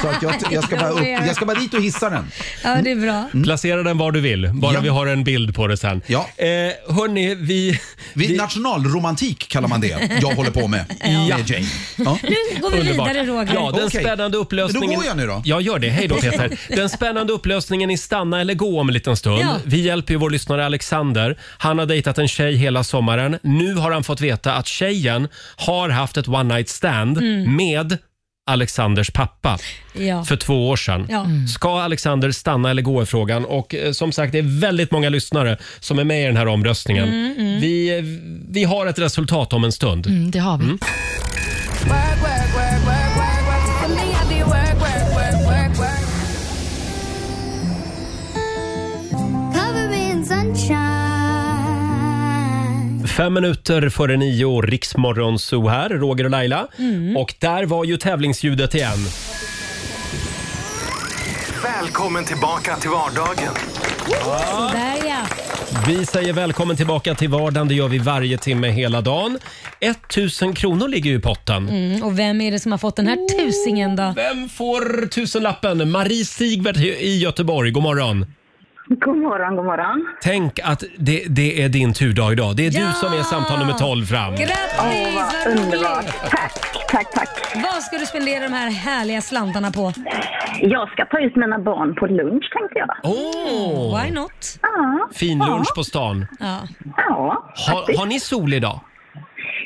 [SPEAKER 8] Så att jag, jag, ska bara upp, jag ska bara dit och hissa den.
[SPEAKER 3] Ja, det är bra.
[SPEAKER 1] Placera den var du vill, bara
[SPEAKER 8] Ja.
[SPEAKER 1] vi har en bild på det sen. Ja. Eh, hörni, vi...
[SPEAKER 8] Vi, Nationalromantik kallar man det jag håller på med.
[SPEAKER 1] Ja.
[SPEAKER 8] Med Jane. Ja.
[SPEAKER 3] Nu går vi vidare, Roger.
[SPEAKER 1] Ja, den
[SPEAKER 8] Okej.
[SPEAKER 1] spännande upplösningen...
[SPEAKER 8] Men då går jag nu då.
[SPEAKER 1] Ja, gör det. Hej då Peter. Den spännande upplösningen i Stanna eller gå om en liten stund.
[SPEAKER 8] Ja.
[SPEAKER 1] Vi hjälper ju vår lyssnare Alexander. Han har dejtat en tjej hela sommaren. Nu har han fått veta att tjejen har haft ett one night stand
[SPEAKER 3] Mm.
[SPEAKER 1] med Alexanders pappa
[SPEAKER 3] Ja.
[SPEAKER 1] för två år sedan.
[SPEAKER 3] Ja. Mm.
[SPEAKER 1] Ska Alexander stanna eller gå i frågan? Och eh, som sagt, det är väldigt många lyssnare som är med i den här omröstningen.
[SPEAKER 5] Mm, mm.
[SPEAKER 1] Vi, eh, vi har ett resultat om en stund.
[SPEAKER 5] Mm, det har vi.
[SPEAKER 1] Mm.
[SPEAKER 9] Work, work, work, work, work, work. For me, I be work, work, work, work, work. Cover me in sunshine.
[SPEAKER 1] Fem minuter före nio, Riksmorgon Zoo här, Roger och Laila.
[SPEAKER 9] Mm.
[SPEAKER 1] Och där var ju tävlingsljudet igen.
[SPEAKER 2] Välkommen tillbaka till vardagen.
[SPEAKER 3] Sådär ja.
[SPEAKER 1] Vi säger välkommen tillbaka till vardagen, det gör vi varje timme hela dagen. 1000 kronor ligger ju i potten.
[SPEAKER 3] Mm, och vem är det som har fått den här tusingen då?
[SPEAKER 1] Vem får tusenlappen? Marie Sigvart i Göteborg, god morgon.
[SPEAKER 12] God morgon, god morgon.
[SPEAKER 1] Tänk att det, det är din turdag idag. Det är
[SPEAKER 12] Ja!
[SPEAKER 1] du som är samtal nummer 12 fram.
[SPEAKER 3] Grattis, vad roligt!
[SPEAKER 12] Tack, tack, tack.
[SPEAKER 3] Vad ska du spendera de här härliga slantarna på?
[SPEAKER 12] Jag ska ta ut mina barn på lunch tänkte jag.
[SPEAKER 1] Åh!
[SPEAKER 3] Why not?
[SPEAKER 12] Ja.
[SPEAKER 1] Fin lunch på stan.
[SPEAKER 3] Ja.
[SPEAKER 12] Ja,
[SPEAKER 1] Har, har ni sol idag?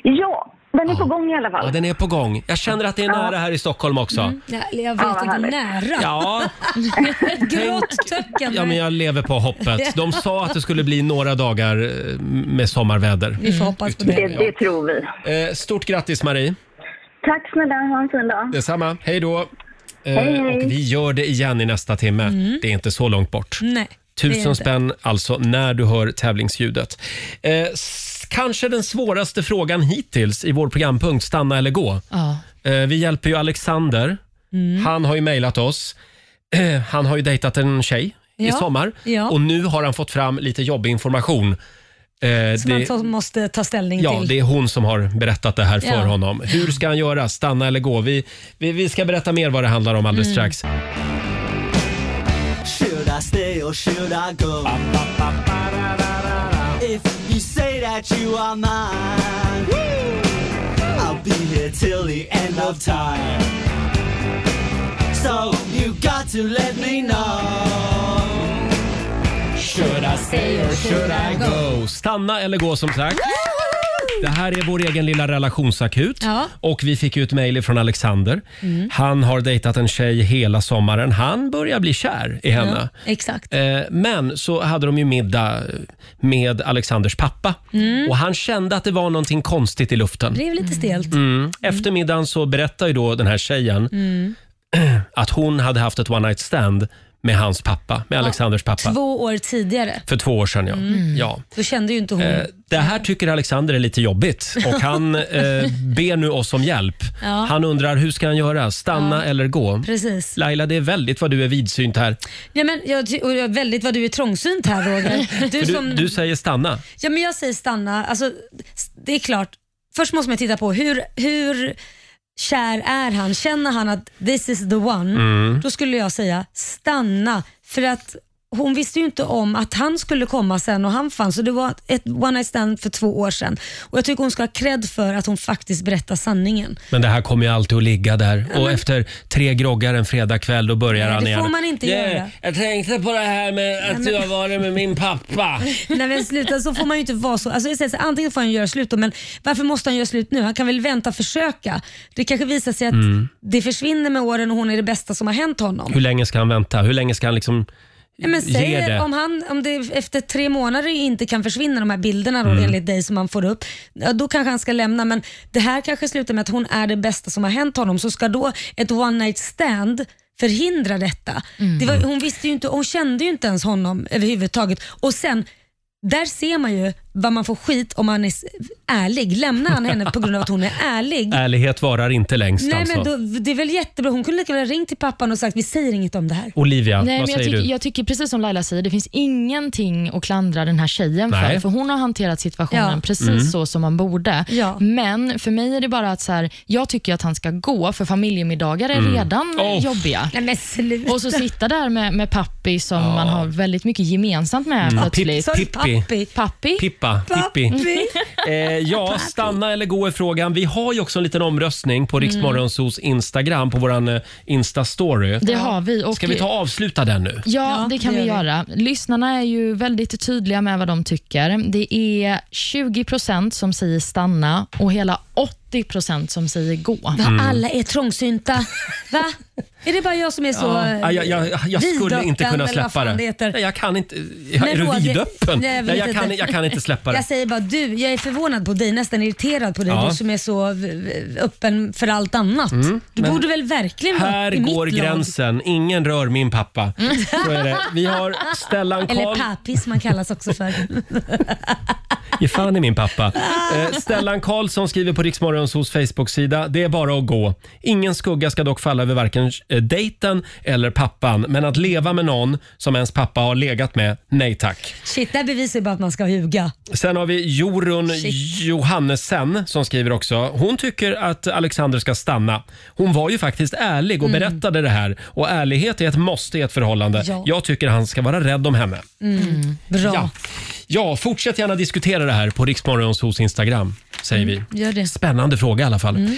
[SPEAKER 12] ja den är på gång i alla fall.
[SPEAKER 1] Ja, den är på gång. Jag känner att det är
[SPEAKER 12] Ja.
[SPEAKER 1] nära här i Stockholm också.
[SPEAKER 3] Ja, eller Jag
[SPEAKER 12] Ja,
[SPEAKER 3] vet
[SPEAKER 12] vad
[SPEAKER 3] inte,
[SPEAKER 12] härligt.
[SPEAKER 3] nära.
[SPEAKER 1] Ja.
[SPEAKER 3] Grått töckande.
[SPEAKER 1] Ja, men jag lever på hoppet. De sa att det skulle bli några dagar eh, med sommarväder.
[SPEAKER 3] Vi får hoppas på
[SPEAKER 12] Det,
[SPEAKER 3] det.
[SPEAKER 12] det tror vi.
[SPEAKER 1] Eh, Stort grattis Marie.
[SPEAKER 12] Tack snälla, ha en fin dag.
[SPEAKER 1] Detsamma. Hej då. Eh,
[SPEAKER 12] Hej, hej.
[SPEAKER 1] Och vi gör det igen i nästa timme.
[SPEAKER 12] Mm.
[SPEAKER 1] Det är inte så långt bort.
[SPEAKER 3] Nej. Mm. det är
[SPEAKER 1] Tusen
[SPEAKER 3] inte.
[SPEAKER 1] spänn alltså när du hör tävlingsljudet. Eh, s- kanske den svåraste frågan hittills i vår programpunkt Stanna eller gå.
[SPEAKER 5] Ja.
[SPEAKER 1] Eh, vi hjälper ju Alexander.
[SPEAKER 3] Mm.
[SPEAKER 1] Han har ju mejlat oss. Eh, han har ju dejtat en tjej i
[SPEAKER 3] Ja,
[SPEAKER 1] sommar
[SPEAKER 3] ja.
[SPEAKER 1] och nu har han fått fram lite jobbig information. Eh,
[SPEAKER 3] Som man ta- måste ta ställning
[SPEAKER 1] Ja,
[SPEAKER 3] till.
[SPEAKER 1] det är hon som har berättat det här för
[SPEAKER 3] Ja.
[SPEAKER 1] honom. Hur ska han göra? Stanna eller gå? Vi, vi, vi ska berätta mer vad det handlar om alldeles
[SPEAKER 10] Mm.
[SPEAKER 1] strax.
[SPEAKER 10] Should I stay or should I go? If you say that you are mine, I'll be here till the end of time. So you got to let me know. Should I stay or should I go?
[SPEAKER 1] Go. Stanna eller gå som sagt. Det här är vår egen lilla relationsakut.
[SPEAKER 3] Ja.
[SPEAKER 1] Och vi fick ju ett mejl från Alexander.
[SPEAKER 3] Mm.
[SPEAKER 1] Han har dejtat en tjej hela sommaren. Han börjar bli kär i henne.
[SPEAKER 3] Ja, exakt.
[SPEAKER 1] Eh, Men så hade de ju middag med Alexanders pappa
[SPEAKER 3] Mm.
[SPEAKER 1] och han kände att det var någonting konstigt i luften.
[SPEAKER 3] Det blev lite stelt.
[SPEAKER 1] Mm. Efter middagen så berättar ju då den här tjejen
[SPEAKER 3] Mm.
[SPEAKER 1] att hon hade haft ett one night stand med hans pappa, med Alexanders pappa.
[SPEAKER 3] Två år tidigare.
[SPEAKER 1] För två år sedan ja.
[SPEAKER 3] Mm.
[SPEAKER 1] ja.
[SPEAKER 3] Då kände ju inte hon...
[SPEAKER 1] Eh, Det här tycker Alexander är lite jobbigt och han eh, ber nu oss om hjälp.
[SPEAKER 3] Ja.
[SPEAKER 1] Han undrar hur ska han göra, stanna
[SPEAKER 3] Ja.
[SPEAKER 1] eller gå?
[SPEAKER 3] Precis.
[SPEAKER 1] Laila, det är väldigt vad du är vidsynt här.
[SPEAKER 3] Ja, men jag, ty- och jag är väldigt vad du är trångsynt här Roger.
[SPEAKER 1] Du, du, du säger stanna.
[SPEAKER 3] Ja, men jag säger stanna. Alltså, s- det är klart, först måste man titta på hur, hur kär är han? Känner han att this is the one?
[SPEAKER 1] Mm.
[SPEAKER 3] Då skulle jag säga stanna. För att hon visste ju inte om att han skulle komma sen och han fanns. Så det var ett one night stand för två år sedan. Och Jag tycker hon ska ha cred för att hon faktiskt berättar sanningen.
[SPEAKER 1] Men det här kommer ju alltid att ligga där.
[SPEAKER 3] Ja,
[SPEAKER 1] och
[SPEAKER 3] men-
[SPEAKER 1] efter tre groggar en fredagkväll, då börjar
[SPEAKER 3] Nej,
[SPEAKER 1] han
[SPEAKER 3] det
[SPEAKER 1] igen.
[SPEAKER 3] får man inte göra.
[SPEAKER 1] Jag tänkte på det här med
[SPEAKER 3] att men- du har
[SPEAKER 1] varit med min pappa.
[SPEAKER 3] Nej men sluta, så får man ju inte vara så. Alltså, jag säger så här, antingen får han göra slut då, men varför måste han göra slut nu? Han kan väl vänta och försöka? Det kanske visar sig att
[SPEAKER 1] Mm.
[SPEAKER 3] det försvinner med åren och hon är det bästa som har hänt honom.
[SPEAKER 1] Hur länge ska han vänta? Hur länge ska han liksom
[SPEAKER 3] Nej, men säg
[SPEAKER 1] ge det?
[SPEAKER 3] om, han, om det efter tre månader inte kan försvinna de här bilderna då,
[SPEAKER 1] Mm.
[SPEAKER 3] enligt dig som man får upp, ja, då kanske han ska lämna. Men det här kanske slutar med att hon är det bästa som har hänt honom. Så ska då ett one night stand förhindra detta? Det var, hon, visste ju inte, hon kände ju inte ens honom överhuvudtaget. Och sen, där ser man ju vad man får skit om man är s- ärlig. Lämnar han henne på grund av att hon är ärlig?
[SPEAKER 1] Ärlighet varar inte längst
[SPEAKER 3] Nej,
[SPEAKER 1] alltså.
[SPEAKER 3] men då, det är väl jättebra. Hon kunde lika väl ha ringt till pappan och sagt vi säger inget om det här.
[SPEAKER 1] Olivia, vad
[SPEAKER 5] jag,
[SPEAKER 1] säger
[SPEAKER 5] tycker,
[SPEAKER 1] du?
[SPEAKER 5] jag tycker precis som Laila säger, det finns ingenting att klandra den här tjejen
[SPEAKER 1] Nej.
[SPEAKER 5] för. För hon har hanterat situationen
[SPEAKER 1] Ja.
[SPEAKER 5] precis
[SPEAKER 1] Mm.
[SPEAKER 5] så som man borde. Men för mig är det bara att så här, jag tycker att han ska gå, för familjemiddagar är
[SPEAKER 1] Mm.
[SPEAKER 5] redan
[SPEAKER 1] Oh.
[SPEAKER 5] jobbiga. och så sitta där med, med pappi som man har väldigt mycket gemensamt med
[SPEAKER 1] Mm.
[SPEAKER 5] plötsligt.
[SPEAKER 1] Pip- Pippi.
[SPEAKER 5] Pappi.
[SPEAKER 1] Pippa, Pippi. Eh, ja, stanna eller gå är frågan. Vi har ju också en liten omröstning på
[SPEAKER 5] Mm.
[SPEAKER 1] Riksmorgonsos Instagram, på våran eh, Insta-story.
[SPEAKER 5] Det har vi. Och
[SPEAKER 1] Ska vi ta och avsluta den nu?
[SPEAKER 5] Ja, det kan
[SPEAKER 3] det
[SPEAKER 5] vi
[SPEAKER 3] gör vi.
[SPEAKER 5] göra. Lyssnarna är ju väldigt tydliga med vad de tycker. Det är 20 procent som säger stanna och hela 80 procent som säger gå.
[SPEAKER 1] Mm,
[SPEAKER 3] Va, alla är trångsynta. Va? Är det bara jag som är så
[SPEAKER 1] Ja.
[SPEAKER 3] eh,
[SPEAKER 1] Ja, jag jag, jag skulle
[SPEAKER 3] vidöppen,
[SPEAKER 1] inte kunna
[SPEAKER 3] eller vad
[SPEAKER 1] släppa
[SPEAKER 3] fan
[SPEAKER 1] det.
[SPEAKER 3] heter?
[SPEAKER 1] Nej, jag kan inte. Jag,
[SPEAKER 3] Men
[SPEAKER 1] är du
[SPEAKER 3] Roger-
[SPEAKER 1] vidöppen?
[SPEAKER 3] Nej, jag,
[SPEAKER 1] Nej,
[SPEAKER 3] vet
[SPEAKER 1] jag, kan, jag kan inte släppa det.
[SPEAKER 3] Jag säger bara du, jag är förvånad på dig, nästan irriterad på dig,
[SPEAKER 1] Ja.
[SPEAKER 3] du som är så v- v- öppen för allt annat.
[SPEAKER 1] Mm,
[SPEAKER 3] du
[SPEAKER 1] men
[SPEAKER 3] borde väl verkligen
[SPEAKER 1] Här
[SPEAKER 3] vara i mitt
[SPEAKER 1] går
[SPEAKER 3] lag. Mm.
[SPEAKER 1] gränsen. Ingen rör min pappa. Så är det. Vi har Stellan
[SPEAKER 3] Eller
[SPEAKER 1] Karl...
[SPEAKER 3] pappi som han kallas också för.
[SPEAKER 1] Ge fan i min pappa. Eh, Stellan Karlsson skriver på Riksmorgonsos Facebook-sida. Det är bara att gå. Ingen skugga ska dock falla över varken eh, dejten eller pappan. Men att leva med någon som ens pappa har legat med, nej tack.
[SPEAKER 3] Shit, det här bevisar ju bara att man ska ljuga.
[SPEAKER 1] Sen har vi Jorun Johannesen som skriver också. Hon tycker att Alexander ska stanna. Hon var ju faktiskt ärlig och
[SPEAKER 3] Mm.
[SPEAKER 1] berättade det här. Och ärlighet är ett måste i ett förhållande.
[SPEAKER 3] Ja.
[SPEAKER 1] Jag tycker han ska vara rädd om henne.
[SPEAKER 3] Mm. Bra.
[SPEAKER 1] Ja. ja, fortsätt gärna diskutera det här på Riksmorgons hos Instagram, säger vi.
[SPEAKER 3] Gör det.
[SPEAKER 1] Spännande fråga i alla fall.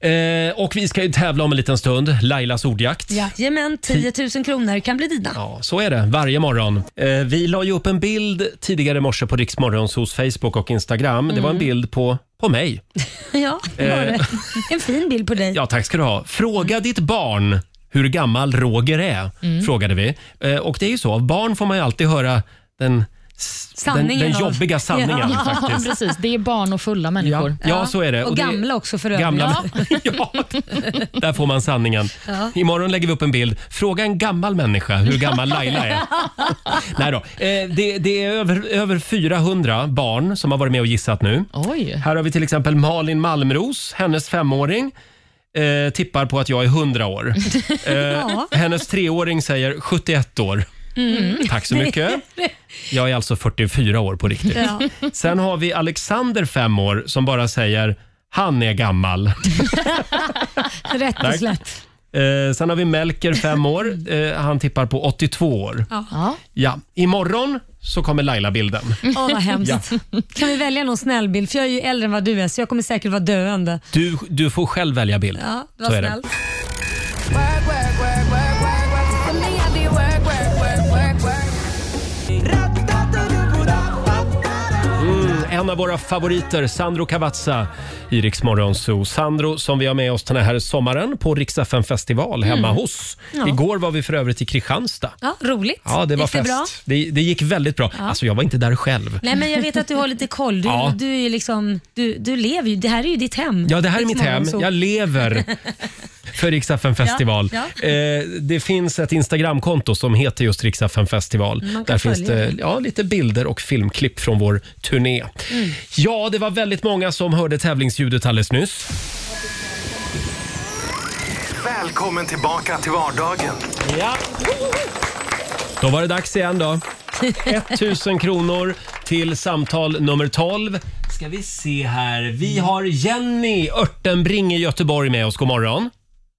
[SPEAKER 3] Mm.
[SPEAKER 1] Eh, och vi ska ju tävla om en liten stund. Lailas ordjakt.
[SPEAKER 3] Jajamän, 10 000 kronor kan bli dina.
[SPEAKER 1] Ja, så är det varje morgon. Eh, vi la ju upp en bild tidigare i morse på Riksmorgons hos Facebook och Instagram. Det var en
[SPEAKER 3] Mm.
[SPEAKER 1] bild på, på mig.
[SPEAKER 3] Ja, det var
[SPEAKER 1] Eh.
[SPEAKER 3] det. En fin bild på dig.
[SPEAKER 1] Ja, tack ska du ha. Fråga ditt barn hur gammal Roger är,
[SPEAKER 3] Mm.
[SPEAKER 1] frågade vi. Eh, och det är ju så, av barn får man ju alltid höra den den,
[SPEAKER 5] Sanningen
[SPEAKER 1] den
[SPEAKER 5] av-
[SPEAKER 1] jobbiga sanningen
[SPEAKER 5] ja,
[SPEAKER 1] faktiskt.
[SPEAKER 5] precis. Det är barn och fulla människor.
[SPEAKER 1] Ja, ja, så är
[SPEAKER 3] Och,
[SPEAKER 1] det. eh, Och det-
[SPEAKER 3] gamla också för övrigt.
[SPEAKER 1] Gamla-
[SPEAKER 3] Ja.
[SPEAKER 1] Där får man sanningen.
[SPEAKER 3] Ja.
[SPEAKER 1] Imorgon lägger vi upp en bild. Fråga en gammal människa hur gammal Laila är. Nej då. Eh, det, det är över, över 400 barn som har varit med och gissat nu. Här har vi till exempel Malin Malmros, hennes femåring. Eh, tippar på att jag är 100 år. Eh,
[SPEAKER 3] Ja.
[SPEAKER 1] Hennes treåring säger 71 år.
[SPEAKER 3] Mm.
[SPEAKER 1] Tack så mycket. Jag är alltså 44 år på riktigt.
[SPEAKER 3] Ja.
[SPEAKER 1] Sen har vi Alexander, fem år, som bara säger han är gammal.
[SPEAKER 3] Rätt och
[SPEAKER 1] Tack.
[SPEAKER 3] slätt.
[SPEAKER 1] Eh, sen har vi Melker, fem år. Eh, han tippar på 82 år.
[SPEAKER 3] Ja.
[SPEAKER 1] Ja, imorgon så kommer Laila-bilden.
[SPEAKER 3] Åh, vad hemskt.
[SPEAKER 1] Ja.
[SPEAKER 3] Kan vi välja någon snäll bild? För jag är ju äldre än vad du är, så jag kommer säkert vara döende.
[SPEAKER 1] Du, du får själv välja bild.
[SPEAKER 3] Ja,
[SPEAKER 1] Så
[SPEAKER 3] var
[SPEAKER 1] är det.
[SPEAKER 3] snäll.
[SPEAKER 9] Work, work, work, work, work, work. For me, I be work, work, work, work, work.
[SPEAKER 1] Mm, en av våra favoriter, Sandro Cavazza i Rix Morgon Zoo. Sandro som vi har med oss den här sommaren på Rix FM festival hemma
[SPEAKER 3] Mm.
[SPEAKER 1] hos.
[SPEAKER 3] Ja.
[SPEAKER 1] Igår var vi för övrigt i Kristianstad.
[SPEAKER 3] Ja, roligt.
[SPEAKER 1] Ja, det var
[SPEAKER 3] Gick det
[SPEAKER 1] fest.
[SPEAKER 3] bra?
[SPEAKER 1] Det, det gick väldigt bra.
[SPEAKER 3] Ja.
[SPEAKER 1] Alltså, jag var inte där själv.
[SPEAKER 3] Nej, men jag vet att du har lite koll. Du,
[SPEAKER 1] Ja.
[SPEAKER 3] du, är ju liksom, du, du lever ju. Det här är ju ditt hem.
[SPEAKER 1] Ja, det här är
[SPEAKER 3] Liksom
[SPEAKER 1] mitt hem.
[SPEAKER 3] morgonsol.
[SPEAKER 1] Jag lever för Rix FM festival.
[SPEAKER 3] Ja,
[SPEAKER 1] Eh, det finns ett Instagramkonto som heter just Rix FM festival.
[SPEAKER 3] Man kan
[SPEAKER 1] Där finns
[SPEAKER 3] följa
[SPEAKER 1] det
[SPEAKER 3] det.
[SPEAKER 1] ja, lite bilder och filmklipp från vår turné. Mm. Ja, det var väldigt många som hörde tävlingsljudet alldeles nyss.
[SPEAKER 2] Välkommen tillbaka till vardagen.
[SPEAKER 1] Ja. Då var det dags igen då. 1000 kronor till samtal nummer 12. Ska vi se här. Vi har Jenny Örtenbring i Göteborg med oss. God morgon.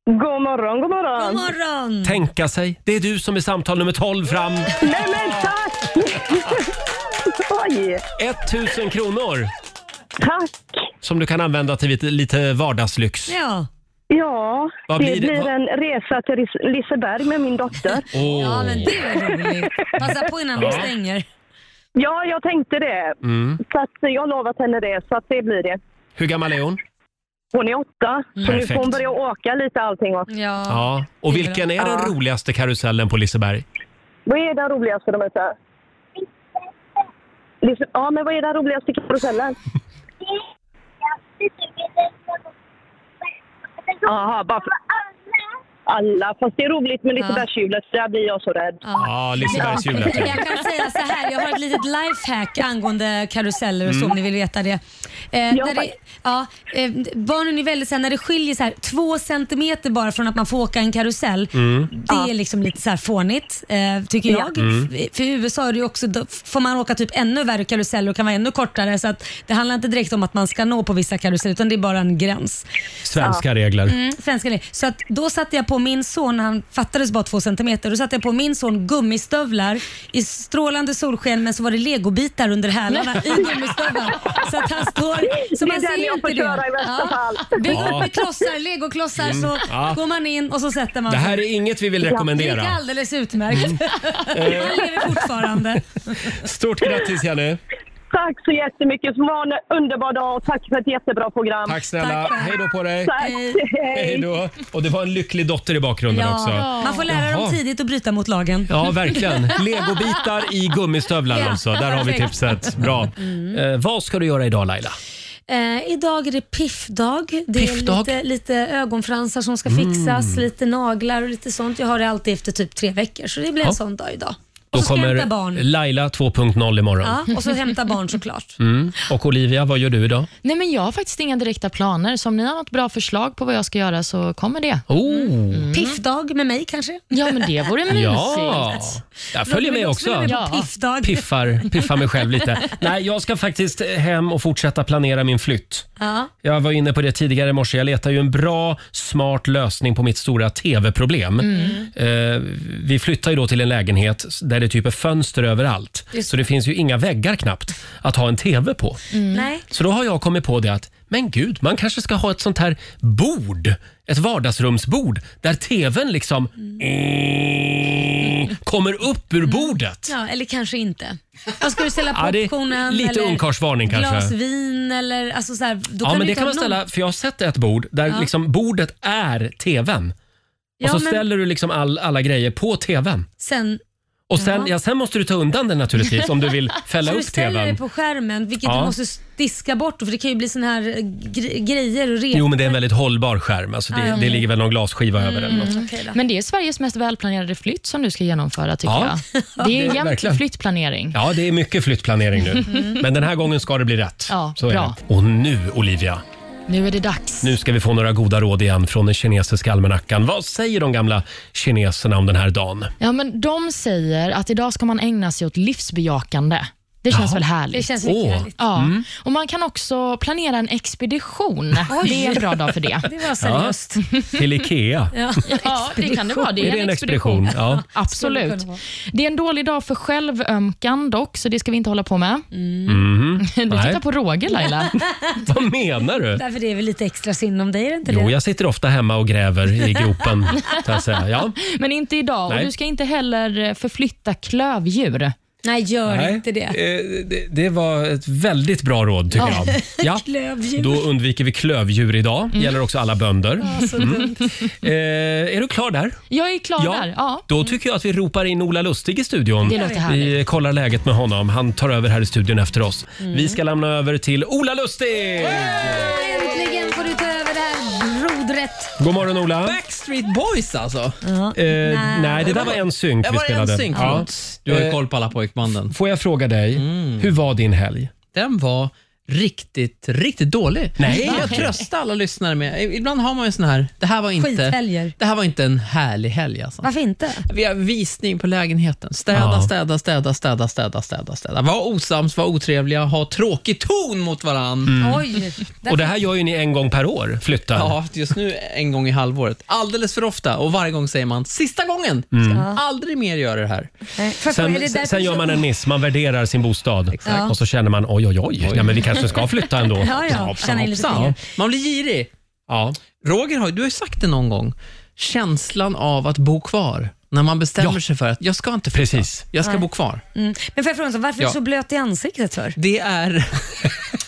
[SPEAKER 6] God morgon, god morgon. God
[SPEAKER 3] morgon.
[SPEAKER 1] Tänka sig. Det är du som är samtal nummer 12 fram.
[SPEAKER 6] Nej men tack! Oj!
[SPEAKER 1] 1000 kronor.
[SPEAKER 6] Tack!
[SPEAKER 1] Som du kan använda till lite- lite vardagslyx.
[SPEAKER 3] Ja.
[SPEAKER 6] Ja,
[SPEAKER 1] Vad
[SPEAKER 6] det
[SPEAKER 1] blir
[SPEAKER 6] blir,
[SPEAKER 1] det- vad-
[SPEAKER 6] en resa till Lis- Liseberg med min dotter.
[SPEAKER 1] Åh. Ja, men
[SPEAKER 3] det är roligt. Passa på innan de
[SPEAKER 1] Ja.
[SPEAKER 3] stänger.
[SPEAKER 6] Ja, jag tänkte det.
[SPEAKER 1] Mm.
[SPEAKER 6] Så att jag har lovat henne det, så att det blir det.
[SPEAKER 1] Hur gammal är hon?
[SPEAKER 6] Hon är åtta, så nu får
[SPEAKER 1] Perfekt.
[SPEAKER 6] hon börja åka lite allting också.
[SPEAKER 3] Ja.
[SPEAKER 1] Ja. Och vilken är den
[SPEAKER 6] Ja.
[SPEAKER 1] roligaste karusellen på Liseberg?
[SPEAKER 6] Vad är den roligaste de heter? Lise- Liksom, Ja, men vad är den roligaste karusellen? Jaha, bara för... Alla. Fast det är roligt med Lisebergshjulet, där blir jag så rädd.
[SPEAKER 1] Ja, Lisebergshjulet.
[SPEAKER 3] Men
[SPEAKER 1] ja.
[SPEAKER 3] Jag kan säga så här, jag har ett litet lifehack angående karuseller och så
[SPEAKER 1] Mm.
[SPEAKER 3] om ni vill veta det. Eh, när det ja, eh, barnen är väldigt så här, när det skiljer så här, två centimeter bara från att man får åka en karusell.
[SPEAKER 9] Mm.
[SPEAKER 3] Det är liksom lite så här fånigt, eh, tycker
[SPEAKER 9] Ja.
[SPEAKER 3] jag.
[SPEAKER 9] Mm.
[SPEAKER 3] F- För i USA är det ju också, då får man åka typ ännu värre karuseller och kan vara ännu kortare. Så att det handlar inte direkt om att man ska nå på vissa karuseller, utan det är bara en gräns.
[SPEAKER 1] Svenska regler.
[SPEAKER 3] Mm, svenska regler. Så att då satte jag på min son, han fattades bara två centimeter, då satte jag på min son gummistövlar i strålande solsken men så var det legobitar under hälarna i gummistövlarna. Så att han står, så
[SPEAKER 6] Det är
[SPEAKER 3] man
[SPEAKER 6] den
[SPEAKER 3] ser ju
[SPEAKER 6] jag
[SPEAKER 3] inte
[SPEAKER 6] får
[SPEAKER 3] det.
[SPEAKER 6] köra i värsta fall.
[SPEAKER 3] Bygg upp
[SPEAKER 1] Ja.
[SPEAKER 3] med klossar, legoklossar
[SPEAKER 1] Mm,
[SPEAKER 3] så
[SPEAKER 1] ja.
[SPEAKER 3] går man in och så sätter man
[SPEAKER 1] Det
[SPEAKER 3] sig.
[SPEAKER 1] här är inget vi vill
[SPEAKER 3] Det
[SPEAKER 1] rekommendera. Mm.
[SPEAKER 3] gick alldeles utmärkt. Han lever fortfarande.
[SPEAKER 1] Stort grattis Jenny.
[SPEAKER 6] Tack så jättemycket. Så ha en underbar dag och tack för ett jättebra program.
[SPEAKER 1] Tack snälla. Hej då på dig.
[SPEAKER 6] Tack.
[SPEAKER 1] Hej då. Och det var en lycklig dotter i bakgrunden också.
[SPEAKER 3] Ja. Man får lära
[SPEAKER 1] Jaha.
[SPEAKER 3] dem tidigt att bryta mot lagen.
[SPEAKER 1] Ja, verkligen. Legobitar i gummistövlar
[SPEAKER 3] Ja.
[SPEAKER 1] alltså. Där har vi
[SPEAKER 3] Perfekt.
[SPEAKER 1] tipset. Bra. Eh, vad ska du göra idag Laila?
[SPEAKER 3] Eh, idag är det piffdag. Det
[SPEAKER 1] Piffdag?
[SPEAKER 3] är lite, lite ögonfransar som ska
[SPEAKER 1] Mm.
[SPEAKER 3] fixas, lite naglar och lite sånt. Jag har det alltid efter typ tre veckor, så det blir
[SPEAKER 1] Ja.
[SPEAKER 3] en sån dag idag.
[SPEAKER 1] Då
[SPEAKER 3] Och så ska jag hämta
[SPEAKER 1] kommer
[SPEAKER 3] barn.
[SPEAKER 1] Laila 2.0 imorgon.
[SPEAKER 3] Ja, och så hämta barn såklart.
[SPEAKER 1] Mm. Och Olivia, vad gör du idag?
[SPEAKER 5] Nej, men jag har faktiskt inga direkta planer, så om ni har något bra förslag på vad jag ska göra så kommer det.
[SPEAKER 1] Oh.
[SPEAKER 3] Mm. Piffdag med mig kanske?
[SPEAKER 5] Ja, men det vore
[SPEAKER 3] Mm.
[SPEAKER 5] mysigt.
[SPEAKER 1] Ja, jag följer
[SPEAKER 5] Robin
[SPEAKER 1] med
[SPEAKER 5] också
[SPEAKER 1] också.
[SPEAKER 5] följer med på Ja. piffdag.
[SPEAKER 1] Piffar, piffar mig själv lite. Nej, jag ska faktiskt hem och fortsätta planera min flytt.
[SPEAKER 3] Ja.
[SPEAKER 1] Jag var inne på det tidigare i morse. Jag letar ju en bra, smart lösning på mitt stora tv-problem.
[SPEAKER 3] Mm.
[SPEAKER 1] Eh, vi flyttar ju då till en lägenhet där det typ är fönster överallt.
[SPEAKER 3] Just
[SPEAKER 1] Så det finns ju inga väggar knappt att ha en tv på.
[SPEAKER 3] Nej.
[SPEAKER 1] Så då har jag kommit på det att, men gud, man kanske ska ha ett sånt här bord. Ett vardagsrumsbord där tvn liksom kommer upp ur bordet.
[SPEAKER 3] Mm. Ja, eller kanske inte. Vad ska du ställa
[SPEAKER 1] Ja, det är
[SPEAKER 3] popcornen?
[SPEAKER 1] lite
[SPEAKER 3] eller
[SPEAKER 1] ungkarlsvarning kanske.
[SPEAKER 3] Glas vin eller... Alltså så här, då
[SPEAKER 1] ja,
[SPEAKER 3] kan
[SPEAKER 1] men
[SPEAKER 3] du
[SPEAKER 1] det
[SPEAKER 3] inte
[SPEAKER 1] kan
[SPEAKER 3] ha
[SPEAKER 1] man ställa,
[SPEAKER 3] någon-
[SPEAKER 1] för jag har sett ett bord där
[SPEAKER 3] Ja.
[SPEAKER 1] liksom bordet är tvn. Och
[SPEAKER 3] Ja,
[SPEAKER 1] så
[SPEAKER 3] men-
[SPEAKER 1] ställer du liksom all, alla grejer på tvn.
[SPEAKER 3] Sen,
[SPEAKER 1] Och sen,
[SPEAKER 3] Ja.
[SPEAKER 1] ja, sen måste du ta undan den naturligtvis om du vill fälla
[SPEAKER 3] så
[SPEAKER 1] upp
[SPEAKER 3] du ställer det
[SPEAKER 1] tvn.
[SPEAKER 3] på skärmen, vilket
[SPEAKER 1] Ja.
[SPEAKER 3] du måste diska bort för det kan ju bli såna här eh, gre- grejer och rep.
[SPEAKER 1] Jo, men det är en väldigt hållbar skärm. Alltså, det,
[SPEAKER 5] Ah, ja,
[SPEAKER 1] det
[SPEAKER 5] okej.
[SPEAKER 1] ligger väl någon glasskiva över den.
[SPEAKER 5] Mm. Men det är Sveriges mest välplanerade flytt som du ska genomföra tycker
[SPEAKER 1] Ja.
[SPEAKER 5] jag. Det är en
[SPEAKER 1] Det- verkligen.
[SPEAKER 5] jämn flyttplanering.
[SPEAKER 1] Ja, det är mycket flyttplanering nu.
[SPEAKER 5] Mm.
[SPEAKER 1] Men den här gången ska det bli rätt.
[SPEAKER 5] Ja,
[SPEAKER 1] Så är
[SPEAKER 5] bra.
[SPEAKER 1] det. Och nu, Olivia,
[SPEAKER 5] Nu är det dags.
[SPEAKER 1] nu ska vi få några goda råd igen från den kinesiska almanackan. Vad säger de gamla kineserna om den här dagen?
[SPEAKER 5] Ja, men de säger att idag ska man ägna sig åt livsbejakande. Det känns
[SPEAKER 1] Jaha.
[SPEAKER 5] väl härligt?
[SPEAKER 1] Det känns mycket Åh. härligt.
[SPEAKER 5] Ja.
[SPEAKER 1] Mm.
[SPEAKER 5] Och Man kan också planera en expedition.
[SPEAKER 1] Oj.
[SPEAKER 5] Det är en bra dag för det.
[SPEAKER 1] Det var seriöst. Till Ikea.
[SPEAKER 5] Ja, det kan det vara. Det är, en expedition.
[SPEAKER 1] Ja.
[SPEAKER 3] Skulle
[SPEAKER 5] Absolut.
[SPEAKER 3] kunna vara.
[SPEAKER 5] Det är en dålig dag för självömkan dock, så det ska vi inte hålla på med.
[SPEAKER 1] Mhm.
[SPEAKER 5] Du
[SPEAKER 1] Nej.
[SPEAKER 5] tittar på Roger, Laila.
[SPEAKER 1] Vad menar du?
[SPEAKER 3] Därför det är väl lite extra synd om dig, är det inte
[SPEAKER 1] Jo,
[SPEAKER 3] det?
[SPEAKER 1] jag sitter ofta hemma och gräver i gropen. Så att säga. Ja.
[SPEAKER 5] Men inte idag.
[SPEAKER 1] Nej.
[SPEAKER 5] Och Du ska inte heller förflytta klövdjur.
[SPEAKER 3] Nej, gör
[SPEAKER 1] Nej, eh, Det, det var ett väldigt bra råd tycker
[SPEAKER 5] Ja.
[SPEAKER 1] jag.
[SPEAKER 3] Klövdjur.
[SPEAKER 1] Då undviker vi klövdjur idag. gäller också alla bönder. Mm.
[SPEAKER 5] Ja, så dumt.
[SPEAKER 1] Eh, är du klar där?
[SPEAKER 5] Jag är klar där. Ja.
[SPEAKER 1] Då tycker jag att vi ropar in Ola Lustig i studion.
[SPEAKER 5] Det låter härligt.
[SPEAKER 1] vi kollar läget med honom. Han tar över här i studion efter oss. Vi ska lämna över till Ola Lustig!
[SPEAKER 3] Äntligen får du ta över det här rodret.
[SPEAKER 1] God morgon Ola!
[SPEAKER 13] Backstreet Boys alltså?
[SPEAKER 1] Eh, nej, det där var en synk
[SPEAKER 13] Det
[SPEAKER 1] vi
[SPEAKER 13] var en
[SPEAKER 1] spelade.
[SPEAKER 13] synk, förlåt. Du har ju koll Mm.
[SPEAKER 1] på alla pojkbanden. Får jag fråga dig, hur var din helg?
[SPEAKER 13] Den var riktigt, riktigt dålig.
[SPEAKER 1] Nej.
[SPEAKER 13] Jag tröstar alla lyssnare med, ibland har man ju sån här, det här var inte,
[SPEAKER 3] Skithelger.
[SPEAKER 13] det här var inte en härlig helg alltså.
[SPEAKER 3] Varför inte?
[SPEAKER 1] Mm.
[SPEAKER 13] Vi har visning på lägenheten. Städa,
[SPEAKER 3] Ja.
[SPEAKER 13] städa, städa, städa, städa, städa, städa. Var osams, var otrevliga, ha tråkig ton mot varandra.
[SPEAKER 1] Mm.
[SPEAKER 3] Oj.
[SPEAKER 1] Och det här gör ju ni en gång per år, flyttar.
[SPEAKER 13] Ja, just nu en gång i halvåret. Alldeles för ofta och varje gång säger man sista gången.
[SPEAKER 1] Mm.
[SPEAKER 13] Ska aldrig mer göra det här.
[SPEAKER 1] Sen, sen- sen gör man en miss, man värderar sin bostad
[SPEAKER 13] Exakt.
[SPEAKER 1] och så känner man oj, oj, oj, Nej, men vi kanske ska flytta ändå.
[SPEAKER 13] Ja, ja.
[SPEAKER 1] hoppsan,
[SPEAKER 13] Tjäna in lite
[SPEAKER 1] hoppsan.
[SPEAKER 13] pengar. Man blir girig.
[SPEAKER 1] Ja.
[SPEAKER 13] Roger, har, du har ju sagt det någon gång. Känslan av att bo kvar. När man bestämmer sig för att jag ska inte flytta. Jag ska
[SPEAKER 3] Nej.
[SPEAKER 13] bo kvar.
[SPEAKER 3] Mm. Men får jag fråga, en sak, varför är
[SPEAKER 13] Ja.
[SPEAKER 3] du så blöt i ansiktet för?
[SPEAKER 13] Det är...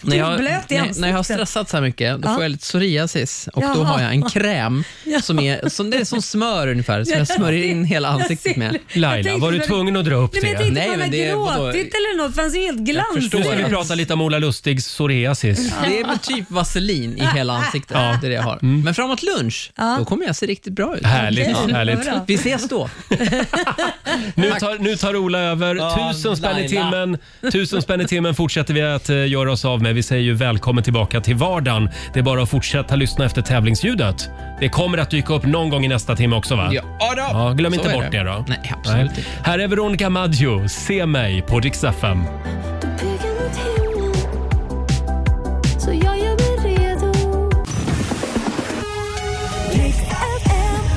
[SPEAKER 3] Du
[SPEAKER 13] När
[SPEAKER 3] är
[SPEAKER 13] jag,
[SPEAKER 3] blöt i
[SPEAKER 13] när, när jag har
[SPEAKER 3] ansiktet.
[SPEAKER 13] stressat så här mycket, då
[SPEAKER 3] Ja.
[SPEAKER 13] får jag lite psoriasis och då
[SPEAKER 3] Jaha.
[SPEAKER 13] har jag en kräm som är som, det är som smör ungefär, som jag smörjer in hela
[SPEAKER 3] Jag
[SPEAKER 13] ansiktet
[SPEAKER 3] ser-
[SPEAKER 13] med.
[SPEAKER 3] jag tänkte på- Nej, men jag tänkte på om han
[SPEAKER 13] är- vadå?
[SPEAKER 3] gråtit eller något, för han ser helt
[SPEAKER 1] Nu
[SPEAKER 3] glansig
[SPEAKER 1] ska vi
[SPEAKER 3] ut.
[SPEAKER 1] prata lite om Ola Lustigs psoriasis.
[SPEAKER 13] Det är väl typ vaselin i hela ansiktet.
[SPEAKER 1] Ja.
[SPEAKER 13] Det är det jag har. Men framåt lunch,
[SPEAKER 1] Ja.
[SPEAKER 13] då kommer jag se riktigt bra ut.
[SPEAKER 1] Härligt, Okej, härligt. vad bra.
[SPEAKER 13] Vi ses då.
[SPEAKER 1] Nu tar, nu tar Ola över.
[SPEAKER 13] Ja,
[SPEAKER 1] tusen, spänn i
[SPEAKER 13] Laila.
[SPEAKER 1] timmen, tusen spänn i timmen fortsätter vi att eh, göra oss av med. Vi säger ju välkommen tillbaka till vardagen. Det är bara att fortsätta lyssna efter tävlingsljudet. Det kommer att dyka upp någon gång i nästa timme också va?
[SPEAKER 13] Ja, då.
[SPEAKER 1] glöm
[SPEAKER 13] Så
[SPEAKER 1] inte
[SPEAKER 13] är
[SPEAKER 1] bort det.
[SPEAKER 13] det.
[SPEAKER 1] då.
[SPEAKER 13] Nej, absolut
[SPEAKER 1] inte. Här är Veronica Maggio. Se mig på Dix FM.
[SPEAKER 9] Så jag gör mig redo.